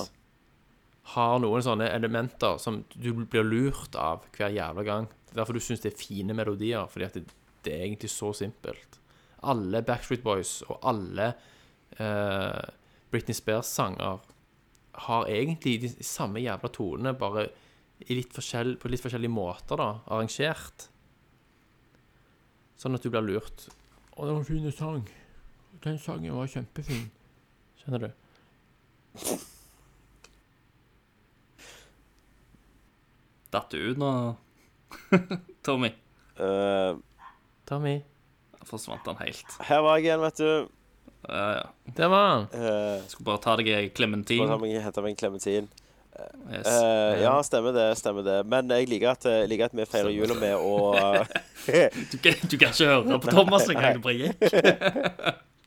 Har noen sånne elementer som du blir lurt av hver jævla gang. Det er derfor du syns det er fine melodier, fordi at det, det er egentlig så simpelt. Alle Backstreet Boys og alle eh, Britney Spears-sanger har egentlig de samme jævla tonene, bare i litt forskjell, på litt forskjellige måter, da, arrangert. Sånn at du blir lurt. Å, det var en fin sang. Den sangen var kjempefin. Skjønner du? Datt du ut nå, Tommy? Eh, Tommy. Forsvant han helt. her var jeg igjen, vet du. Ja, ja. Der var han. Uh, Skulle bare ta deg ei klementin. Henta meg en klementin. Yes. Eh, ja, stemmer det. stemmer det Men jeg liker at, jeg liker at vi feirer jula med å eh, Du, kan- du kan ikke høre på Thomas engang. Du bare gikk.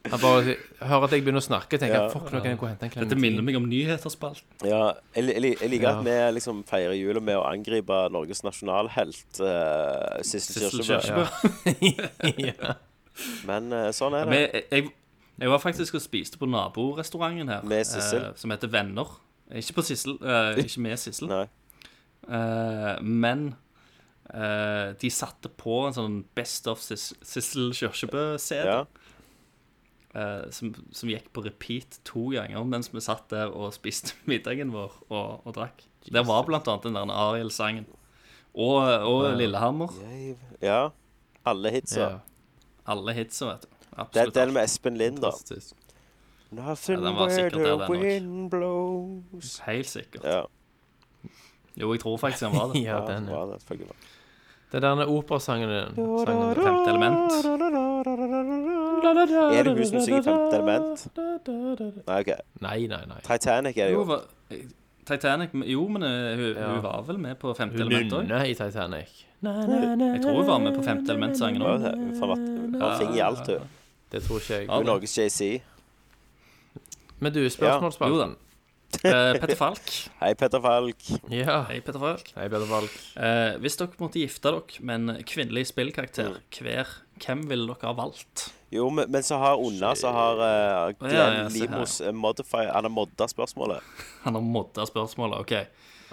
Han bare hører at jeg begynner å snakke, tenker Ja. jeg, fuck, nå kan jeg gå og hente en Dette minner klementin. meg om nyheterspalten. Ja, jeg, li- jeg, li- jeg liker at vi liksom feirer jula med å angripe Norges nasjonalhelt, uh, Sissel Sissel Kyrkjebø. Kyrkjebø. ja. Men eh, sånn er det. Men jeg, jeg, jeg var faktisk og spiste på naborestauranten her, Med Sissel? eh, som heter Venner. Ikke på Sissel, eh, ikke med Sissel, Nei. eh, men eh, de satte på en sånn Best of Sis- Sissel Kyrkjebø-CD. Ja. eh, som, som gikk på repeat to ganger mens vi satt der og spiste middagen vår og, og drakk. Det var blant annet den der Ariel-sangen. Og, og Lillehammer. ja. Alle hitsa. Ja, Alle hitsa, vet du. Det er Absolutt. den med Espen Lind, da. fantastisk. Nothing Ja, den var where sikkert der, den the også. wind blows Helt sikkert. Ja, Jo, jeg tror faktisk han var det. ja, Ja, den, den ja. var det, selvfølgelig. Den der operasangen din. sangen din. Femte element. Er det hun som synger Femte element? Nei, OK. Nei, nei, nei. Titanic er det Jo, jo. hva- Titanic Jo, men eh, hun, Ja. hun var vel med på Femte Element òg? Nunne i Titanic. Jeg tror hun var med på Femte Element-sangen Hun òg. har vært ting i alt, hun. Det tror ikke jeg. Ja. Hun er Norges JC. Men du, Jo da. spørsmålsspalten. Eh, Petter Falk. Hei, Petter Falk. Ja. Hei, Petter Falk. Nei, bedre valg. Eh, hvis dere måtte gifte dere med en kvinnelig Mm. spillkarakter hver, hvem ville dere ha valgt? Jo, men, men så har Unna så har uh, Glenn ja, ja, se her, Limos eh, modify Han har modda spørsmålet. Han har modda spørsmålet, OK.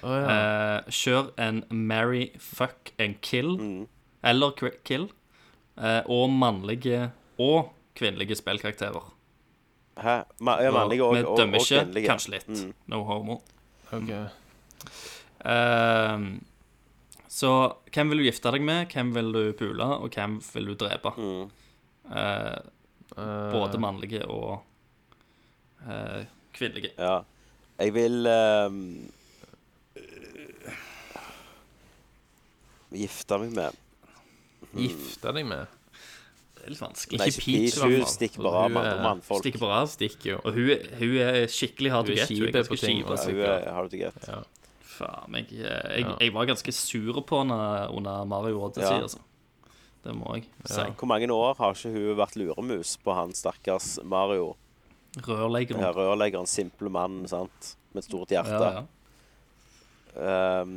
Å ja. Eh, kjør en marry, fuck and kill, Mm. eller qu- kill, eh, og mannlige og kvinnelige spillkarakterer. Hæ? Ma ja, mannlige og, Vi og, dømmer og ikke, kvinnelige. Mm. kanskje litt. No homo. ok. Mm. Ehm, så hvem vil du gifte deg med, hvem vil du pule, og hvem vil du drepe? Mm. Eh, både mannlige og eh, kvinnelige. Ja. Jeg vil um, Gifte meg med Gifte deg med? Det er litt vanskelig. Nei, Ikke eh, ikke Peach, Peach. i hvert Hun fall. stikker bare av med andre mannfolk. Stikker bare av. Stikker jo. Og hun, er- hun er skikkelig hard Hun to er get. Hun kjipe er ganske på ting, kjip. altså. Ja, hun er, har det greit. Ja. Faen, jeg, eh, jeg, Ja. jeg var ganske sur på henne under Mario Odyssey, Ja. altså. Det må jeg si. Hvor mange år har ikke hun vært luremus på han stakkars Mario? Rørlegger. Her Rørleggeren, simple mann, sant? Med et stort hjerte. Ja, ja. Um,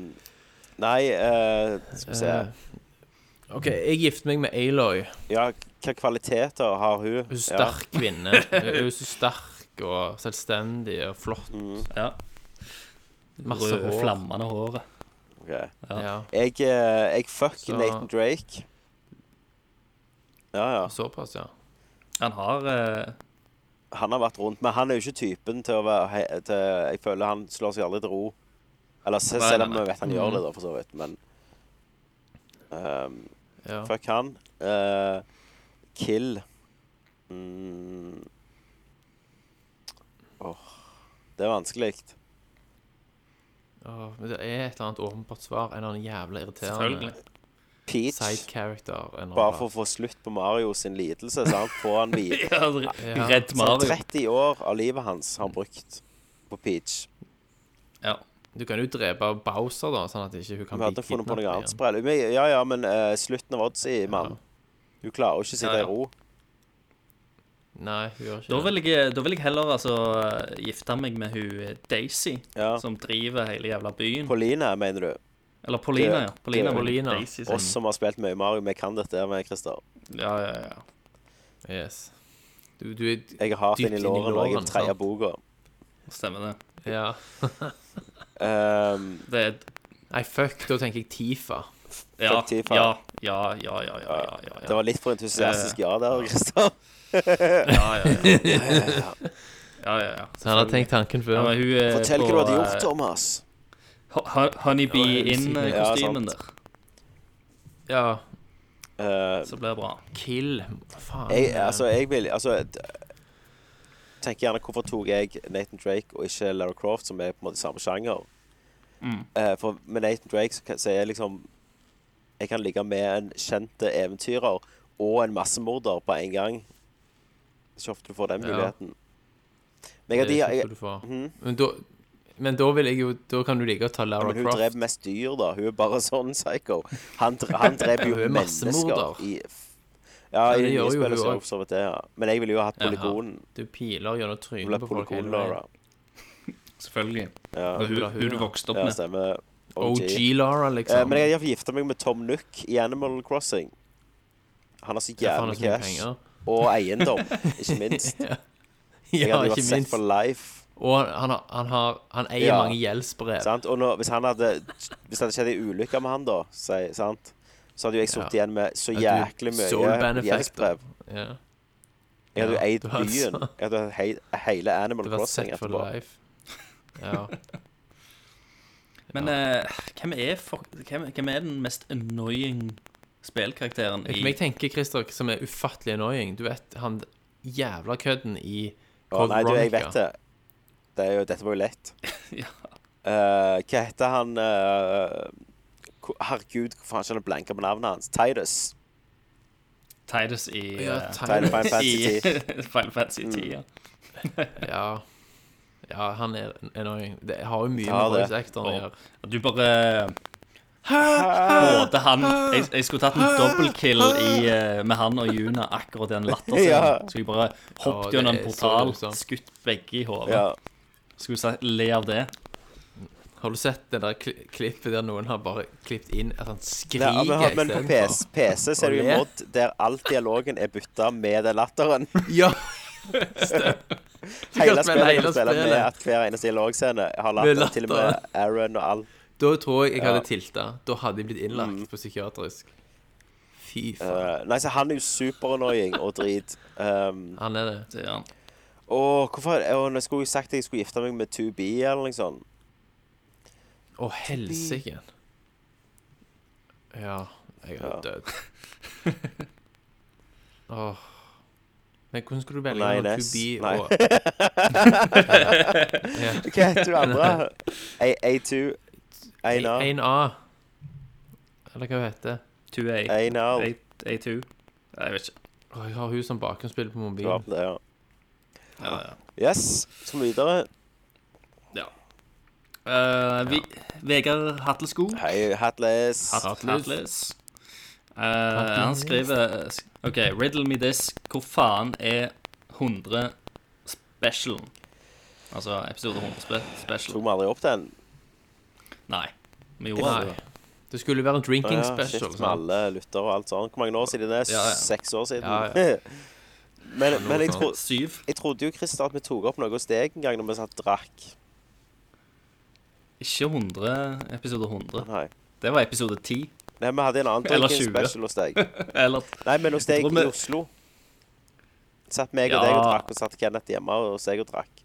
nei, eh, skal vi se Eh, OK, jeg gifter meg med Aloy. Ja, hvilke kvaliteter har hun? Hun er Ja. sterk kvinne. Hun er så sterk og selvstendig og flott. Mm. ja. Masse Rød, hår. Flammende håret. Ok. Ja. Ja. Jeg, eh, jeg fuck Så- Nathan Drake. Ja, ja. Såpass, ja. Han har eh, Han har vært rundt, men han er jo ikke typen til å være he- til, Jeg føler han slår seg aldri til ro. Eller se- Nei, selv nei, om nei. jeg vet han gjør det, da, for så vidt, men ehm, ja. Fuck han. Eh, kill mm. Åh, Det er vanskelig. Åh, men det er et eller annet åpenbart svar. En eller annen jævla irriterende Selvfølgelig. Peach. side character. en eller Bare annen. for å få slutt på Mario sin lidelse. Sant? Få han videre. Ja, re- Ja. Redd Så Mario. 30 år av livet hans har han brukt på Peach. Ja. Du kan jo drepe Bowser, da, sånn at ikke hun kan Vi hadde funnet på noe kidnappet annet igjen. sprell. Men- Ja, ja, men eh, slutten av Oddsie, mann. Du klarer jo ikke å sitte Ja, ja. i ro. Nei, hun gjør ikke Da det. vil, jeg, da vil jeg heller altså gifte meg med hun eh, Daisy, Ja. som driver hele jævla byen. Pauline, mener du? Eller Paulina, ja. Paulina. men Paulina. Daisy, som- Oss som har spilt mye Mario, vi kan dette her med Christer. Ja, ja, ja. Yes. Du, du er Jeg har hatt Dypt den i inn i låren og jeg er låren, tredje sant? boka. Stemmer det. Ja. Ehm, Det er Nei, fuck, da tenker jeg Tifa. Ja, Fuck Tifa. ja, ja, ja, ja, ja, ja, ja, Eh, det ja. var litt for entusiastisk ja der, Christer. Ja, ja, ja. ja, ja, ja. Så han har tenkt tanken Ja, før. men hun er Fortell på, hva du hadde gjort, eh, Thomas. Ho- ho- Honeybee ja, Ja, In-kostymen sant. der. Ja. Eh, Så blir det bra. Kill. Faen. jeg, eh, altså, jeg vil Altså d- Tenker gjerne hvorfor tok jeg Nathan Drake og ikke Lara Croft, som er på en måte samme sjanger. Mm. Eh, for med Nathan Drake så kan- så er jeg liksom Jeg kan ligge med en kjent eventyrer og en massemorder på en gang. Så ofte du får den Ja. muligheten. Men Det jeg, er de, ikke jeg, Mhm. så du får. Men da men da vil jeg jo Da kan du like å ta Ja, Lara men hun Croft. drev mest dyr, da. Hun er bare sånn psycho. Han, dre- han drev jo Hun er mennesker massemorder. i f- Ja, Ja, i det gjør jo nyspillet hun så er det også. for så vidt det, ja. Men jeg ville jo ha hatt Jaha. polygonen. Du piler gjennom Hun ble trynet på folk hele polygon-Laura. veien. Selvfølgelig. Ja, Hun, hun- hun du vokste opp ja, med. stemmer. OG. OG-Lara, Eh, liksom. men jeg har gifta meg med Tom Nook i Animal Crossing. Han har så Ja, faen, jævlig det er så mye cash. penger. Og eiendom, ikke minst. Jeg Ja, hadde jo ikke vært set minst. for life. Og han, har, han, har, han eier Ja. mange gjeldsbrev. Sant? Og nå, hvis, han hadde, hvis det hadde skjedd ei ulykke med han, da, si, sant? så hadde jo jeg sittet igjen med så Ja, du- jæklig soul mye benefactor. gjeldsbrev. Ja. Jeg hadde jo Ja, eid du hadde byen. så- Jeg hadde heid, hele Animal Det var Crossing set for etterpå. life. Ja. Men eh, hvem, er fuck, hvem, hvem er den mest annoying spillkarakteren i Men jeg tenker, Christer, som er ufattelig annoying Du vet han jævla kødden i Å, nei, du, jeg vet Veronica. det. det er jo, dette var jo lett. Ja. Eh, hva heter han eh, Ko- Herregud, hvor faen kjenner jeg blanker på navnet hans? Titus. Titus i Ja, eh, Final Fantasy Tyler. i Mm. 10. Final Fantasy 10, ja. Ja. ja, han er annoying. Det har jo mye Ja, med det. voice actoren å Og, gjøre. og du bare Ah, Både han jeg, jeg skulle tatt en dobbeltkill i, eh, med han og Juna, akkurat den latteren. Ja. Skulle jeg bare Ja, hoppet det gjennom en er så portal, grusomt. skutt begge i hodet. Ja. Skulle sagt le av det. Har du sett det der kli klippet der noen har bare klippet inn at han skriker Ja, men, men på istedenfor? PS, PC ser du Å en le. mod der all dialogen er bytta med den latteren. Ja, Hele kan spille spillet hele kan spille med spillet. at hver eneste dialogscene har latter. latter. Til og med Aaron og all. da tror jeg jeg Ja. Mm. hadde tilta. Da hadde jeg blitt innlagt på psykiatrisk. Fy faen. Eh, nei, så han er jo superannoying og drit. Um, Han er det. Det gjør han. og hvorfor og Jeg skulle jo sagt at jeg skulle gifte meg med 2B eller noe sånt. Å, helsike. Ja, jeg er Ja. død. Åh. Men hvordan skulle du velge Nei, mellom Nes. to be Nei. og ja. Hva heter du andre? A, A2 Einar. 1A? Eller hva hun heter. 2A. Einar. A- A2. Jeg vet ikke. Åh, jeg har hun som bakgrunnsspiller Du på har mobilen. på det, ja. Ja, ja. Yes, skal vi videre? Eh, vi, Vegard Hatlesko. Hei, Hatles. Hat- Hatles. Hatles. Eh, han skriver OK, riddle me this. Hvor faen er 100 specialen? Altså episode 100 spe Tok special. vi aldri opp den? Nei. Vi gjorde Nei. det. Det skulle jo være en drinking Å ja, special. Shit, med sant? alle lyttere og alt sånt. Hvor mange år siden det er? Ja, ja. Seks år siden? Ja, men men jeg, sånt. tro, Syv? jeg trodde jo, Christer, at vi tok opp noe steg en gang når vi satt og drakk. Ikke 100. Episode 100. Nei. Det var episode 10. Nei, vi hadde en annen Eller drinking 20. special hos deg. Eller Nei, men hos deg tror vi- i Oslo. Satt meg og Ja. deg og drakk, og satt Kenneth hjemme og hos deg og drakk.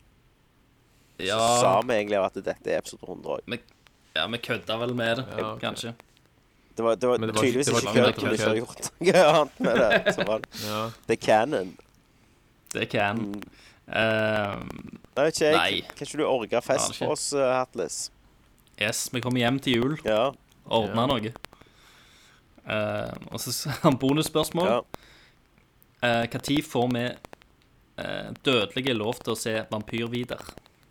Så sa Ja, vi egentlig at dette er episode 100 òg. ja vi kødda vel med det, Ja, ok. kanskje. Det var, det var, Men det var- tydeligvis det var ikke ikke kødd, for vi kødd. ikke har gjort noe annet med det. Så var det. Ja. det er canon. Det kan. Mm. Eh, Nei, vet ikke Nei. jeg. Kan ikke du orge fest Aner ikke. for oss, eh, Hatles? yes, vi kommer hjem til jul. Ja. Ordna noe. Eh, og så s- han bonusspørsmål. ja. Eh, Hva tid får vi eh, dødelige lov til å se vampyr-Vidar?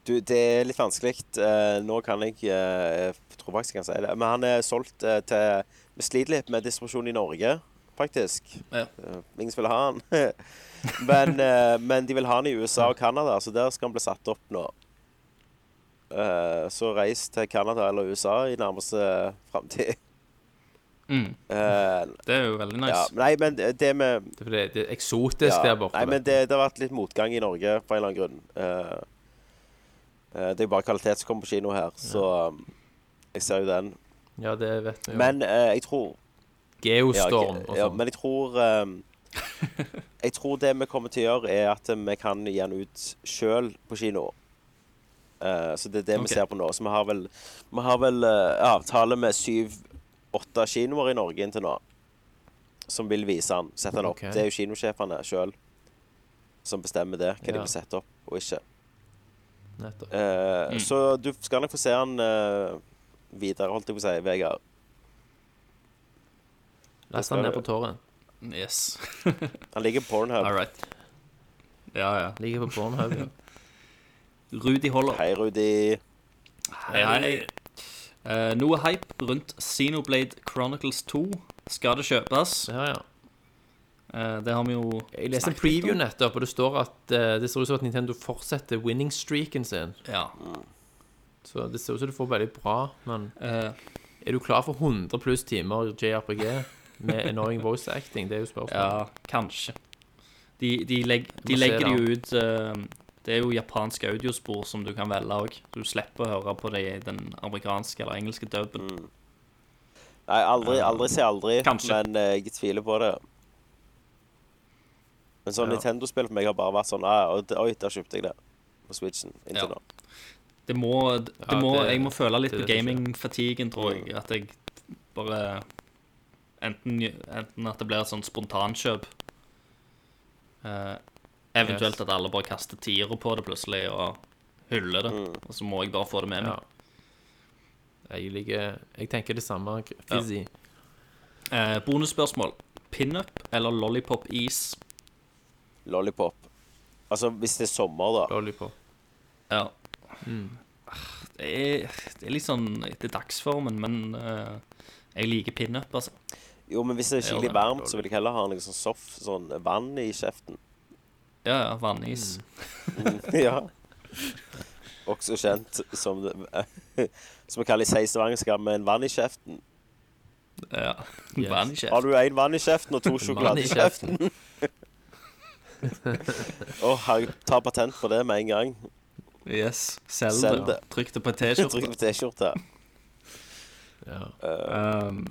Du, det er litt vanskelig. Eh, nå kan jeg eh, Jeg tror faktisk jeg kan si det. Men han er solgt eh, til Vi sliter litt med distribusjon i Norge, faktisk. Ja. Eh, ingen som vil ha han. men, eh, men de vil ha han i USA og Canada, så der skal han bli satt opp nå. Eh, så reis til Canada eller USA i nærmeste framtid. Mm, Eh, det er jo veldig ja, nice. nei, men det det med Det, er fordi det er eksotisk Ja, der borte. Nei, men det, det har vært litt motgang i Norge på en eller annen grunn. Eh, eh, det er jo bare kvalitet som kommer på kino her, så um, jeg ser jo den. ja, det vet vi jo. Men eh, jeg tror ja, Geostorm ikke- og ja, sånn. Men jeg tror um, Jeg tror det vi kommer til å gjøre, er at vi kan gi den ut sjøl på kino. Eh, så det er det Ok. vi ser på nå. Så vi har vel, vi har vel eh, avtale med syv-åtte kinoer i Norge inntil nå som vil vise den, sette den opp. Ok. Det er jo kinosjefene sjøl som bestemmer det, hva de Ja. vil sette opp og ikke. Nettopp. Eh, Mm. Så du skal nok få se den eh, videre, holdt jeg på å si, Vegard. Last han ned på torget. Yes. Han ligger på Pornhub. All right. Ja, ja. Ligger på Pornhub. ja. Rudi Holler. Hei, Rudi. Hei, hei. Eh, noe hype rundt Xenoblade Chronicles 2. Skal det kjøpes? Ja, ja. Eh, det har vi jo Jeg leste en snakket litt preview om. nettopp, og det står at eh, det ser ut som at Nintendo fortsetter winning streaken sin. Ja. Så det ser ut som det får veldig bra, men Eh, er du klar for 100 pluss timer JRPG med annoying voice acting? Det er jo spørsmålet. ja, kanskje. De, de, legg, de Må se legger det det. jo ut eh, Det er jo japanske audiospor som du kan velge òg. Du slipper å høre på det i den amerikanske eller engelske dubben. Nei, aldri, aldri si aldri, Kanskje. men eh, jeg tviler på det. Men sånn Ja. Nintendo-spill for meg har bare vært sånn ah, Oi, oi, der kjøpte jeg det på Switchen inntil Ja. nå. Det må, det Ja, må det- Jeg må føle litt det på vet jeg ikke. gaming-fatigen, tror jeg. At jeg bare Enten, enten at det blir et sånt spontankjøp eh, Eventuelt Yes. at alle bare kaster tiere på det plutselig og hyller det. Og så må jeg bare få det med Ja. meg. Jeg liker Jeg tenker det samme. Fizzy. Eh, bonusspørsmål. Pinup eller lollipop-is? Lollipop. Altså, hvis det er sommer, da. Lollipop. Ja. Mm. Det, er, det er litt sånn etter dagsformen, men eh, jeg liker pinup, altså. Jo, men hvis det er Ja, skikkelig det er varmt, så vil jeg heller ha noe sånn soft sånn vann i kjeften. Ja, ja, vannis. Mm. ja. Også kjent som det- Som vi kaller i Seisevangen, skal vi ha en vann i kjeften. Ja. Yes. Vann i Har kjeften. du én vann i kjeften og to Mann sjokolade i i kjeften? Å, herregud, ta patent på det med en gang. Yes. Selg Selg det. det. Trykk det på en Trykk T-skjorte. på T-skjorte. Ja. Um,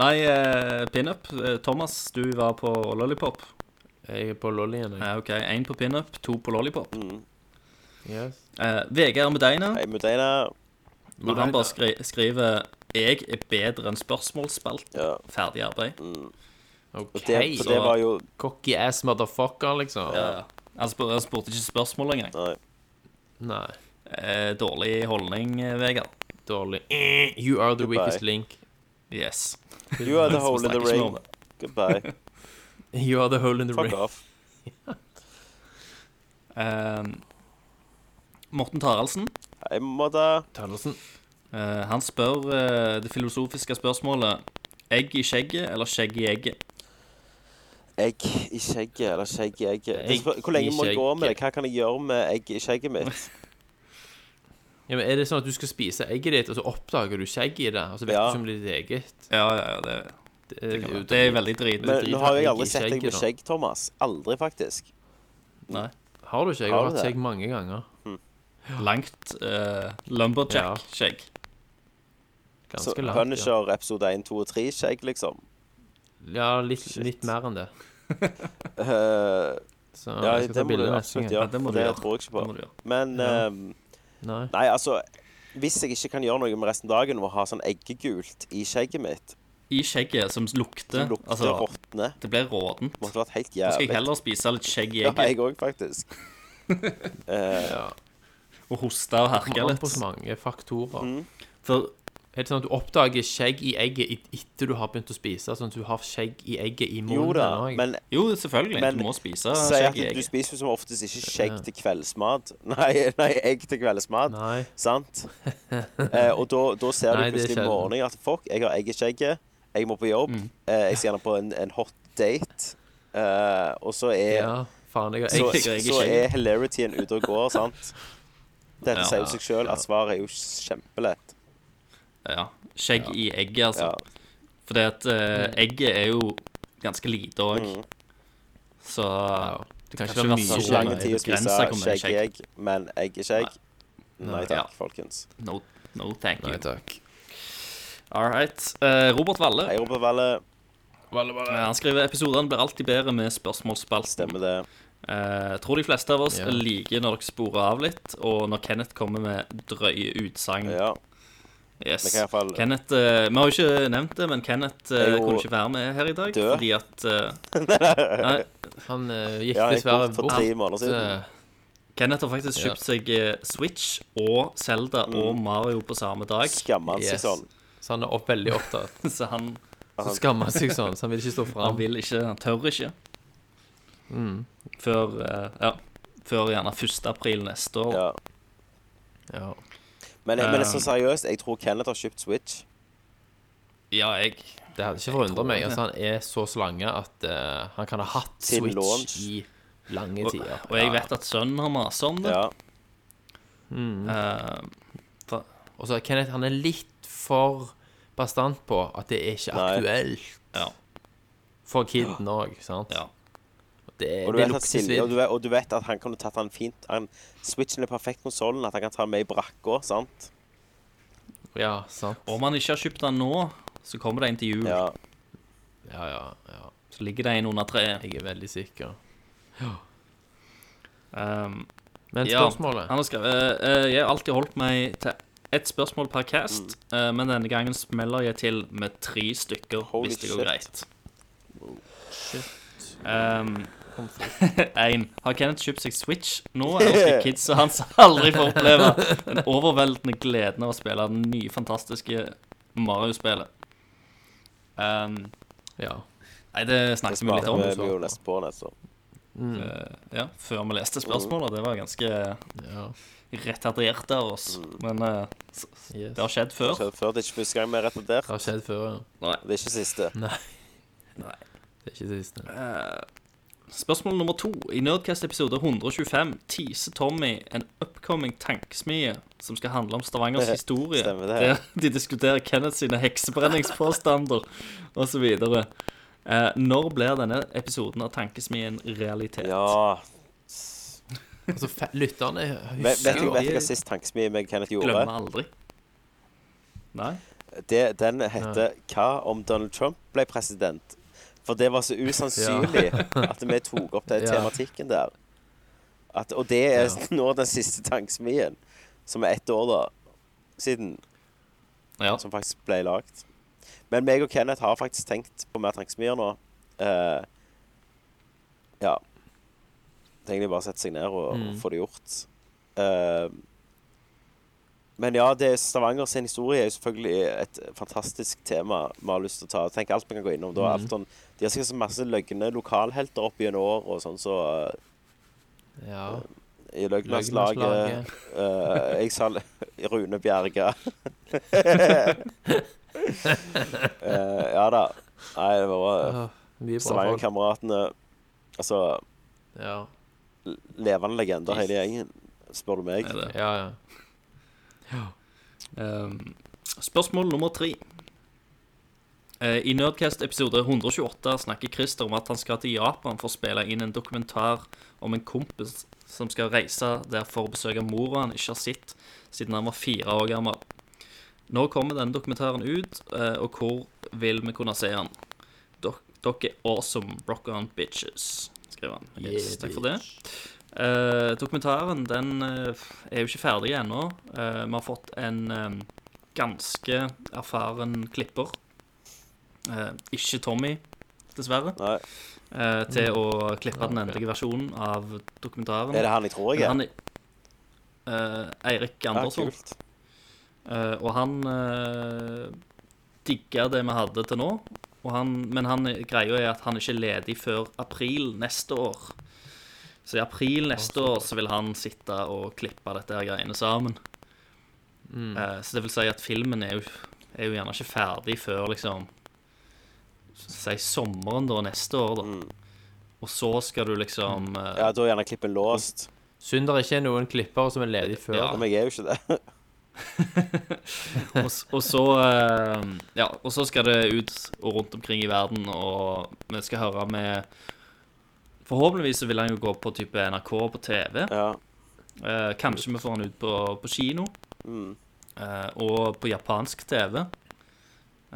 nei, eh, pinup. Eh, Thomas, du var på lollipop. Jeg er på lollyen, jeg. Eh, OK, én på pinup, to på lollipop. Mm. Yes. Eh, Vegard Medeina. Hei, Mudeina. Når han bare skri skriver 'Jeg er bedre enn spørsmålsspalt'. Ja. Ferdig arbeid. Mm. Og OK. det, for det var jo Cocky ass motherfucker, liksom. Ja. Han spur- han spurte ikke spørsmål engang. Nei. Nei. Eh, dårlig holdning, eh, Vegard. Dårlig. Eh, You are the Goodbye. weakest link. Yes. You are the Så hole in snakker the ikke vi om ring. Goodbye. You are the hole in the Fuck ring. off. Eh, Morten Taraldsen. Hei, Madda. Tønnesen. eh, han spør eh, det filosofiske spørsmålet Egg i skjegget eller skjegg i egget? Egg i skjegget eller skjegg i egget. Det Egg spør- Hvor lenge i må jeg gå med det? skjegget. Hva kan jeg gjøre med egg i skjegget mitt? Ja, men er det sånn at du skal spise egget ditt, og så oppdager du skjegget i det, og så vet Ja. du ikke om det er ditt eget? Eh, Ja, ja, ja, det, Det, det, er kan jo være. det er veldig drit. Men- nå har jeg aldri i sett deg med skjegget, da. skjegg, Thomas. Aldri, faktisk. Nei. Har du ikke? Jeg Har har du hatt det? skjegg mange ganger. Langt eh, Ja. lumberjack-skjegg. Så Ganske langt. Ja, Punisher episode 1, 2 og 3 skjegg, liksom. ja litt, litt mer enn det. Eh, Så ja, jeg skal det ta må du bilde neste absolutt gang. Ja, gjøre. det må for du Det gjøre. tror jeg ikke Det må på. du gjøre. Men Ja. ehm, Nei. Nei, altså Hvis jeg ikke kan gjøre noe med resten av dagen og ha sånn eggegult i skjegget mitt, I skjegget som lukter, som lukter altså, råtne Det blir rådent. Nå Måtte vært helt skal jeg jævlig. heller spise litt skjegg i Ja, egget jeg òg, faktisk. Eh, Ja. og hoste og herke Kommer an på litt. så mange faktorer. Mm. For Er det sånn at du oppdager skjegg i egget i- etter du har begynt å spise? Sånn at du har skjegg i egget i jo munnen? da, nå, jeg- men jo, selvfølgelig, Men du må spise si at skjegg i du egget. spiser jo som oftest ikke skjegg til kveldsmat. Nei, nei egg til kveldsmat. Nei. Sant? Eh, og da, da ser Nei, du det er plutselig i sjelden. morgenen at fuck, jeg har egg i skjegget, jeg må på jobb, eh, jeg skal gjerne på en, en hot date, eh, og så er, Ja, faen, jeg har så, egg. jeg- jeg- så er hilarityen ute og går, sant? Dette Ja, sier jo seg sjøl, at svaret er jo kjempelett. Ja, skjegg i egget, altså. Ja. Mm. Fordi at eh, egget er jo ganske lite òg. Så Ja. Det kan Kanskje ikke være det var mye Ikke så skjegg. lang nei, tid å det spise grenser hvor mye skjegg i egg, men egg i skjegg? Nei Ja. takk, folkens. no, no thank you. Nei takk. All right. Eh, Robert Valle Hei, Robert Valle. eh, han skriver episodene blir alltid bedre med spørsmålsspalten. Stemmer det. Eh, tror de fleste av oss Ja. liker når dere sporer av litt, og når Kenneth kommer med drøye utsagn. Ja. Yes. Vi kan i hvert fall- Kenneth, eh, Vi har jo ikke nevnt det, men Kenneth eh, Er jo kunne ikke være med her i dag. død. Fordi at eh, nei, Han eh, gikk Ja, jeg gikk dessverre bort for bort. tre måneder siden. eh, Kenneth har faktisk Ja. kjøpt seg eh, Switch og Zelda Mm. og Mario på samme dag. Skammer han seg Yes. sånn. Så han er opp, veldig opptatt. Så han, Så skammer han seg sånn, så han vil ikke han stå Mm. fram. vil ikke, han tør ikke. Før, eh, ja, før gjerne 1. april neste år. Ja. Ja. Men, men så Um, seriøst, jeg tror Kenneth har kjøpt Switch. Ja, jeg Det hadde ikke forundret meg. det. Altså, han er så slange at eh, han kan ha hatt Siden Switch launch. i lange og, tider. og jeg vet at sønnen har mast om det. Ja. Eh, Og så er Kenneth han er litt for bastant på at det er ikke Nei. aktuelt ja, for kiden òg, sant? ja. Det, Og, du det vet at lukter Silje, og, du svidd. vet, og du vet at han kan jo tatt han fint han, Switchen er perfekt konsollen, at han kan ta den med i brakka. sant? Ja, sant. Om han ikke har kjøpt den nå, så kommer Mm. det en til jul. Ja. Ja, ja, ja. Så ligger det en under treet. Jeg er veldig sikker. Um, Men Ja, spørsmålet han har skrevet eh, eh, Jeg har alltid holdt meg til ett spørsmål per cast, eh, men denne gangen smeller jeg til med tre stykker Holy hvis det går shit. greit. Um, pommes frites. 1. Har Kenneth kjøpt seg Switch? Nå eller skal kidsa hans aldri få oppleve den overveldende gleden av å spille den nye, fantastiske Mario-spillet? Um, Ja. nei, det snakket vi litt om. vi jo neste på neste år. eh, ja, før vi leste spørsmålet. Det var ganske ja. retardert av oss. Men eh, s- s- Yes. det har skjedd før. Så Før Mm. det er ikke første gang vi er retardert. Det har skjedd før, ja. Det er ikke siste. Det er ikke det siste. Spørsmål nummer to. I Nerdcast episode 125 teaser Tommy en upcoming tankesmie som skal handle om Stavangers historie. Stemmer det. Der de diskuterer Kenneth sine heksebrenningspåstander osv. Eh, når blir denne episoden av Tankesmien realitet? Ja. Altså, fe- lytterne Vet vet husker du jo. vet du hva sist tankesmie med Kenneth gjorde? Glemmer aldri. Nei? det, den heter 'Hva om Donald Trump ble president?' For det var så usannsynlig at vi tok opp den Ja. tematikken der. At, og det er Ja. nå den siste tankesmien, som er ett år da siden, Ja. som faktisk ble lagd. Men meg og Kenneth har faktisk tenkt på mer tankesmier nå. Eh, ja. Det er egentlig bare å sette seg ned og, og få det gjort. Eh, men ja, det er Stavanger sin historie er jo selvfølgelig et fantastisk tema vi har lyst til å ta. Tenk alt vi kan gå innom. Da, alt sånn, de har sikkert så masse løgne lokalhelter opp gjennom år og sånn, så eh, Ja. i Løgnaslaget Løgnaslaget. eh, Jeg sa Rune Bjerga. Eh, ja da. Nei, det var Åh, Mye bra folk. Stavanger-kameratene. Altså Ja. levende legender, hele gjengen, spør du meg. Er det. Ja, ja. Ehm, spørsmål nummer tre. Eh, I Nerdcast episode 128 snakker Christer om at han skal til Japan for å spille inn en dokumentar om en kompis som skal reise der for å besøke mora han ikke har sett siden han var fire år gammel. Når kommer denne dokumentaren ut, eh, og hvor vil vi kunne se den? Dok dere er awesome, rock on bitches, skriver han. Yes, takk for det. Eh, dokumentaren den eh, er jo ikke ferdig ennå. Eh, vi har fått en eh, ganske erfaren klipper. Eh, ikke Tommy, dessverre. Nei, eh, til å klippe den Ok. endelige versjonen av dokumentaren. er det han jeg tror jeg er? Han, er- eh, Eirik Ja, Andersson. kult. Eh, og han uh, digga det vi hadde til nå. Og han, men han, eh, greia er at han er ikke er ledig før april neste år. Så i april neste år så vil han sitte og klippe dette her greiene sammen. Eh, så det vil si at filmen er jo, er jo gjerne ikke ferdig før liksom Si sommeren da neste år, da. Og så skal du liksom eh, Ja, da er gjerne klippen låst. Synd det ikke er noen klippere som er ledige før. Ja. Men jeg er jo ikke det. og, s- og så eh, Ja, og så skal det ut og rundt omkring i verden, og vi skal høre med Forhåpentligvis så vil han jo gå på type NRK på TV. Ja. Eh, kanskje vi får han ut på, på kino. Mm. eh, og på japansk TV.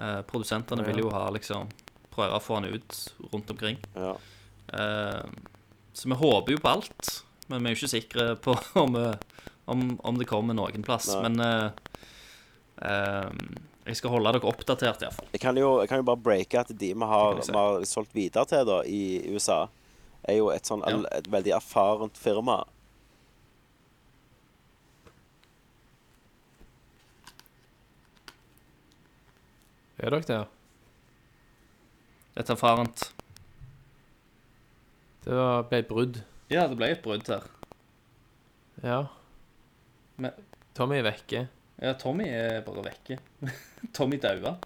Eh, produsentene vil jo ha liksom prøve å få han ut rundt omkring. ja. Eh, så vi håper jo på alt, men vi er jo ikke sikre på om, eh, om, om det kommer noen plass. Nei. Men eh, eh, jeg skal holde dere oppdatert, iallfall. Jeg kan jo, jeg kan jo bare breake at de vi har, kan jeg si. vi har solgt videre til da, i USA, er jo et sånn al- et veldig erfarent firma. Er dere der? Et erfarent Det var- ble brudd. Ja, det ble et brudd her. Ja. Men- Tommy er vekke. Ja, Tommy er bare vekke. Tommy daua.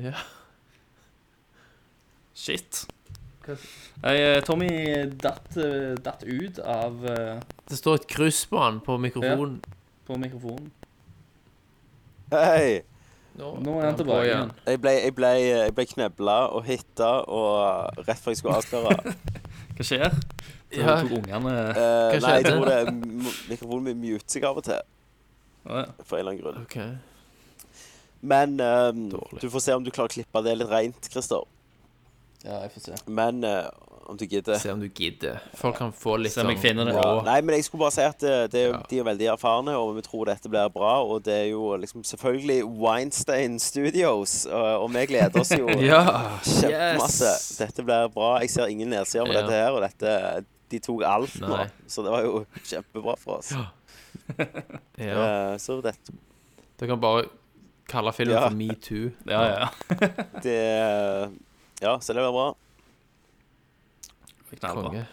Ja. Shit. Hva- Nei, eh, Tommy datt, eh, datt ut av eh, Det står et kryss på han på mikrofonen. på mikrofonen. Hei! Nå er han tilbake igjen. Jeg ble, jeg ble, jeg ble knebla og hitta og rett før jeg skulle avsløre. Hva skjer? Ja. Tok ungene Eh, Hva nei, jeg skjedde? tror det er m- mikrofonen min muter seg av og til, Å, ja. for en eller annen grunn. OK. Men ehm, Dårlig. du får se om du klarer å klippe det litt reint, Christer. ja, jeg får se. Men eh, om du gidder. Se om du gidder. Folk kan få litt sånn- Se om jeg finner det. Ja. raw- Nei, men jeg skulle bare si at eh, det, er jo- Ja. de er veldig erfarne, og vi tror dette blir bra. Og det er jo liksom selvfølgelig Weinstein Studios, og, og vi gleder oss jo Ja. kjempemasse. Yes. Dette blir bra. Jeg ser ingen nedsider med Ja. dette her, og dette De tok alt nå, Nei. så det var jo kjempebra for oss. ja. Eh, så dette Du kan bare kalle filmen Ja. for Metoo. Ja, ja. det, Ja, så det blir bra. Knallbra. Konge.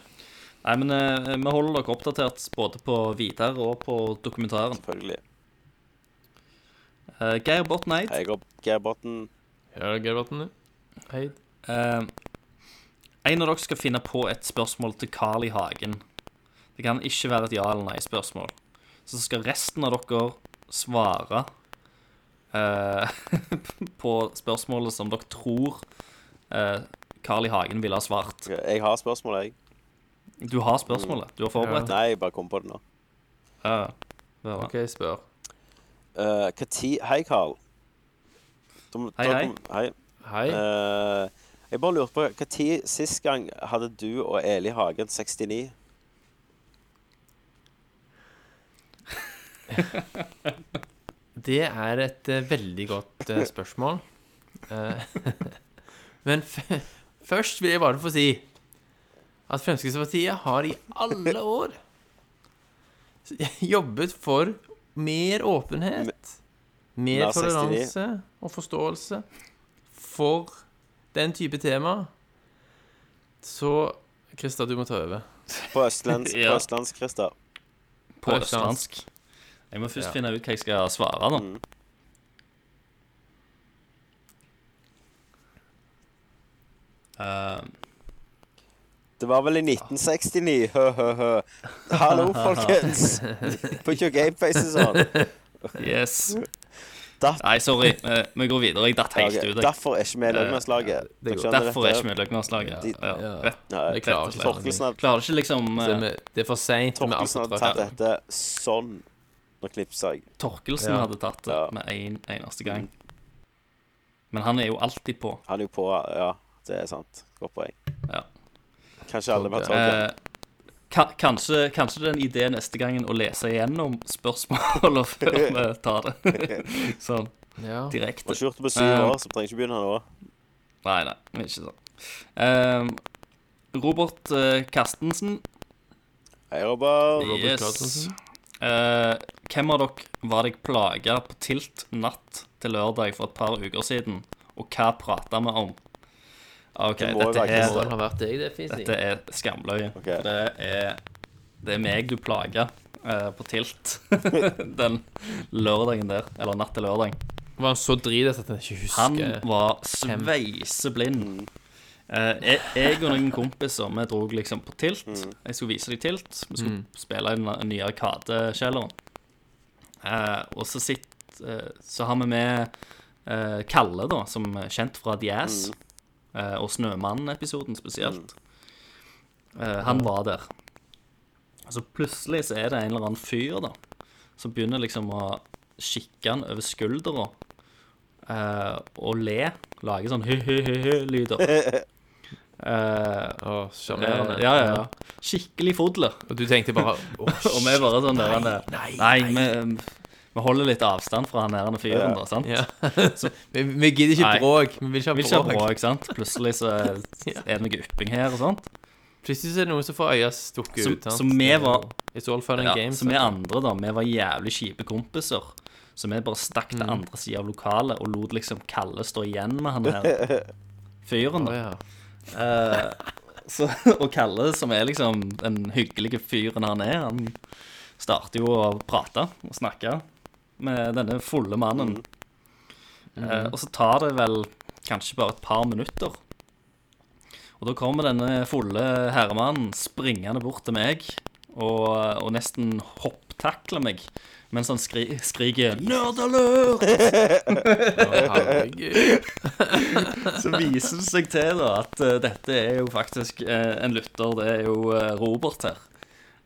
Nei, men eh, vi holder dere oppdatert både på Vidar og på dokumentaren. Selvfølgelig. Eh, Geir Botten Eid, Jeg og Gearbotn Ja, Gilberten. Hei. eh, en av dere skal finne på et spørsmål til Carl i Hagen. Det kan ikke være et ja eller nei-spørsmål. Så skal resten av dere svare eh, på spørsmålet som dere tror eh, Carl i Hagen ville ha svart. Jeg har spørsmålet, jeg. Du har spørsmålet. Du har forberedt det. Nei, jeg bare kom på det nå. Ja, ja. OK, spør. Eh, hva tid Hei, Carl. Du- Hei, da- hei. hei. Hei. Eh, jeg bare lurer på hva tid sist gang hadde du og Eli Hagen 69? Det er et eh, veldig godt eh, spørsmål. Eh, Men f først vil jeg bare få si at Fremskrittspartiet har i alle år jobbet for mer åpenhet, mer Mer 69. toleranse og forståelse for den type tema. Så Christer, du må ta over. På østlands, Ja. på østlands Christer. På Østlandsk. østlandsk. Jeg må først Ja. finne ut hva jeg skal svare, da. Mm. Eh, Det var vel i 1969, hø-hø-hø. Hallo, folkens. Put your game faces on. yes. Dat- Nei, sorry. eh, Vi går videre. Jeg datt helt Ok, ut. jeg. Derfor er ikke vi i Løgnerslaget. det går. Derfor er ikke vi i Løgnerslaget. De- Ja, Ja. rett- Det Nei, rett og klarer slett. ikke Torkelsen hadde, Klarer ikke liksom Så eh, vi- Det er for seint. med alt Torkelsen hadde for tatt trøtt. dette sånn. Nå knipser jeg. Torkelsen Ja. hadde tatt det Ja. med en eneste gang. Men han er jo alltid på. Han er jo på Ja, det er sant. Godt poeng. Ja. Kanskje alle var Ok. tolke. Eh, ka- kanskje, kanskje det er en idé neste gangen å lese igjennom spørsmålene før vi tar det. sånn Ja. direkte. Og skjorte på Eh, syv år, så trenger ikke begynne nå. Nei, nei, det er ikke sånn. Ehm, Robert eh, Carstensen. Hei, Robert. Robert yes. Carstensen. Eh, hvem av dere var deg plaga på Tilt natt til lørdag for et par uker siden, og hva prata vi om? Ah, OK, Det må jo dette være er, Det har vært deg, det, Fisi. dette er skamløye. Ok. For Det, er, det er meg du plaga eh, på Tilt den lørdagen der, eller natt til lørdag. Var han så drites at han ikke husker Han var sveiseblind. Eh, jeg, jeg og noen kompiser vi dro liksom på tilt. Jeg skulle vise dem tilt. Vi skulle spille i den nye Arkadekjelleren. Eh, og så, sitt, eh, så har vi med eh, Kalle, da, som er kjent fra Diaz. eh, og Snømannen-episoden spesielt. Eh, han var der. Så plutselig så er det en eller annen fyr, da, som begynner liksom å kikke han over skuldra eh, og le. Lage sånn hø-hø-hø-lyder. Å, ja, sjarmerende. Eh, ja, ja. Skikkelig fodler. Eh, Og du tenkte bare Å, Og vi er bare sånn der han er- Nei, vi, vi holder litt avstand fra han der fyren, da. sant? ja. vi, vi gidder ikke Nei. bråk. Vi vil ikke Vil ha ikke ha bråk. bråk, sant? Plutselig så er Ja. er det noe ypping her og sånt. Plutselig så er det noen som får øya stukket Så- ut. sant? Eh, så vi var- It's all fun and Ja, games. så vi andre, da, vi var jævlig kjipe kompiser. Så vi bare stakk til andre sida av lokalet og lot liksom Kalle stå igjen med han her fyren. Å, da. ja. Eh, så, og Kalle, som er liksom den hyggelige fyren han er, han starter jo å prate og snakke med denne fulle mannen. Eh, og så tar det vel kanskje bare et par minutter. Og da kommer denne fulle herremannen springende bort til meg og, og nesten hopptakler meg mens han skri skriker 'Nerdalør!' Å, herregud. Så viser det seg til da at eh, dette er jo faktisk eh, en lytter, det er jo eh, Robert her.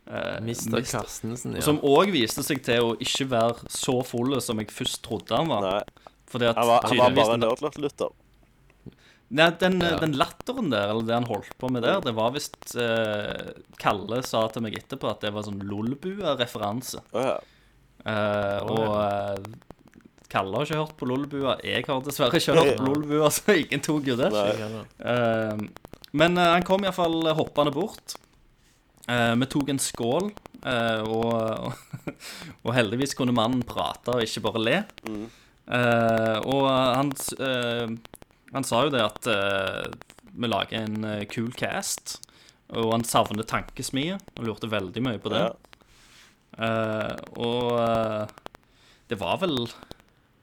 Eh, Mr. Mr. Carstensen, ja. Som òg viste seg til å ikke være så full som jeg først trodde han var. Nei, Fordi at han var, han var tydeligvis bare nerdlurt-lytter. Nei, den, den latteren der, eller det han holdt på med der, det var visst eh, Kalle sa til meg etterpå at det var sånn Lolbua-referanse. Åja. Eh, og eh, Kalle har ikke hørt på Lolbua. Jeg har dessverre ikke hørt på Lolbua, så ingen tok jo det. Nei. Eh, men eh, han kom iallfall hoppende bort. Eh, vi tok en skål, eh, og, og heldigvis kunne mannen prate og ikke bare le. Eh, og han, s- eh, han sa jo det at eh, vi lager en eh, kul cast, og han savner tankesmie. Han lurte veldig mye på det. Ja. Eh, og eh, det var vel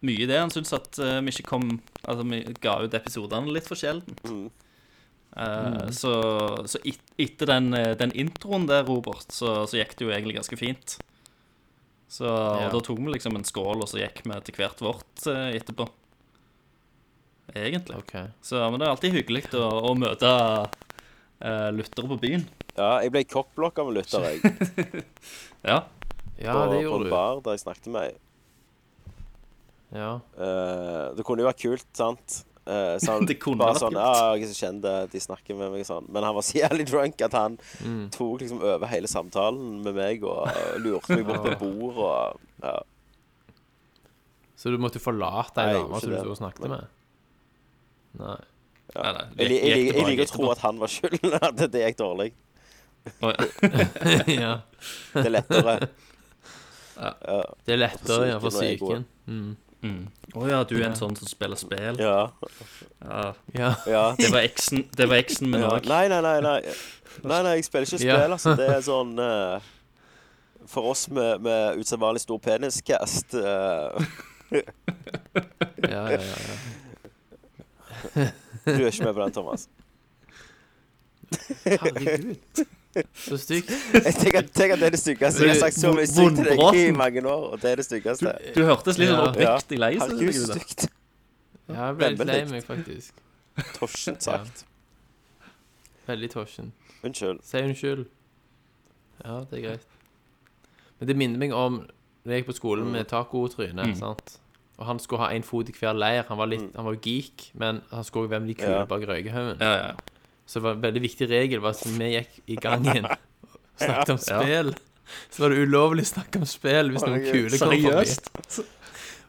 mye i det. Han syntes at eh, vi ikke kom Altså, vi ga ut episodene litt for sjelden. Mm. Eh, Så, så et, etter den, eh, den introen der, Robert, så, så gikk det jo egentlig ganske fint. Så og Ja. da tok vi liksom en skål, og så gikk vi til hvert vårt eh, etterpå. Egentlig. OK. Så, men det er alltid hyggelig å, å møte uh, lyttere på byen. ja, jeg ble cockblocka med lytter, jeg. Ja. Ja, på, det på en gjorde du. bar der jeg snakket med ei. Ja. Eh, det kunne jo vært kult, sant? Eh, så han Det kunne bare vært sånn, kult. Ja, jeg er så kjent, det, de snakker med meg og sånn. Men han var så jævlig drunk at han tok liksom over hele samtalen med meg og lurte meg bort på bord og ja. Så du måtte forlate Nei, ei jeg gjorde dame som du ikke sto og det. snakket med? Nei. Nei, nei, Jeg, gikk- jeg, jeg, gikk det bra, liker å gikk det tro bra? at han var skylden at det gikk dårlig. Å, ja. ja. Det er lettere. Det er lettere ja, for For psyken og psyken. Å ja, du er en sånn som spiller spill. Ja. Ja. Ja. ja. Det var eksen, det var eksen min ja. òg. Nei, nei, nei, nei. Nei, nei, jeg spiller ikke Ja. spill, altså. Det er sånn eh, For oss med, med usedvanlig stor peniskast eh, Ja, ja, ja, ja. Du er ikke med på den, Thomas. Herregud. Så stygt. Jeg tenker, tenker at det er det styggeste. Jeg har sagt så mye stygt til deg i Vondbråten. mange år, og det er det styggeste. Du hørtes litt sånn Ja. oppriktig lei seg Herregud, så ut. da. stygt. Ja, jeg ble litt lei Veldig. meg, faktisk. Torsent sagt. Veldig tosjen. Unnskyld. Si unnskyld. Ja, det er greit. Men det minner meg om da jeg gikk på skolen med tacotryne. Mm. sant? Og han skulle ha én fot i hver leir. Han var litt, han var geek, men han så hvem de kule Ja. bak røykehaugen. Ja, ja. Så det var en veldig viktig regel var at vi gikk i gangen og snakket om spill. Så var det ulovlig å snakke om spill hvis noen Herregud, kule kom forbi. Seriøst?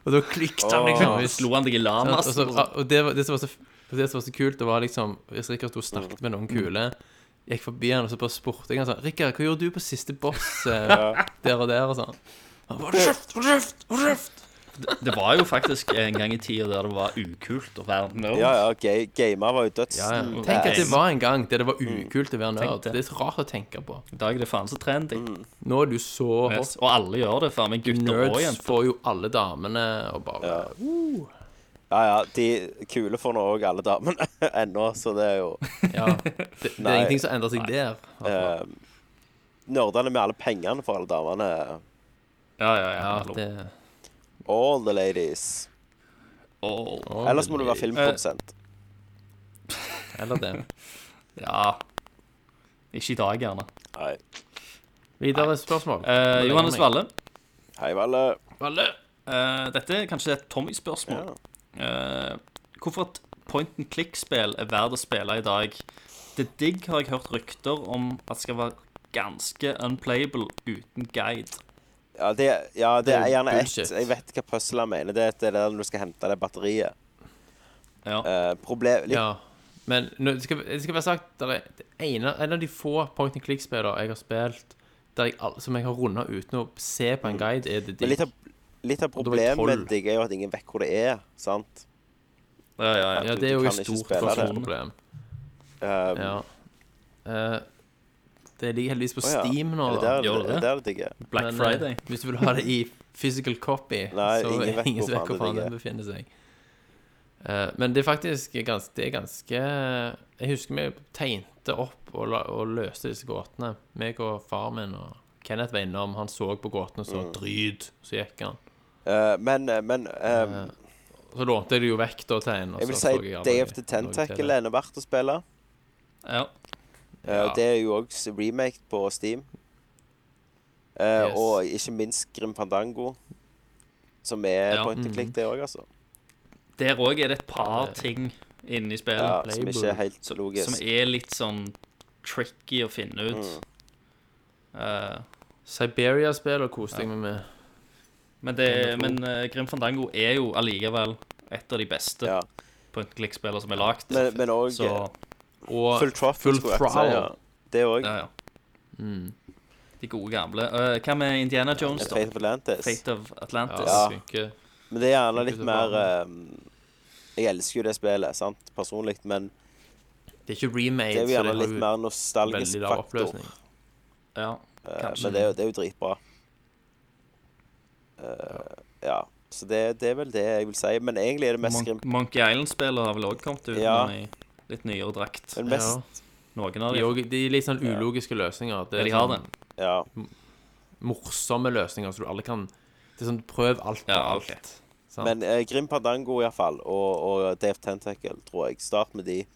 Og da klikket han liksom. Vi hvis- slo han deg i altså. Sant? lamas. Og, så, altså, og det, var, det, som var så, og det som var så kult, det var liksom Hvis Rikard sto og snakket med noen kule, gikk forbi han, og så bare spurte jeg han sånn 'Rikard, hva gjorde du på siste boss eh, der og der?' og sånn. Han bare kjeft, hold kjeft, hold kjeft! Det var jo faktisk en gang i tida der det var ukult å være nerd. Ja, ja, ga- gamer var jo dødsen. Ja, ja. Tenk at det var en gang der det var ukult å være Mm. Tenk nerd. det. Det er så rart å tenke på. I dag er det faen så trendy. Mm. Nå er du så Yes. hot. Og alle gjør det, faen meg. Gutter og Nerds jenter. får jo alle damene og bare Ja, ja. De kule får nå òg alle damene ennå, så det er jo Ja. Det, det er ingenting som endrer seg der. eh, Nerdene med alle pengene for alle damene. Ja, ja, ja. Ja, hallo. det All the ladies. Åh, å, Ellers må du men- være filmprodusent. Eller det. Ja. Ikke i dag, gjerne. Nei. Videre spørsmål. Eh, Johannes Valle, Hei, Valle. Valle. eh, dette er kanskje et Tommy-spørsmål. Ja. Eh, hvorfor et point and click-spill er verdt å spille i dag? Det digg har jeg hørt rykter om at skal være ganske unplayable uten guide. Ja, det, ja, det Det er er gjerne ett. bullshit. Jeg vet hva puzzlet mener. Det er det der når du skal hente det batteriet. Ja. Eh, problem litt, Ja. Men nå, det, skal, det skal være sagt der er det ene, En av de få point and click-spillene jeg har spilt der jeg, all- som jeg har runda uten å se på en guide, er det men litt, digg. av, litt av Og da var jeg problemet med tolv. digg er jo at ingen vet hvor det er. sant? Ja, ja, ja. Ja, det Du er jo kan et ikke stort spille det. problem. Eh, Ja. Eh, det ligger heldigvis på Å ja. Steam nå, er det da. der, Gjør det er det? det der det digg er? Black Men, eh, Friday. hvis du vil ha det i physical copy, Nei, så ingen er vet det ingen som hvor vet hvor faen faen det den befinner seg. Eh, men det er faktisk ganske, det er ganske Jeg husker vi tegnte opp og, la, og løste disse gåtene. Meg og far min og Kenneth var innom. Han så på gåtene og så Mm. dryd. Så gikk han. Eh, men eh, men eh, altså, Så lånte jeg det jo vekk da til en. og jeg vil så si så jeg aldri Day of the noe til Tentacle det. er ennå verdt å spille. Ja. Eh, og Det er jo også remake på Steam. Eh, Yes. Og ikke minst Grim Fandango, som er Ja. point and click, det òg, altså. Der òg er det et par ting inni spillet. Ja, som ikke er helt Så- logisk. Som er litt sånn tricky å finne ut. Mm. Eh, Siberia-spill og koste jeg meg med. men det, men eh, Grim Fandango er jo allikevel et av de beste Ja. point and click-spillene som er lagd. Men- men også- Så Og Full throttle, Full skulle jeg ikke si, throttle. ja. Det òg. ja, ja. mm, De gode gamle. Eh, hva med Indiana Jones, da? Fate of Atlantis. Fate of Atlantis. Ja. ja, funker. Men det er gjerne litt Ikke så mer bra. ehm, Jeg elsker jo det spillet, sant, personlig, men Det er ikke remade, det er jo så gjerne litt har mer jo nostalgisk veldig lav faktor. oppløsning. Ja. Eh, kanskje. men det er, jo- det er jo dritbra. Eh, ja. Så det, det er vel det jeg vil si. Men egentlig er det mest Grim Mon Monkey Island-spillet har vel òg kommet ut Ja. nå i litt nyere drakt. Men mest Noen av De, dem. og- de er litt sånn ulogiske løsninger. Det Ja, er de har det. sånn Ja. morsomme løsninger, så du alle kan Det er sånn prøv alt på Ja, alt. ok. sant? Men eh, Grim Pandango iallfall, og, og Dave Tentacle, tror jeg. Start med de.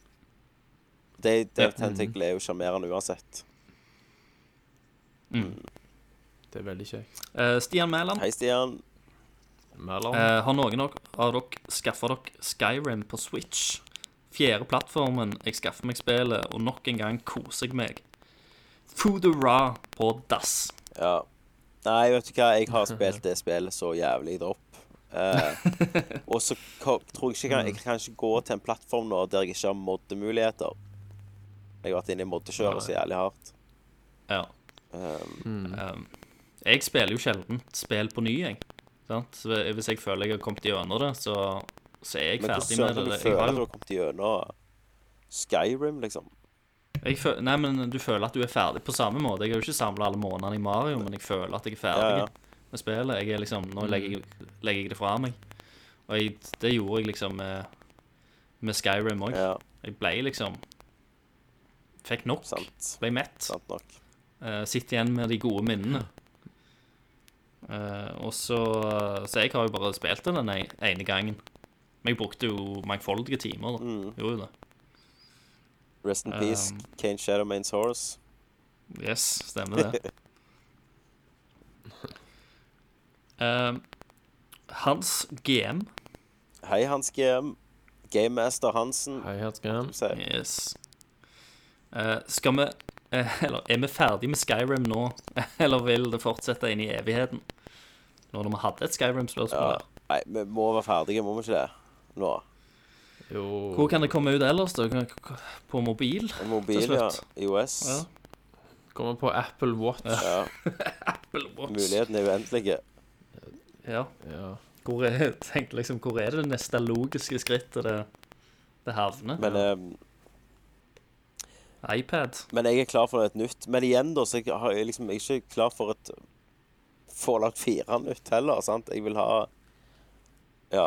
de Dave Ja. Tentacle er jo sjarmerende uansett. Det er veldig kjekt. Eh, Stian Mæland, Hei, Stian. Mellom eh, har noen av av dere skaffa dere Skyrim på Switch? Fjerde plattformen, jeg skaffer meg spillet, og nok en gang koser jeg meg. Foodora på dass. Ja. Nei, vet du hva, jeg har spilt det spillet så jævlig dropp. Eh, og så ko- tror jeg ikke jeg kan, jeg kan ikke gå til en plattform nå der jeg ikke har moddemuligheter. Jeg har vært inne i moddekjøret så jævlig hardt. Ehm, Ja. Um, jeg spiller jo sjelden spill på ny, jeg. Sant? Så Hvis jeg føler jeg har kommet gjennom det, så, så er jeg Men ferdig hvordan med søren det. du Jeg føler har du jo har kommet gjennom Skyrim, liksom? Jeg føl Nei, men du føler at du er ferdig på samme måte. Jeg har jo ikke samla alle månedene i Mario, men jeg føler at jeg er ferdig Ja, Mm. ja. med spillet. Jeg er liksom, nå legger jeg, legger jeg det fra meg. Og jeg, det gjorde jeg liksom med, med Skyrim òg. Ja, Jeg ble liksom Fikk nok. sant. Ble mett. Sant nok. Uh, Sitter igjen med de gode minnene. Eh, og så Så jeg har jo bare spilt det den e- ene gangen. Men jeg brukte jo mangfoldige timer, da. Mm. Gjorde jo det. Rest in peace, Um, Kane Shadowmanes Horse. Yes, stemmer det. Ehm, Hans GM Hei, Hans GM. Gamemaster Hansen. Hei, her skal han. sier jeg. Yes. Eh, skal vi eh, Eller er vi ferdig med Skyrim nå, eller vil det fortsette inn i evigheten? Nå når vi hadde et Skyrim-spørsmål Ja. her. Nei, vi må være ferdige, må vi ikke det? Nå. Hvor Jo kan det komme ut ellers? da? Kan- kan- På mobil? Mobil, Til ja. slutt. IOS. Ja. Kommer på Apple Watch. Ja. Apple Watch. Mulighetene er uendelige. Ja. Ja. Hvor er, tenk liksom, hvor er det neste logiske skrittet det, det havner? Men, eh, iPad? men jeg er klar for et nytt. Men igjen, da, så jeg har jeg liksom jeg er ikke klar for et Fallout 4 nytt heller. sant? Jeg vil ha Ja.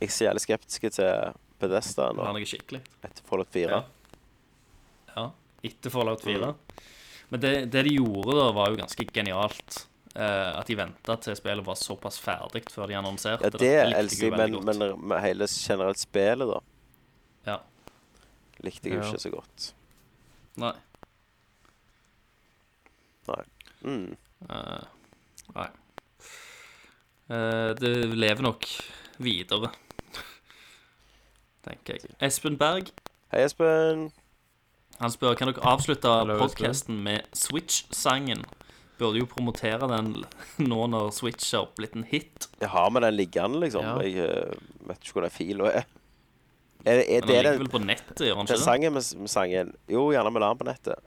Jeg er så jævlig skeptisk til Bedesta Det nå, er noe skikkelig. etter Fallout 4. Ja, etter Fallout 4. Men det, det de gjorde da, var jo ganske genialt. eh, at de venta til spillet var såpass ferdig før de annonserte Ja, det likte elsker jeg, jo veldig godt. men, men med hele generelt spillet, da, Ja. likte jeg jo Ja. ikke så godt. Nei. Nei. Mm. Eh, nei. Eh, det lever nok videre, tenker jeg. Espen Berg Hei, Espen. han spør kan dere avslutte Hallo, Espen. podkasten med Switch-sangen. Burde jo promotere den nå når Switch er blitt en hit. Jeg har med den liggende, liksom. Ja. Jeg eh, vet ikke hvor den fila er. Er, det- Men den er det ligger den, vel på nettet, gjør den den ikke det? sangen med, med sangen? Jo, gjerne vi la den på nettet.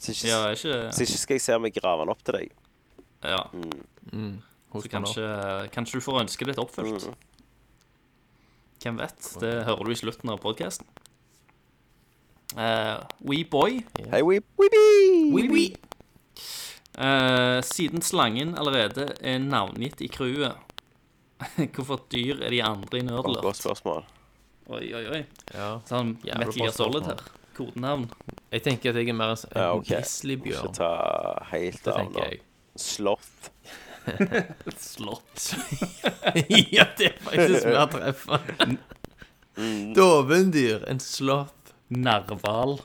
Så ikke, Ja, er ikke så ikke skal jeg se om jeg graver den opp til deg. Ja, Hos så kanskje, kanskje du får ønsket ditt oppfylt. Mm. Hvem vet? Det hører du i slutten av podkasten. Uh, Weboy Hei, weep, weepy! Eh, siden slangen allerede er navngitt i crewet, hvorfor dyr er de andre i Åh, Godt Nerdlert? spørsmål. Oi, oi, oi. Ja. Sånn Jævla Metal Gear bra Solid spørsmål. her. Kodenavn. Jeg tenker at jeg er mer en Ja, en OK. Må Ikke grizzlybjørn. ta helt Det av nå. tenker jeg. Sloth. Slott. ja, det er sånn faktisk mer treffende. Mm. Dovendyr. En sloth. Narval.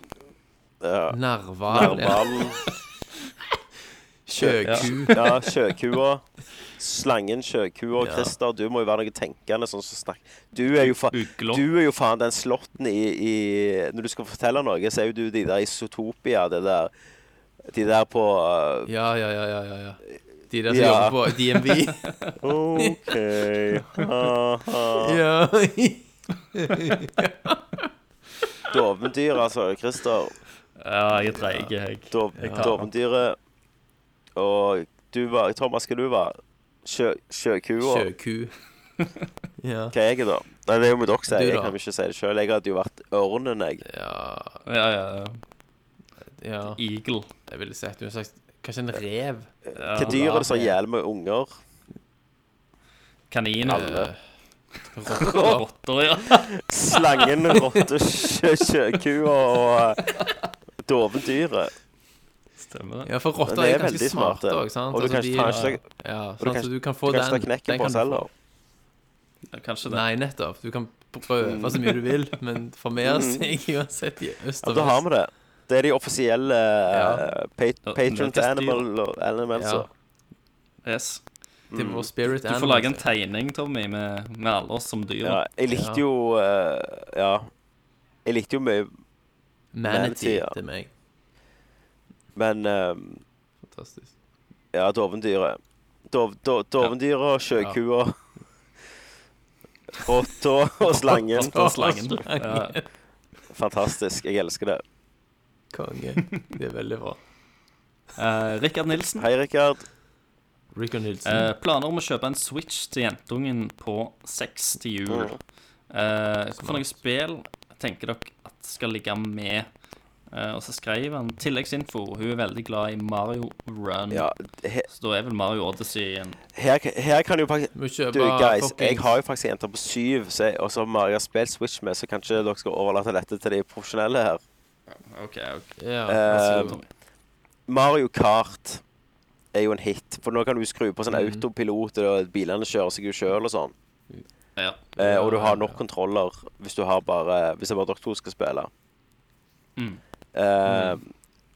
Ja. Narval. Narvalen. Sjøku. Ja, sjøkua. Slangen, sjøkua og Ja. Christer, du må jo være noe tenkende sånn som snakker. Du er jo, fa Uglå. du er jo faen den slåtten i, i Når du skal fortelle noe, så er jo du de der isotopia, det der De der på uh, Ja, ja, ja, ja, ja, ja. De der som Ja. jobber på DMV. OK ha-ha. ja. Dovendyr, altså, Christer. Ja, jeg er treig, jeg. Dov Jeg tar Dovendyret. Og du var Thomas, hva du var? Sjø sjøkua? Sjøku. Ja. Hva er jeg, da? Nei, det er jo med dere, sier Du jeg. da? Jeg kan jo ikke si det sjøl. Jeg hadde jo vært ørnen, jeg. ja. Ja, ja, ja. Ja. Eagle. Jeg ville sett en slags Kanskje en rev? Ja. Hva dyr er det som har hjelm med unger? Kaniner. Eh, rotter. Rotter, ja. Slangen, rotte, sjø- sjøkua og eh, dovendyret. Stemmer det. Ja, for rotter Men de er er ganske veldig smarte smarte. òg, sant? Altså, Og du kan de- ta en slag- Ja, du sant? kan- så du kan få du kan den. ta knekken den på kan oss du få. heller. Ja, kanskje det. Nei, nettopp. Du kan Mm. prøve så mye du vil, men formere seg uansett i øst Ja, og da har vi det. Det er de offisielle Ja. uh, Ja, patron nøkkeldyr. to animal og elements. Ja. og- Yes. Det er Mm. vår spirit Du får lage en tegning, Tommy, med, med alle oss som dyr. Ja, jeg likte Ja. jo eh, Ja. Jeg likte jo mye, Manatee, Manatee ja. til meg. men eh, Fantastisk. Ja, dovendyret. Dov, do, dovendyret, sjøkua Rotta og slangen. Og slangen. Og slangen. Ja. Fantastisk. Jeg elsker det. Konge. Det er veldig bra. Eh, Rikard Nilsen. Hei, Rikard. Rick og Nilsen. Eh, planer om å kjøpe en Switch til jentungen på seks til jul. Eh, for noen spill tenker dere at skal ligge med? Eh, og så skrev han tilleggsinfo. Hun er veldig glad i Mario Run. Ja, he, Så da er vel Mario Odyssey en her, her kan jo faktisk Må kjøpe Du, guys, fucking- jeg har jo faktisk jenter på syv, så jeg, og som Maria har spilt Switch med, så kanskje dere skal overlate dette til de profesjonelle her. OK, ok. ja, Eh, vær så god. Tommy. Mario Kart er jo en hit, for nå kan du skru på sånn autopilot, og bilene kjører seg jo sjøl og sånn. Ja. Eh, og du har nok Ja. kontroller hvis du har bare Hvis det bare dere to skal spille. Mm. Eh,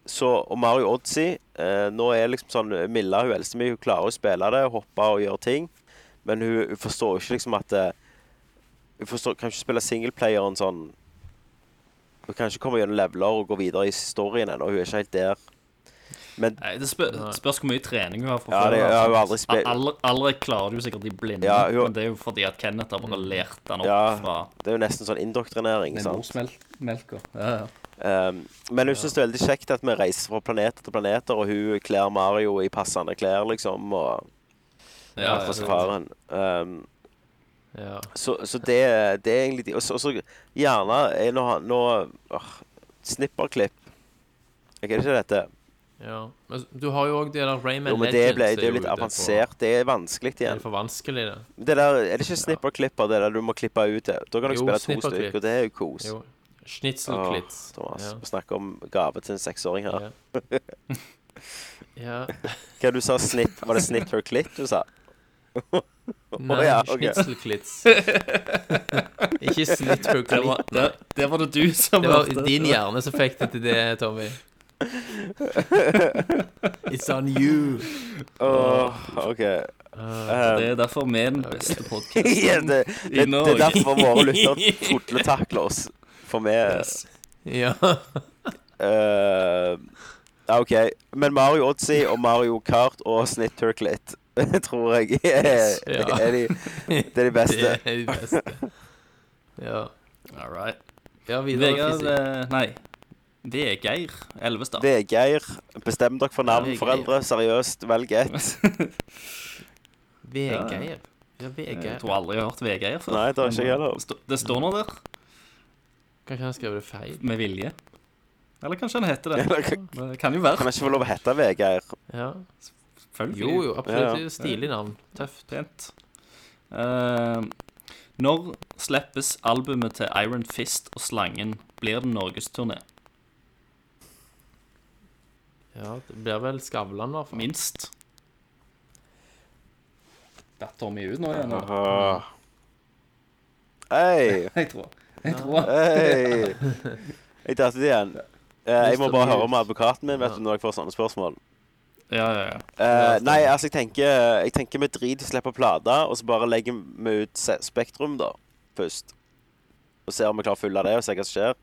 Så og Mario Odyssey eh, Nå er det liksom sånn Milla, hun eldste mi, hun klarer å spille det, hoppe og gjøre ting, men hun, hun forstår jo ikke liksom at eh, Hun forstår, kan ikke spille singleplayeren sånn Hun kan ikke komme gjennom leveler og gå videre i historien ennå, hun er ikke helt der. Men Nei, det spør, Nei. spørs hvor mye trening hun har fra Ja, det- altså. jeg har jo aldri spilt- Alle, alle klarer det jo sikkert i blinde, Ja, jo. men det er jo fordi at Kenneth har bare lært den opp Ja, fra det er jo nesten sånn indoktrinering. sant? morsmelka. Ja, ja. Um, men hun synes det er veldig kjekt at vi reiser fra planet til planeter, og hun kler Mario i passende klær, liksom, og Ja, ja, ja, faren. Um, Ja. så, så det, det er egentlig de- Og så og så gjerne er nå, nå åh, Snipperklipp. Jeg er ikke dette. ja. Men du har jo òg det der Rayman Jo, men det, Legends. ble, er det er jo jo litt ute på- avansert. Det er vanskelig Det er igjen. for vanskelig, det. Det der, er det ikke snipperklipper det der du må klippe ut det? Da kan du Jo, spille to snipperklipp. stykker, og det er jo kos. Jo. Schnitzelklitz. Åh, Thomas, Ja. vi snakker om gave til en seksåring her. Ja. ja. Hva du sa snipp? Var det snipperklipp du sa? Nei, ja, ok. schnitzelklitz. Ikke snitperklitz. Det, var, det, det var det du som Det var hørte. din hjerne som fikk det til det, Tommy. It's on you. Åh, OK. Um, Det er derfor vi er den beste podkasten. ja, det, det, det Norge. er derfor våre lyttere fotletakler oss. For vi Ja. eh, ja, OK. Men Mario Odyssey og Mario Kart og Snitt Turklet tror jeg er, Ja. er de, det er de Det beste. er det beste. Ja. All right. Ja, videre. Vegard Fisi. eh, Nei. Vegeir Elvestad. Veggeir. Bestem dere for navn, Veggeir. foreldre. Seriøst, velg ett. Vegard. Ja, Jeg Vegard. tror aldri jeg har hørt Vegeir før. Nei, det har ikke jeg heller. Det sto- Det står nå der, Kanskje han skrev det feil? med vilje. Eller kanskje han heter det. Eller kan Det kan jo være. kan jeg ikke få lov å hete Veggeir? Ja. Selvfølgelig. Jo, jo, Ja, ja. absolutt. Stilig navn. Tøft. Pent. Eh, når slippes albumet til Iron Fist og Slangen? Blir det norgesturné? Ja, det blir vel Skavlan, i hvert fall. Minst. Datt Tommy ut nå igjen? nå? Ah. Hei! Jeg tror Jeg tror Hei! Jeg datt ut igjen. Eh, jeg må bare høre med advokaten min vet du, når jeg får sånne spørsmål. Ja, ja, ja. Eh, nei, altså, jeg tenker, jeg tenker vi driter i å slippe plata, og så bare legger vi ut Se- Spektrum, da, først. Og ser om vi klarer å fylle det, og se hva som skjer.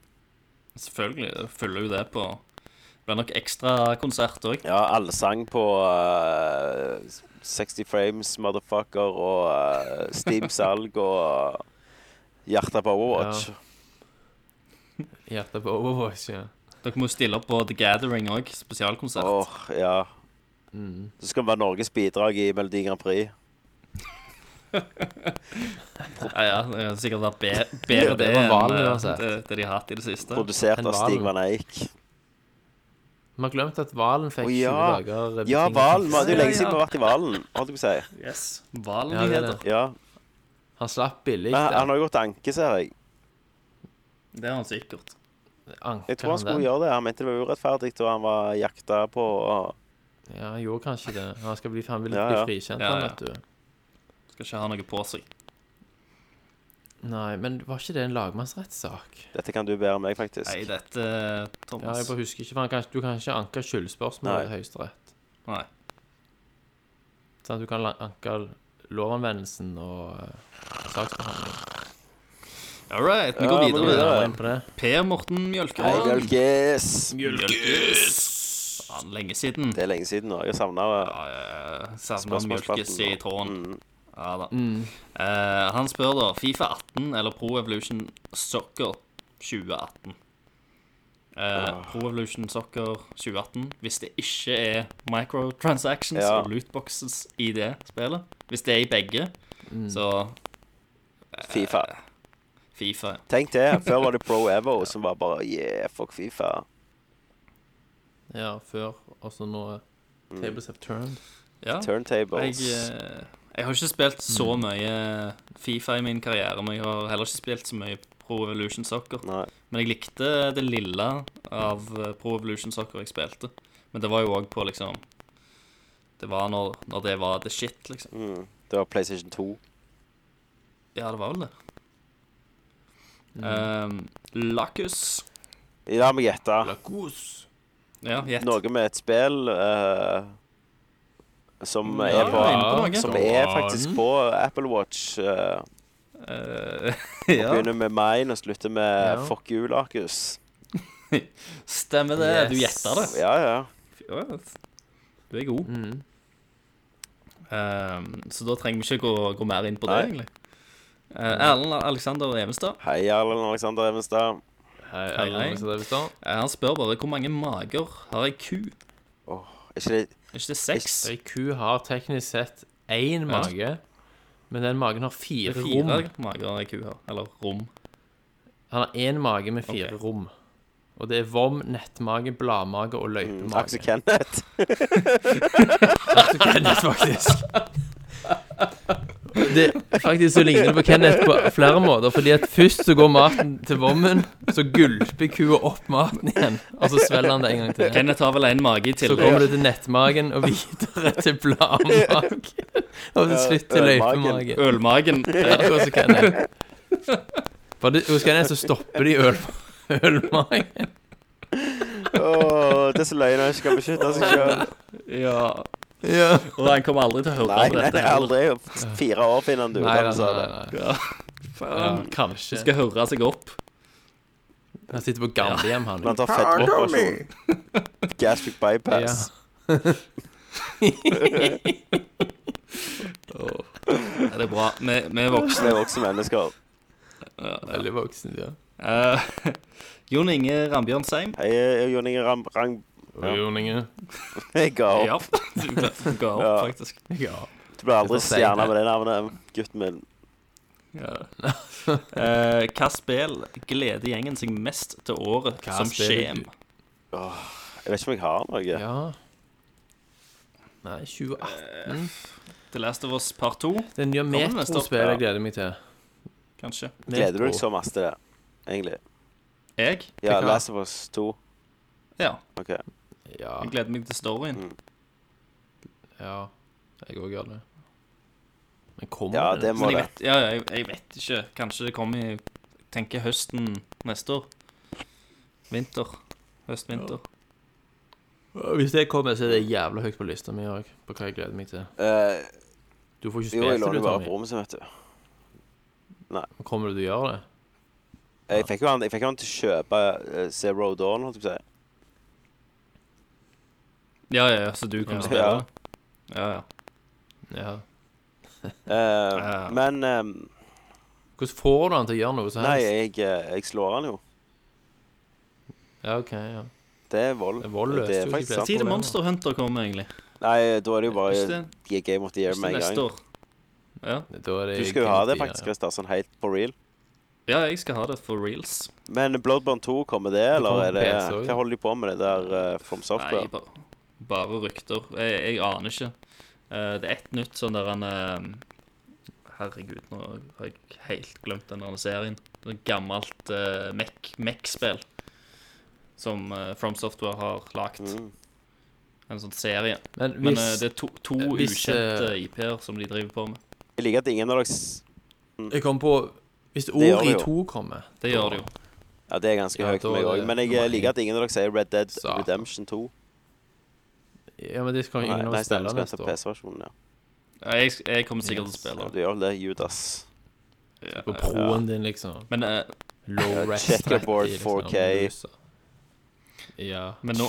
Selvfølgelig det følger jo det på Det blir nok ekstra konsert òg. Ja, allsang på eh, 60 Frames, Motherfucker, og eh, Steam Salg og eh, Hjertet på Overwatch. Hjertet på Overwatch, ja. Dere må jo stille opp på The Gathering òg, spesialkonsert. Åh, ja. Så skal det være Norges bidrag i Melodi Grand Prix. Ja, ja, det har sikkert vært be bedre det var enn valen eh, uansett. det, det de har hatt i det siste. Produsert En av Valen. Stig Van Eijk. Vi har glemt at Valen fikk Å, 20 ja. dager eh, Ja, betinget Valen. fengsel. Det er jo Ja, ja, lenge siden vi har vært i Valen, holdt jeg på å si. Yes. Ja, det er Valnyheter. det. Ja. Han slapp billig. Men der. han har jo gått anke, ser jeg. det har han sikkert. Anker Jeg tror han skulle den? gjøre det. Han mente det var urettferdig da han var jakta på. og- Ja, han gjorde kanskje det. Han, skal bli, han vil Ja, bli ja. frikjent, Ja, ja. han, vet du. Skal ikke ha noe på seg. Nei, men var ikke det en lagmannsrettssak? Dette kan du bedre enn meg, Nei, faktisk. dette, eh, Ja, jeg Thomas bare husker ikke, for han kan, Du kan ikke anke skyldspørsmål i Nei. Høyesterett. Nei. Sant? Du kan la- anke lovanvendelsen og eh, saksbehandling. All right, vi Ja, går vi går videre. videre. Nærmere inn på det. Per Morten Hei, Mjølkeland. Mjølkes. Mjølkes! Faen, lenge siden. Det er lenge siden nå. Jeg eh, savna Savna Mjølkes i tråden. Mm. Ja da. Eh, han spør da Fifa 18 eller Pro Evolution Soccer 2018. Eh, Ah. Pro Evolution Soccer 2018 Hvis det ikke er microtransactions Ja. og lootboxes i det spillet Hvis det er i begge, så Fifa. Fifa. Tenk det. Før var det Pro Evo som var bare Yeah, fuck Fifa. Ja, før. Og så nå eh, Mm. Tables have turned. Ja. Jeg, Turntables. eh, jeg har ikke spilt så mye Fifa i min karriere, men jeg har heller ikke spilt så mye Pro Evolution Soccer. Nei. Men jeg likte det lille av eh, Pro Evolution Soccer jeg spilte. Men det var jo òg på liksom Det var når, når det var the shit, liksom. Mm. Det var PlayStation 2. Ja, det var vel det. Um, Lacus. La meg gjette. Lacus. Ja, gjett. Noe med et spill eh, Mm. som Ja, er du er på inne på noe. Som er faktisk på Apple Watch. eh, Eh, og ja, Begynner med mine og slutter med Ja. fuck you, Larkus. stemmer det. Du Yes. gjetta det. Ja, ja. Ja, altså. Du er god. Mm. Um, så da trenger vi ikke gå, gå mer inn på det, Nei. egentlig. Eh, Erlend Alexander Evenstad Hei, Erlend Alexander Evenstad. Hei, Hei, alle hei. som er sånn. bestått. eh, han spør bare hvor mange mager har ei ku? Er ikke det Er ikke det seks? Ei ku har teknisk sett én mage, men den magen har fire, Det er rom. Fire mager ei ku har. Eller rom. Han har én mage med fire Ok. rom. Og det er vom, nettmage, bladmage og løypemage. Mm, Aksel Kenneth? Aksel Kenneth, faktisk. Det, faktisk så ligner det på Kenneth på flere måter. Fordi at først så går maten til vommen, så gulper kua opp maten igjen. Og så svelger han det en gang til. Kenneth har vel en mage i Så tillegg. kommer det til nettmagen, og videre til bladmagen. Og til slutt til ølmagen. løypemagen. Ølmagen. Ja, det går så kan jeg. For det, hos Kenneth så stopper de øl, ølmagen. Åh, det er så løgn når jeg ikke kan beskytte seg sjøl. Ja. Ja. Og han kommer aldri til å høre Nei, på nei, dette. nei, aldri. Fire år finner han altså. det ut. Nei, av, nei, sa det. nei, nei. Ja, Ja, faen. kanskje. Skal høre seg opp. Han sitter på gamlehjem, han. Men han tar fettoperasjon. Gastric bypass. Ja, det er bra. Vi, vi er voksne. Vi er voksne mennesker. Veldig voksen, ja. Eh, Jon Inge Rambjørnsheim. Hei, eh, Jon Inge Ram... Rang... Ja. Joninge. Jeg ga opp. Ja, du ga opp, Ja. faktisk. Ja. Du blir aldri Det får si stjerne det. med det navnet, gutten min. Ja. Eh, hva spill gleder gjengen seg mest til året Hva som spill skjem? du- Jeg vet ikke om jeg har noe. ja. Nei, 2018 The Last of Us Part 2, Det det nye neste år? metrospillet jeg gleder meg til. kanskje? Gleder du deg så masse til det, egentlig? Jeg? Ja, Til hva? Last of Us 2. Ja. OK. Ja. Jeg gleder meg til storyen. Mm, ja. Jeg òg gjør det. Men kommer Ja, det den? må Men jeg det. vet, ja, ja, jeg, jeg vet ikke. Kanskje det kommer i jeg tenker høsten neste år. Vinter. Høst-vinter. Og Hvis det kommer, så er det jævla høyt på lista mi òg, på hva jeg gleder meg til. Eh, Du får jo, jeg ikke spilt det, låner du, bare på Tommy. rommet sitt, vet du. Kommer du til å gjøre det? Jeg fikk jo han, jeg fikk jo han til å kjøpe eh, Zero Dawn, holdt jeg på å si. Ja, ja, ja, så du kommer Ja. til å spille? det? Ja, ja. Ja. Eh, Ja. Men eh, Hvordan får du han til å gjøre noe som Nei, helst? jeg, eh, jeg slår han jo. Ja, ok, ja. Det er vold. Det er vold, Det løser er jo faktisk ikke sant. flest. Si det problemer. Monster Hunter kommer, egentlig. Nei, da er det jo Hvis bare det, eh, Game of the Year hvis det med er en neste gang. år. Ja. Da er det Du skal jo ha det Guilty, faktisk, ja. Christer, sånn helt på real. ja, jeg skal ha det for reals. Men Bloodborne 2, kommer det, eller kommer er på det PC også, ja. Hva holder de på med det der eh, From Software? Nei, bare, bare rykter. Jeg, jeg aner ikke. Eh, det er ett nytt sånn der han eh, Herregud, nå har jeg helt glemt den der serien. Det er et gammelt uh, Mech-spill som eh, From Software har lagd. Mm. En sånn serie. Men Men hvis eh, det er to, to eh, hvis, ukjente eh, IP-er som de driver på med. Jeg liker at ingen av dere s- Jeg kom på Hvis gjør det ordet i jo. to kommer Det gjør de jo. Ja, det er ganske Ja, høyt da for meg er òg. det Men jeg nummer eh, liker én. at ingen av dere sier Red Dead Satan. Redemption 2. Ja, men det skal Nei, jo ingen av nei oss spille stemmer. Skal neste ta år. PC-versjonen, ja. Ja, Jeg, jeg kommer sikkert Yes. til å ja. spille Du gjør vel det, Judas. det. På proen din, liksom. Men, eh, Low rest. checkerboard 30, 4K. loser. Ja. men nå,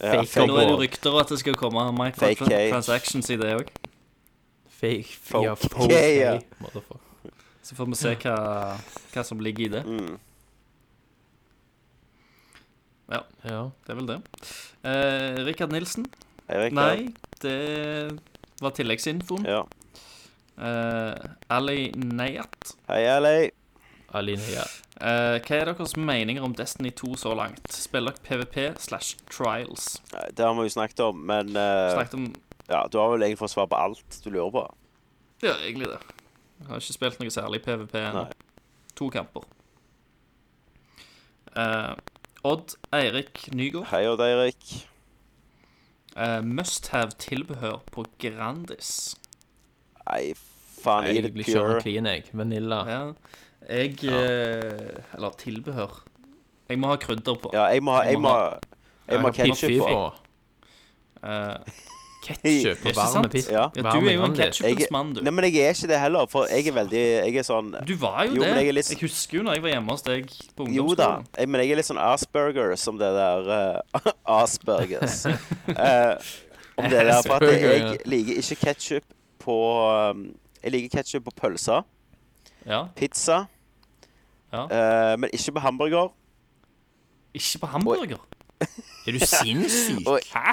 Ja, Fake nå er det board. jo rykter at det skal komme Fake cake. microtransactions i det òg. Fake Folk- ja, folk- Ja, ja. Motherfucker. Så får vi se hva, hva som ligger i det. Mm. Ja. Det er vel det. Eh, Rikard Nilsen. Eirik, Nei, det var tilleggsinfoen. Ja. Eh, Ali Neyat. Hei, LA. Aline, ja. Eh, hva er deres meninger om Destiny 2 så langt? Spiller dere PVP slash Trials? Nei, Det har vi jo snakket om, men eh, Snakket om ja, du har vel egentlig fått svar på alt du lurer på. Ja, egentlig det. Jeg har ikke spilt noe særlig PVP ennå. Nei. To kamper. Eh, Odd Eirik Nygaard. Hei Odd Eirik. Eh, must have tilbehør på Grandis. Nei, faen, Jeg i er det egentlig pure. kjører clean, jeg. Vanilla. Ja. Jeg eh, Eller tilbehør. Jeg må ha krydder på. Ja, jeg må ha Jeg må ha jeg må ha ketchup Piffi på. Eh, Ketsjup på Ikke varme sant? pizza. Ja. ja, Varm du er jo en Grandis. Jeg, ketsjupens mann, du. nei, men jeg er ikke det heller, for jeg er veldig Jeg er sånn Du var jo, Jo, det. men jeg er Jeg, litt- husker jo når jeg var hjemme hos deg på Jo da, ungdomsskolen. jeg, men jeg er litt sånn Asperger som det der eh, Aspergers. Eh, om det der for at jeg, Asperger, ja. liker ikke ketsjup på um, Jeg liker ketsjup på pølser, Ja. pizza, Ja. eh, men ikke på hamburger. Ikke på hamburger. Er du sinnssyk? Oi. Hæ?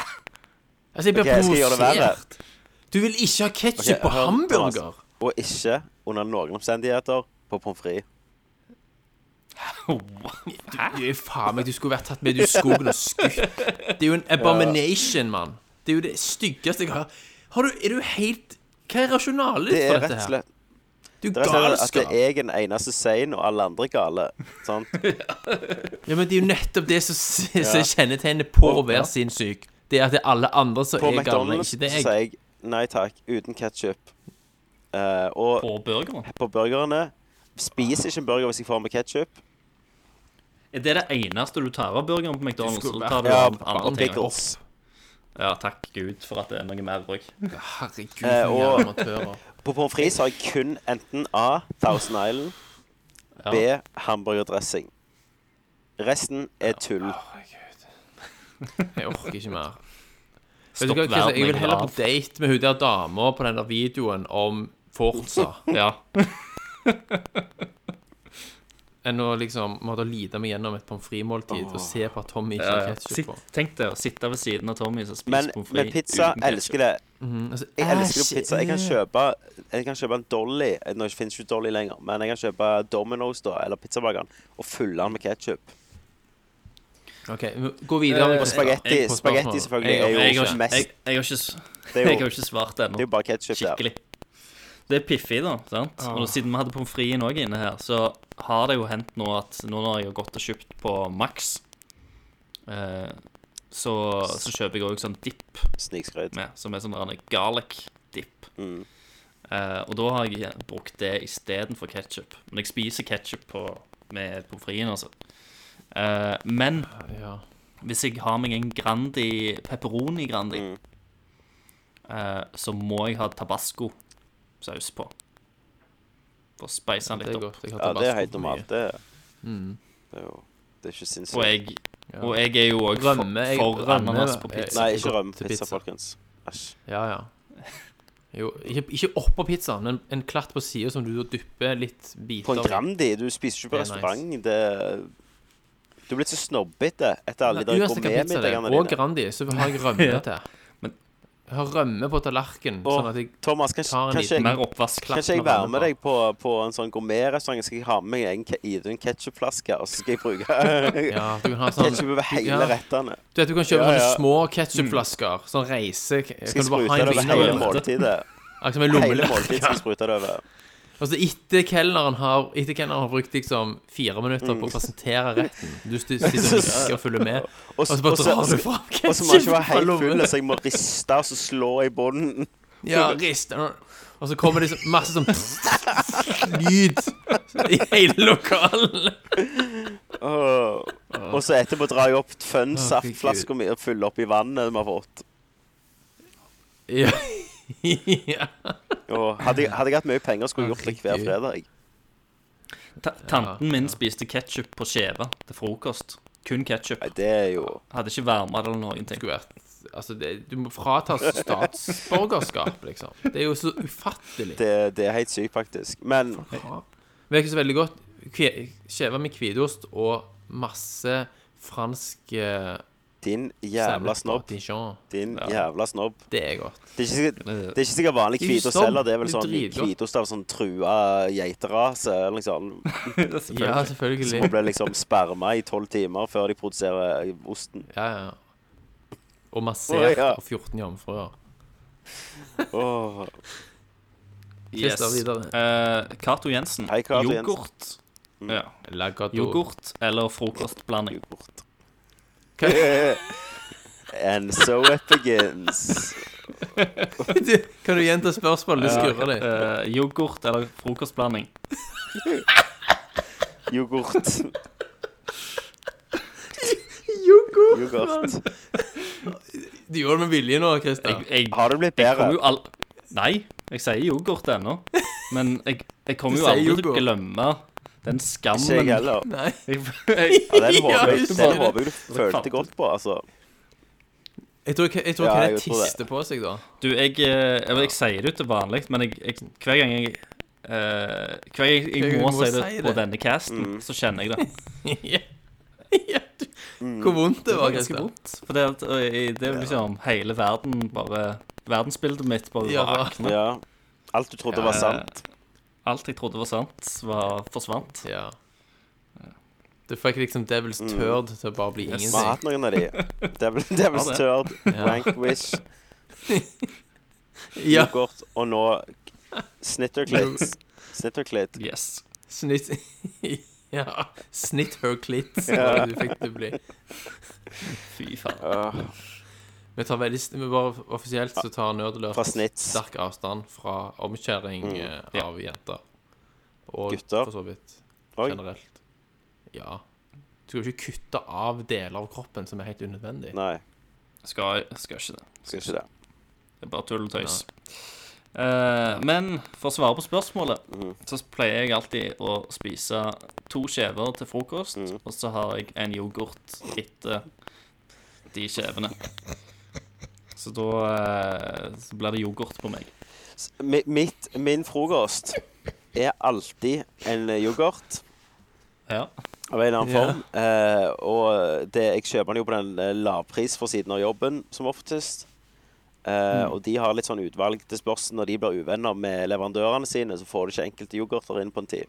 Altså, jeg blir Ok, jeg skal gjøre det verre. provosert. Du vil ikke ha ketsjup Ok, på hør- altså. hamburger? Og ikke, under noen omstendigheter, på pommes frites. Du er faen meg, du skulle vært tatt med ut i skogen og skutt. Det er jo en abomination, mann. Det er jo det styggeste jeg har har du, Er du helt Hva er rasjonalet Det ditt er rett og for dette her? slett Du det er rett og slett galskap. at jeg er den eneste sein, og alle andre gale. Sant? Ja, men det er jo nettopp det som, s- som kjennetegner på å være sinnssyk. Det er at det er alle andre som På er gale, McDonald's ikke så deg. sier jeg nei takk, uten ketsjup. og På burgeren. på burgerne Spiser ikke en burger hvis jeg får med ketsjup. Er det det eneste du tar av burgeren på McDonald's? skulle Eller tar du Ja, av andre og ting? også? pickles. Ja, takk Gud for at det er noe mer bruk. Herregud, Eh, for og- jævla amatører. På pommes frites har jeg kun enten A. Thousand Island, B. Hamburgerdressing. Resten er tull. Ah, Jeg orker ikke mer. Vet du Stopp hva, verden. Chris, jeg vil går heller av. på date med hun der dama på den der videoen om Forza Ja. enn å liksom måtte lide meg gjennom et pommes frites-måltid og se på at Tommy ikke ja, har ja. ketsjup på. Sitt- Tenk deg å sitte ved siden av Tommy som Men spiser pommes frites med pizza uten ketchup. elsker det. Altså, Jeg elsker det på æsj, pizza. Jeg kan eh. kjøpe, jeg kan kjøpe en Dolly. Eh, Nå finnes ikke Dolly lenger, men jeg kan kjøpe Domino's da, eller pizzabakeren og fylle den med ketsjup. OK, vi- gå videre. Eh, med Og spagetti, på spørsmålet. spagetti selvfølgelig Jeg- er Jeg jo har, jeg, mest jeg, har ikke, s- Det jeg er har jo, ikke svart det er ennå. jo bare ketsjup der. Skikkelig. Det er piffig, da. sant? Og da, siden vi hadde pommes frites òg inne her, så har det jo hendt nå at nå når jeg har gått og kjøpt på Max, eh, så, så kjøper jeg òg sånn dipp Snikskryt. med, som er sånn der garlic dip. Mm. Eh, og da har jeg brukt det istedenfor ketsjup. Men jeg spiser ketsjup med pommes fritesen, altså. Eh, men Ja. Hvis jeg har meg en Grandi pepperoni Grandi, Mm. eh, så må jeg ha tabasco-saus på. For å speise den Det er litt opp. godt. Jeg har Ja, det tabasco er helt for normalt. mye. Det, det er jo Det er ikke Og sinnssykt. jeg, og jeg er jo òg for, Rømme, jeg- for rømme- ananas på pizza. Nei, ikke Godt til rømmepizza, pizza. folkens. Æsj. Ja, ja. Jo, ikke, ikke oppå pizzaen, men en klatt på sida som du dypper litt biter På en i. Grandi. Du spiser ikke på Det er restaurant. Det Du er blitt så snobbete etter alle de Nei, der uansett hva pizza det er, gourmetmiddagene og dine. Grandi, så har jeg rømme Ja. til. Men- jeg har rømme på tallerkenen, Åh, sånn at jeg Thomas, kan tar en kanskje jeg Mer oppvask. Klapp Kanskje jeg med være med rømme deg på, på en sånn gourmetrestaurant? Skal jeg ha med meg en ke- i en ketsjupflaske, og så skal jeg bruke Ja, du kan ha sånn ketsjup over hele Ja. rettene? Du vet, du kan kjøpe Ja, ja. sånne små ketchupflasker, sånn Skal reise Kan jeg du sprute det bare ha en over hele vinnerløfte? vinnerløfte? måltidet? Akkurat som en Hele lommeløfte. måltidet skal jeg sprute det over. Og så etter kelneren har, etter kelneren har brukt liksom fire minutter Mm. på å presentere retten Du st- sitter og nikker og følger med, Og og så så og bare så- drar du fram og så må jeg ikke være ketchup fra helt full, lommen. så jeg må riste og så slå i bunnen. Ja, rist Og så kommer det så- masse sånn lyd i hele lokalet. Åh. Og så etterpå drar jeg opp Å, fun-saftflaska mi og fyller opp i vannet vi har fått. Ja. ja. Åh, Hadde jeg, hadde jeg hatt mye penger, skulle jeg gjort det hver fredag. Ta tanten min spiste ketsjup på skive til frokost. Kun ketsjup. Nei, det er jo Hadde ikke varma det eller noen ting. skulle vært Altså, det, du må fratas statsborgerskap, liksom. Det er jo så ufattelig. Det, det er helt sykt, faktisk. Men Det virker så veldig godt. Kve- Skjeve med hvitost og masse fransk eh, din sennep jævla og snobb. Dijon. Din jævla snobb. Det er godt. Det er ikke sikkert, det er ikke sikkert vanlig Det er jo hvitost snobb. heller. Det er vel Det er sånn dritgodt. hvitost av sånn trua geiterase eller noe sånt. Ja, Som selvfølgelig. ble liksom sperma i tolv timer før de produserer osten. Ja, ja. Og massert Å, ja. av 14 jomfruer. Åh, Yes. Christer, videre. Eh, Cato Jensen. Hei, Cato Jensen. Mm. Yoghurt. Ja. Lagado. Yoghurt eller frokostblanding. yoghurt. Hva? And so it begins. Du, Kan du gjenta spørsmålet? Du skurrer litt. Eh, yoghurt eller frokostblanding. Yoghurt. Yoghurt. Yoghurt. Du gjorde det med vilje nå, Christer. Jeg, jeg, Har det blitt jeg kommer bedre? jo al... Nei, jeg sier yoghurt ennå. Men jeg, jeg kommer Du jo sier aldri til å yoghurt. glemme den skammen. Ikke jeg heller. Nei. Jeg, jeg, Ja, den håper Ja, jeg, du den sier håper jeg du følte godt på, altså. Jeg tror, jeg tror Ja, ikke jeg det tror det. tister på seg, da. Du, jeg, eh, jeg, jeg sier det jo til vanlig, men jeg, jeg, hver gang jeg eh, hver gang jeg, Hver gang må, du må si det si på det. Mm. denne casten, så kjenner jeg det. Ja. Ja, du- Mm. Hvor vondt det Det var, var ganske Christer. vondt. For det, at, eh, det er liksom hele verden bare Verdensbildet mitt bare Ja. rakner. Ja. Alt du trodde var sant. Alt jeg trodde var sant, var forsvant. Ja. Du fikk liksom Devil's Mm. Turd til å bare bli Yes. Vi har ingenting. hatt noen av de. Devil- Devil's Turd, Rank Wish, Ja, yoghurt og nå Snitterclits. Snitterclit. Yes. snitt Ja, snitt her clits, Ja. var det du fikk det bli. Fy faen. Åh, Vi tar veldig st- vi bare Offisielt så tar Nerdeløs Fra snits. sterk avstand fra omskjæring eh, Ja. av jenter. Og Gutter. for så vidt Oi. generelt. Ja. Du skal jo ikke kutte av deler av kroppen som er helt unødvendig. Nei, Skal, skal ikke det. skal ikke det. Det er bare tull og tøys. Eh, men for å svare på spørsmålet, så pleier jeg alltid å spise to skjever til frokost, og så har jeg en yoghurt etter de skjevene. Så da eh, så blir det yoghurt på meg. S- mi- Mitt, min frokost er alltid en yoghurt Ja. av en eller annen form. Eh, og det, jeg kjøper den jo på den eh, lavpris for siden av jobben, som oftest. Eh, Mm. Og de har litt sånn utvalg til spørsmål når de blir uvenner med leverandørene sine, så får du ikke enkelte yoghurter inn på en tid.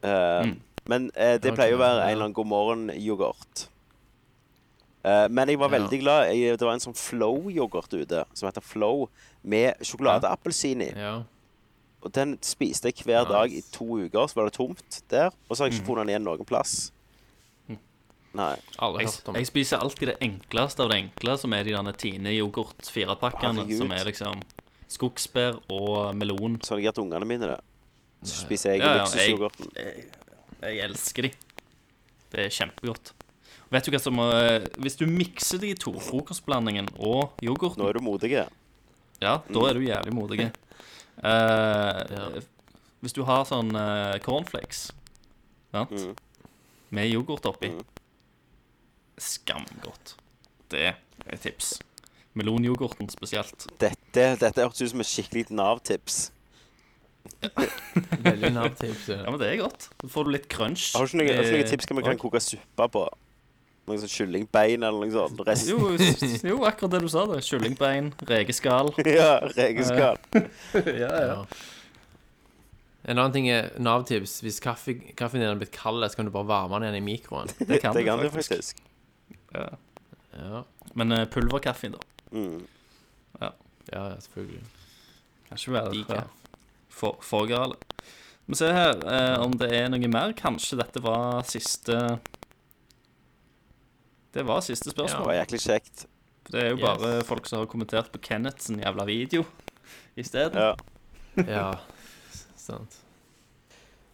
Eh, Men eh, det Ok, pleier jo å være Mm. ja. en eller annen god morgen-yoghurt. Eh, men jeg var Ja. veldig glad. Jeg, det var en sånn Flow-yoghurt ute, som heter Flow, med sjokoladeappelsin i. Ja. Og den spiste jeg hver dag i to uker, så var det tomt der. Og så har jeg Mm. ikke funnet den igjen noen plass. Nei. Alle Jeg, har hørt om det. jeg spiser alltid det enkleste av det enkle, som er de derne Tine yoghurt-firepakkene, Herregud. som er liksom skogsbær og melon. Så har jeg gitt ungene mine det. Så spiser jeg Ja, ja, jeg- luksusyoghurten. Jeg elsker de. Det er kjempegodt. Vet du hva som eh, Hvis du mikser de to, frokostblandingen og yoghurten, Nå er du modig. ja, da Mm. er du jævlig modig. Eh, Hvis du har sånn eh, cornflakes sant? Mm. med yoghurt oppi Mm. Skamgodt. Det er et tips. Melonyoghurten spesielt. Dette, dette hørtes ut som et skikkelig Nav-tips. Veldig Nav-tips. Ja, men det er godt. Så får du litt crunch. Har du ikke noen, har du ikke eh, noen tips hva vi kan og- koke suppe på? Noe sånn kyllingbein eller noe sånt? Resten Jo, s- jo, akkurat det du sa. det Kyllingbein, rekeskall. Ja, rekeskall. Ja. En annen ting er Nav-tips. Hvis kaffe, kaffen din er blitt kald, så kan du bare varme den igjen i mikroen. Det kan Det kan du du faktisk. faktisk. Ja. Ja, Men eh, pulverkaffen, da. Mm. ja ja, selvfølgelig. Kan ikke være Decaf. fra for, for gale. Men se her eh, om det er noe mer. Kanskje dette var siste Det var siste Det spørsmål. var jæklig kjekt. Det er jo Yes. bare folk som har kommentert på Kenneth sin jævla video isteden. Ja. Ja, s- sant.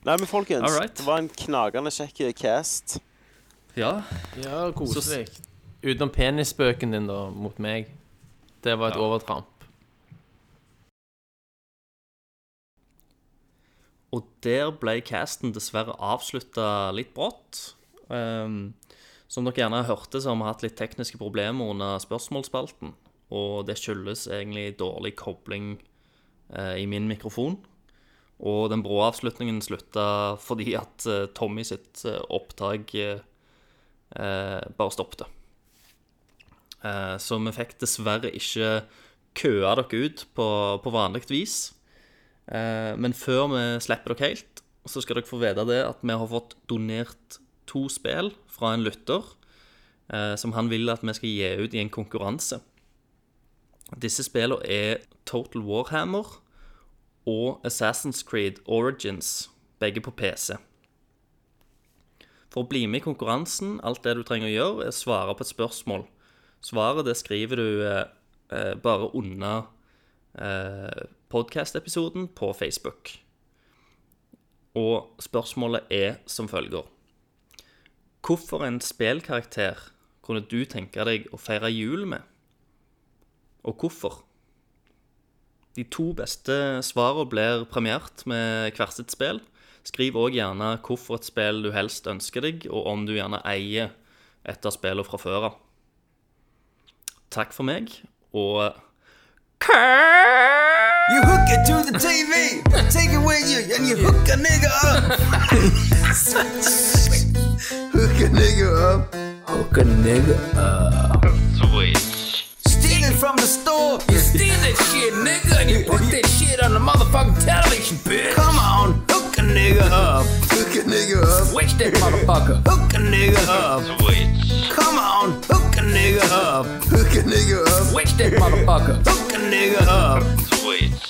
Nei, men folkens, Alright. det var en knagende kjekk cast. Ja. Ja, koselig. Utenom penisspøken din, da, mot meg. Det var et Ja. overtramp. Og der ble casten dessverre avslutta litt brått. Ehm, som dere gjerne hørte, så har vi hatt litt tekniske problemer under spørsmålsspalten. Og det skyldes egentlig dårlig kobling eh, i min mikrofon. Og den brå avslutningen slutta fordi at eh, Tommy sitt eh, opptak eh, eh, bare stoppet. Eh, så vi fikk dessverre ikke køa dere ut på, på vanlig vis. Eh, Men før vi slipper dere helt, så skal dere få vite det at vi har fått donert to spill fra en lytter eh, som han vil at vi skal gi ut i en konkurranse. Disse spillene er Total Warhammer og Assassin's Creed Origins, begge på PC. For å bli med i konkurransen, alt det du trenger å gjøre, er å svare på et spørsmål. Svaret det skriver du eh, eh, bare under eh, podcast-episoden på Facebook. Og spørsmålet er som følger. Hvorfor en spelkarakter kunne du tenke deg å feire jul med? Og hvorfor? De to beste svarene blir premiert med hvert sitt spill. Skriv òg gjerne hvorfor et spill du helst ønsker deg, og om du gjerne eier et av spillene fra før av. Takk for meg, og You hook it to the TV, take it with you, and you hook a nigga up. hook a nigga up. Hook a nigga up. Steal it from the store. You steal that shit, nigga, and you put that shit on the motherfucking television, bitch. Come on, hook a nigga up. Hook a nigga up. Switch that motherfucker. hook a nigga up. Switch. Come on, hook a nigga up. Hook a nigga up. Switch that motherfucker. hook a nigga up. Switch.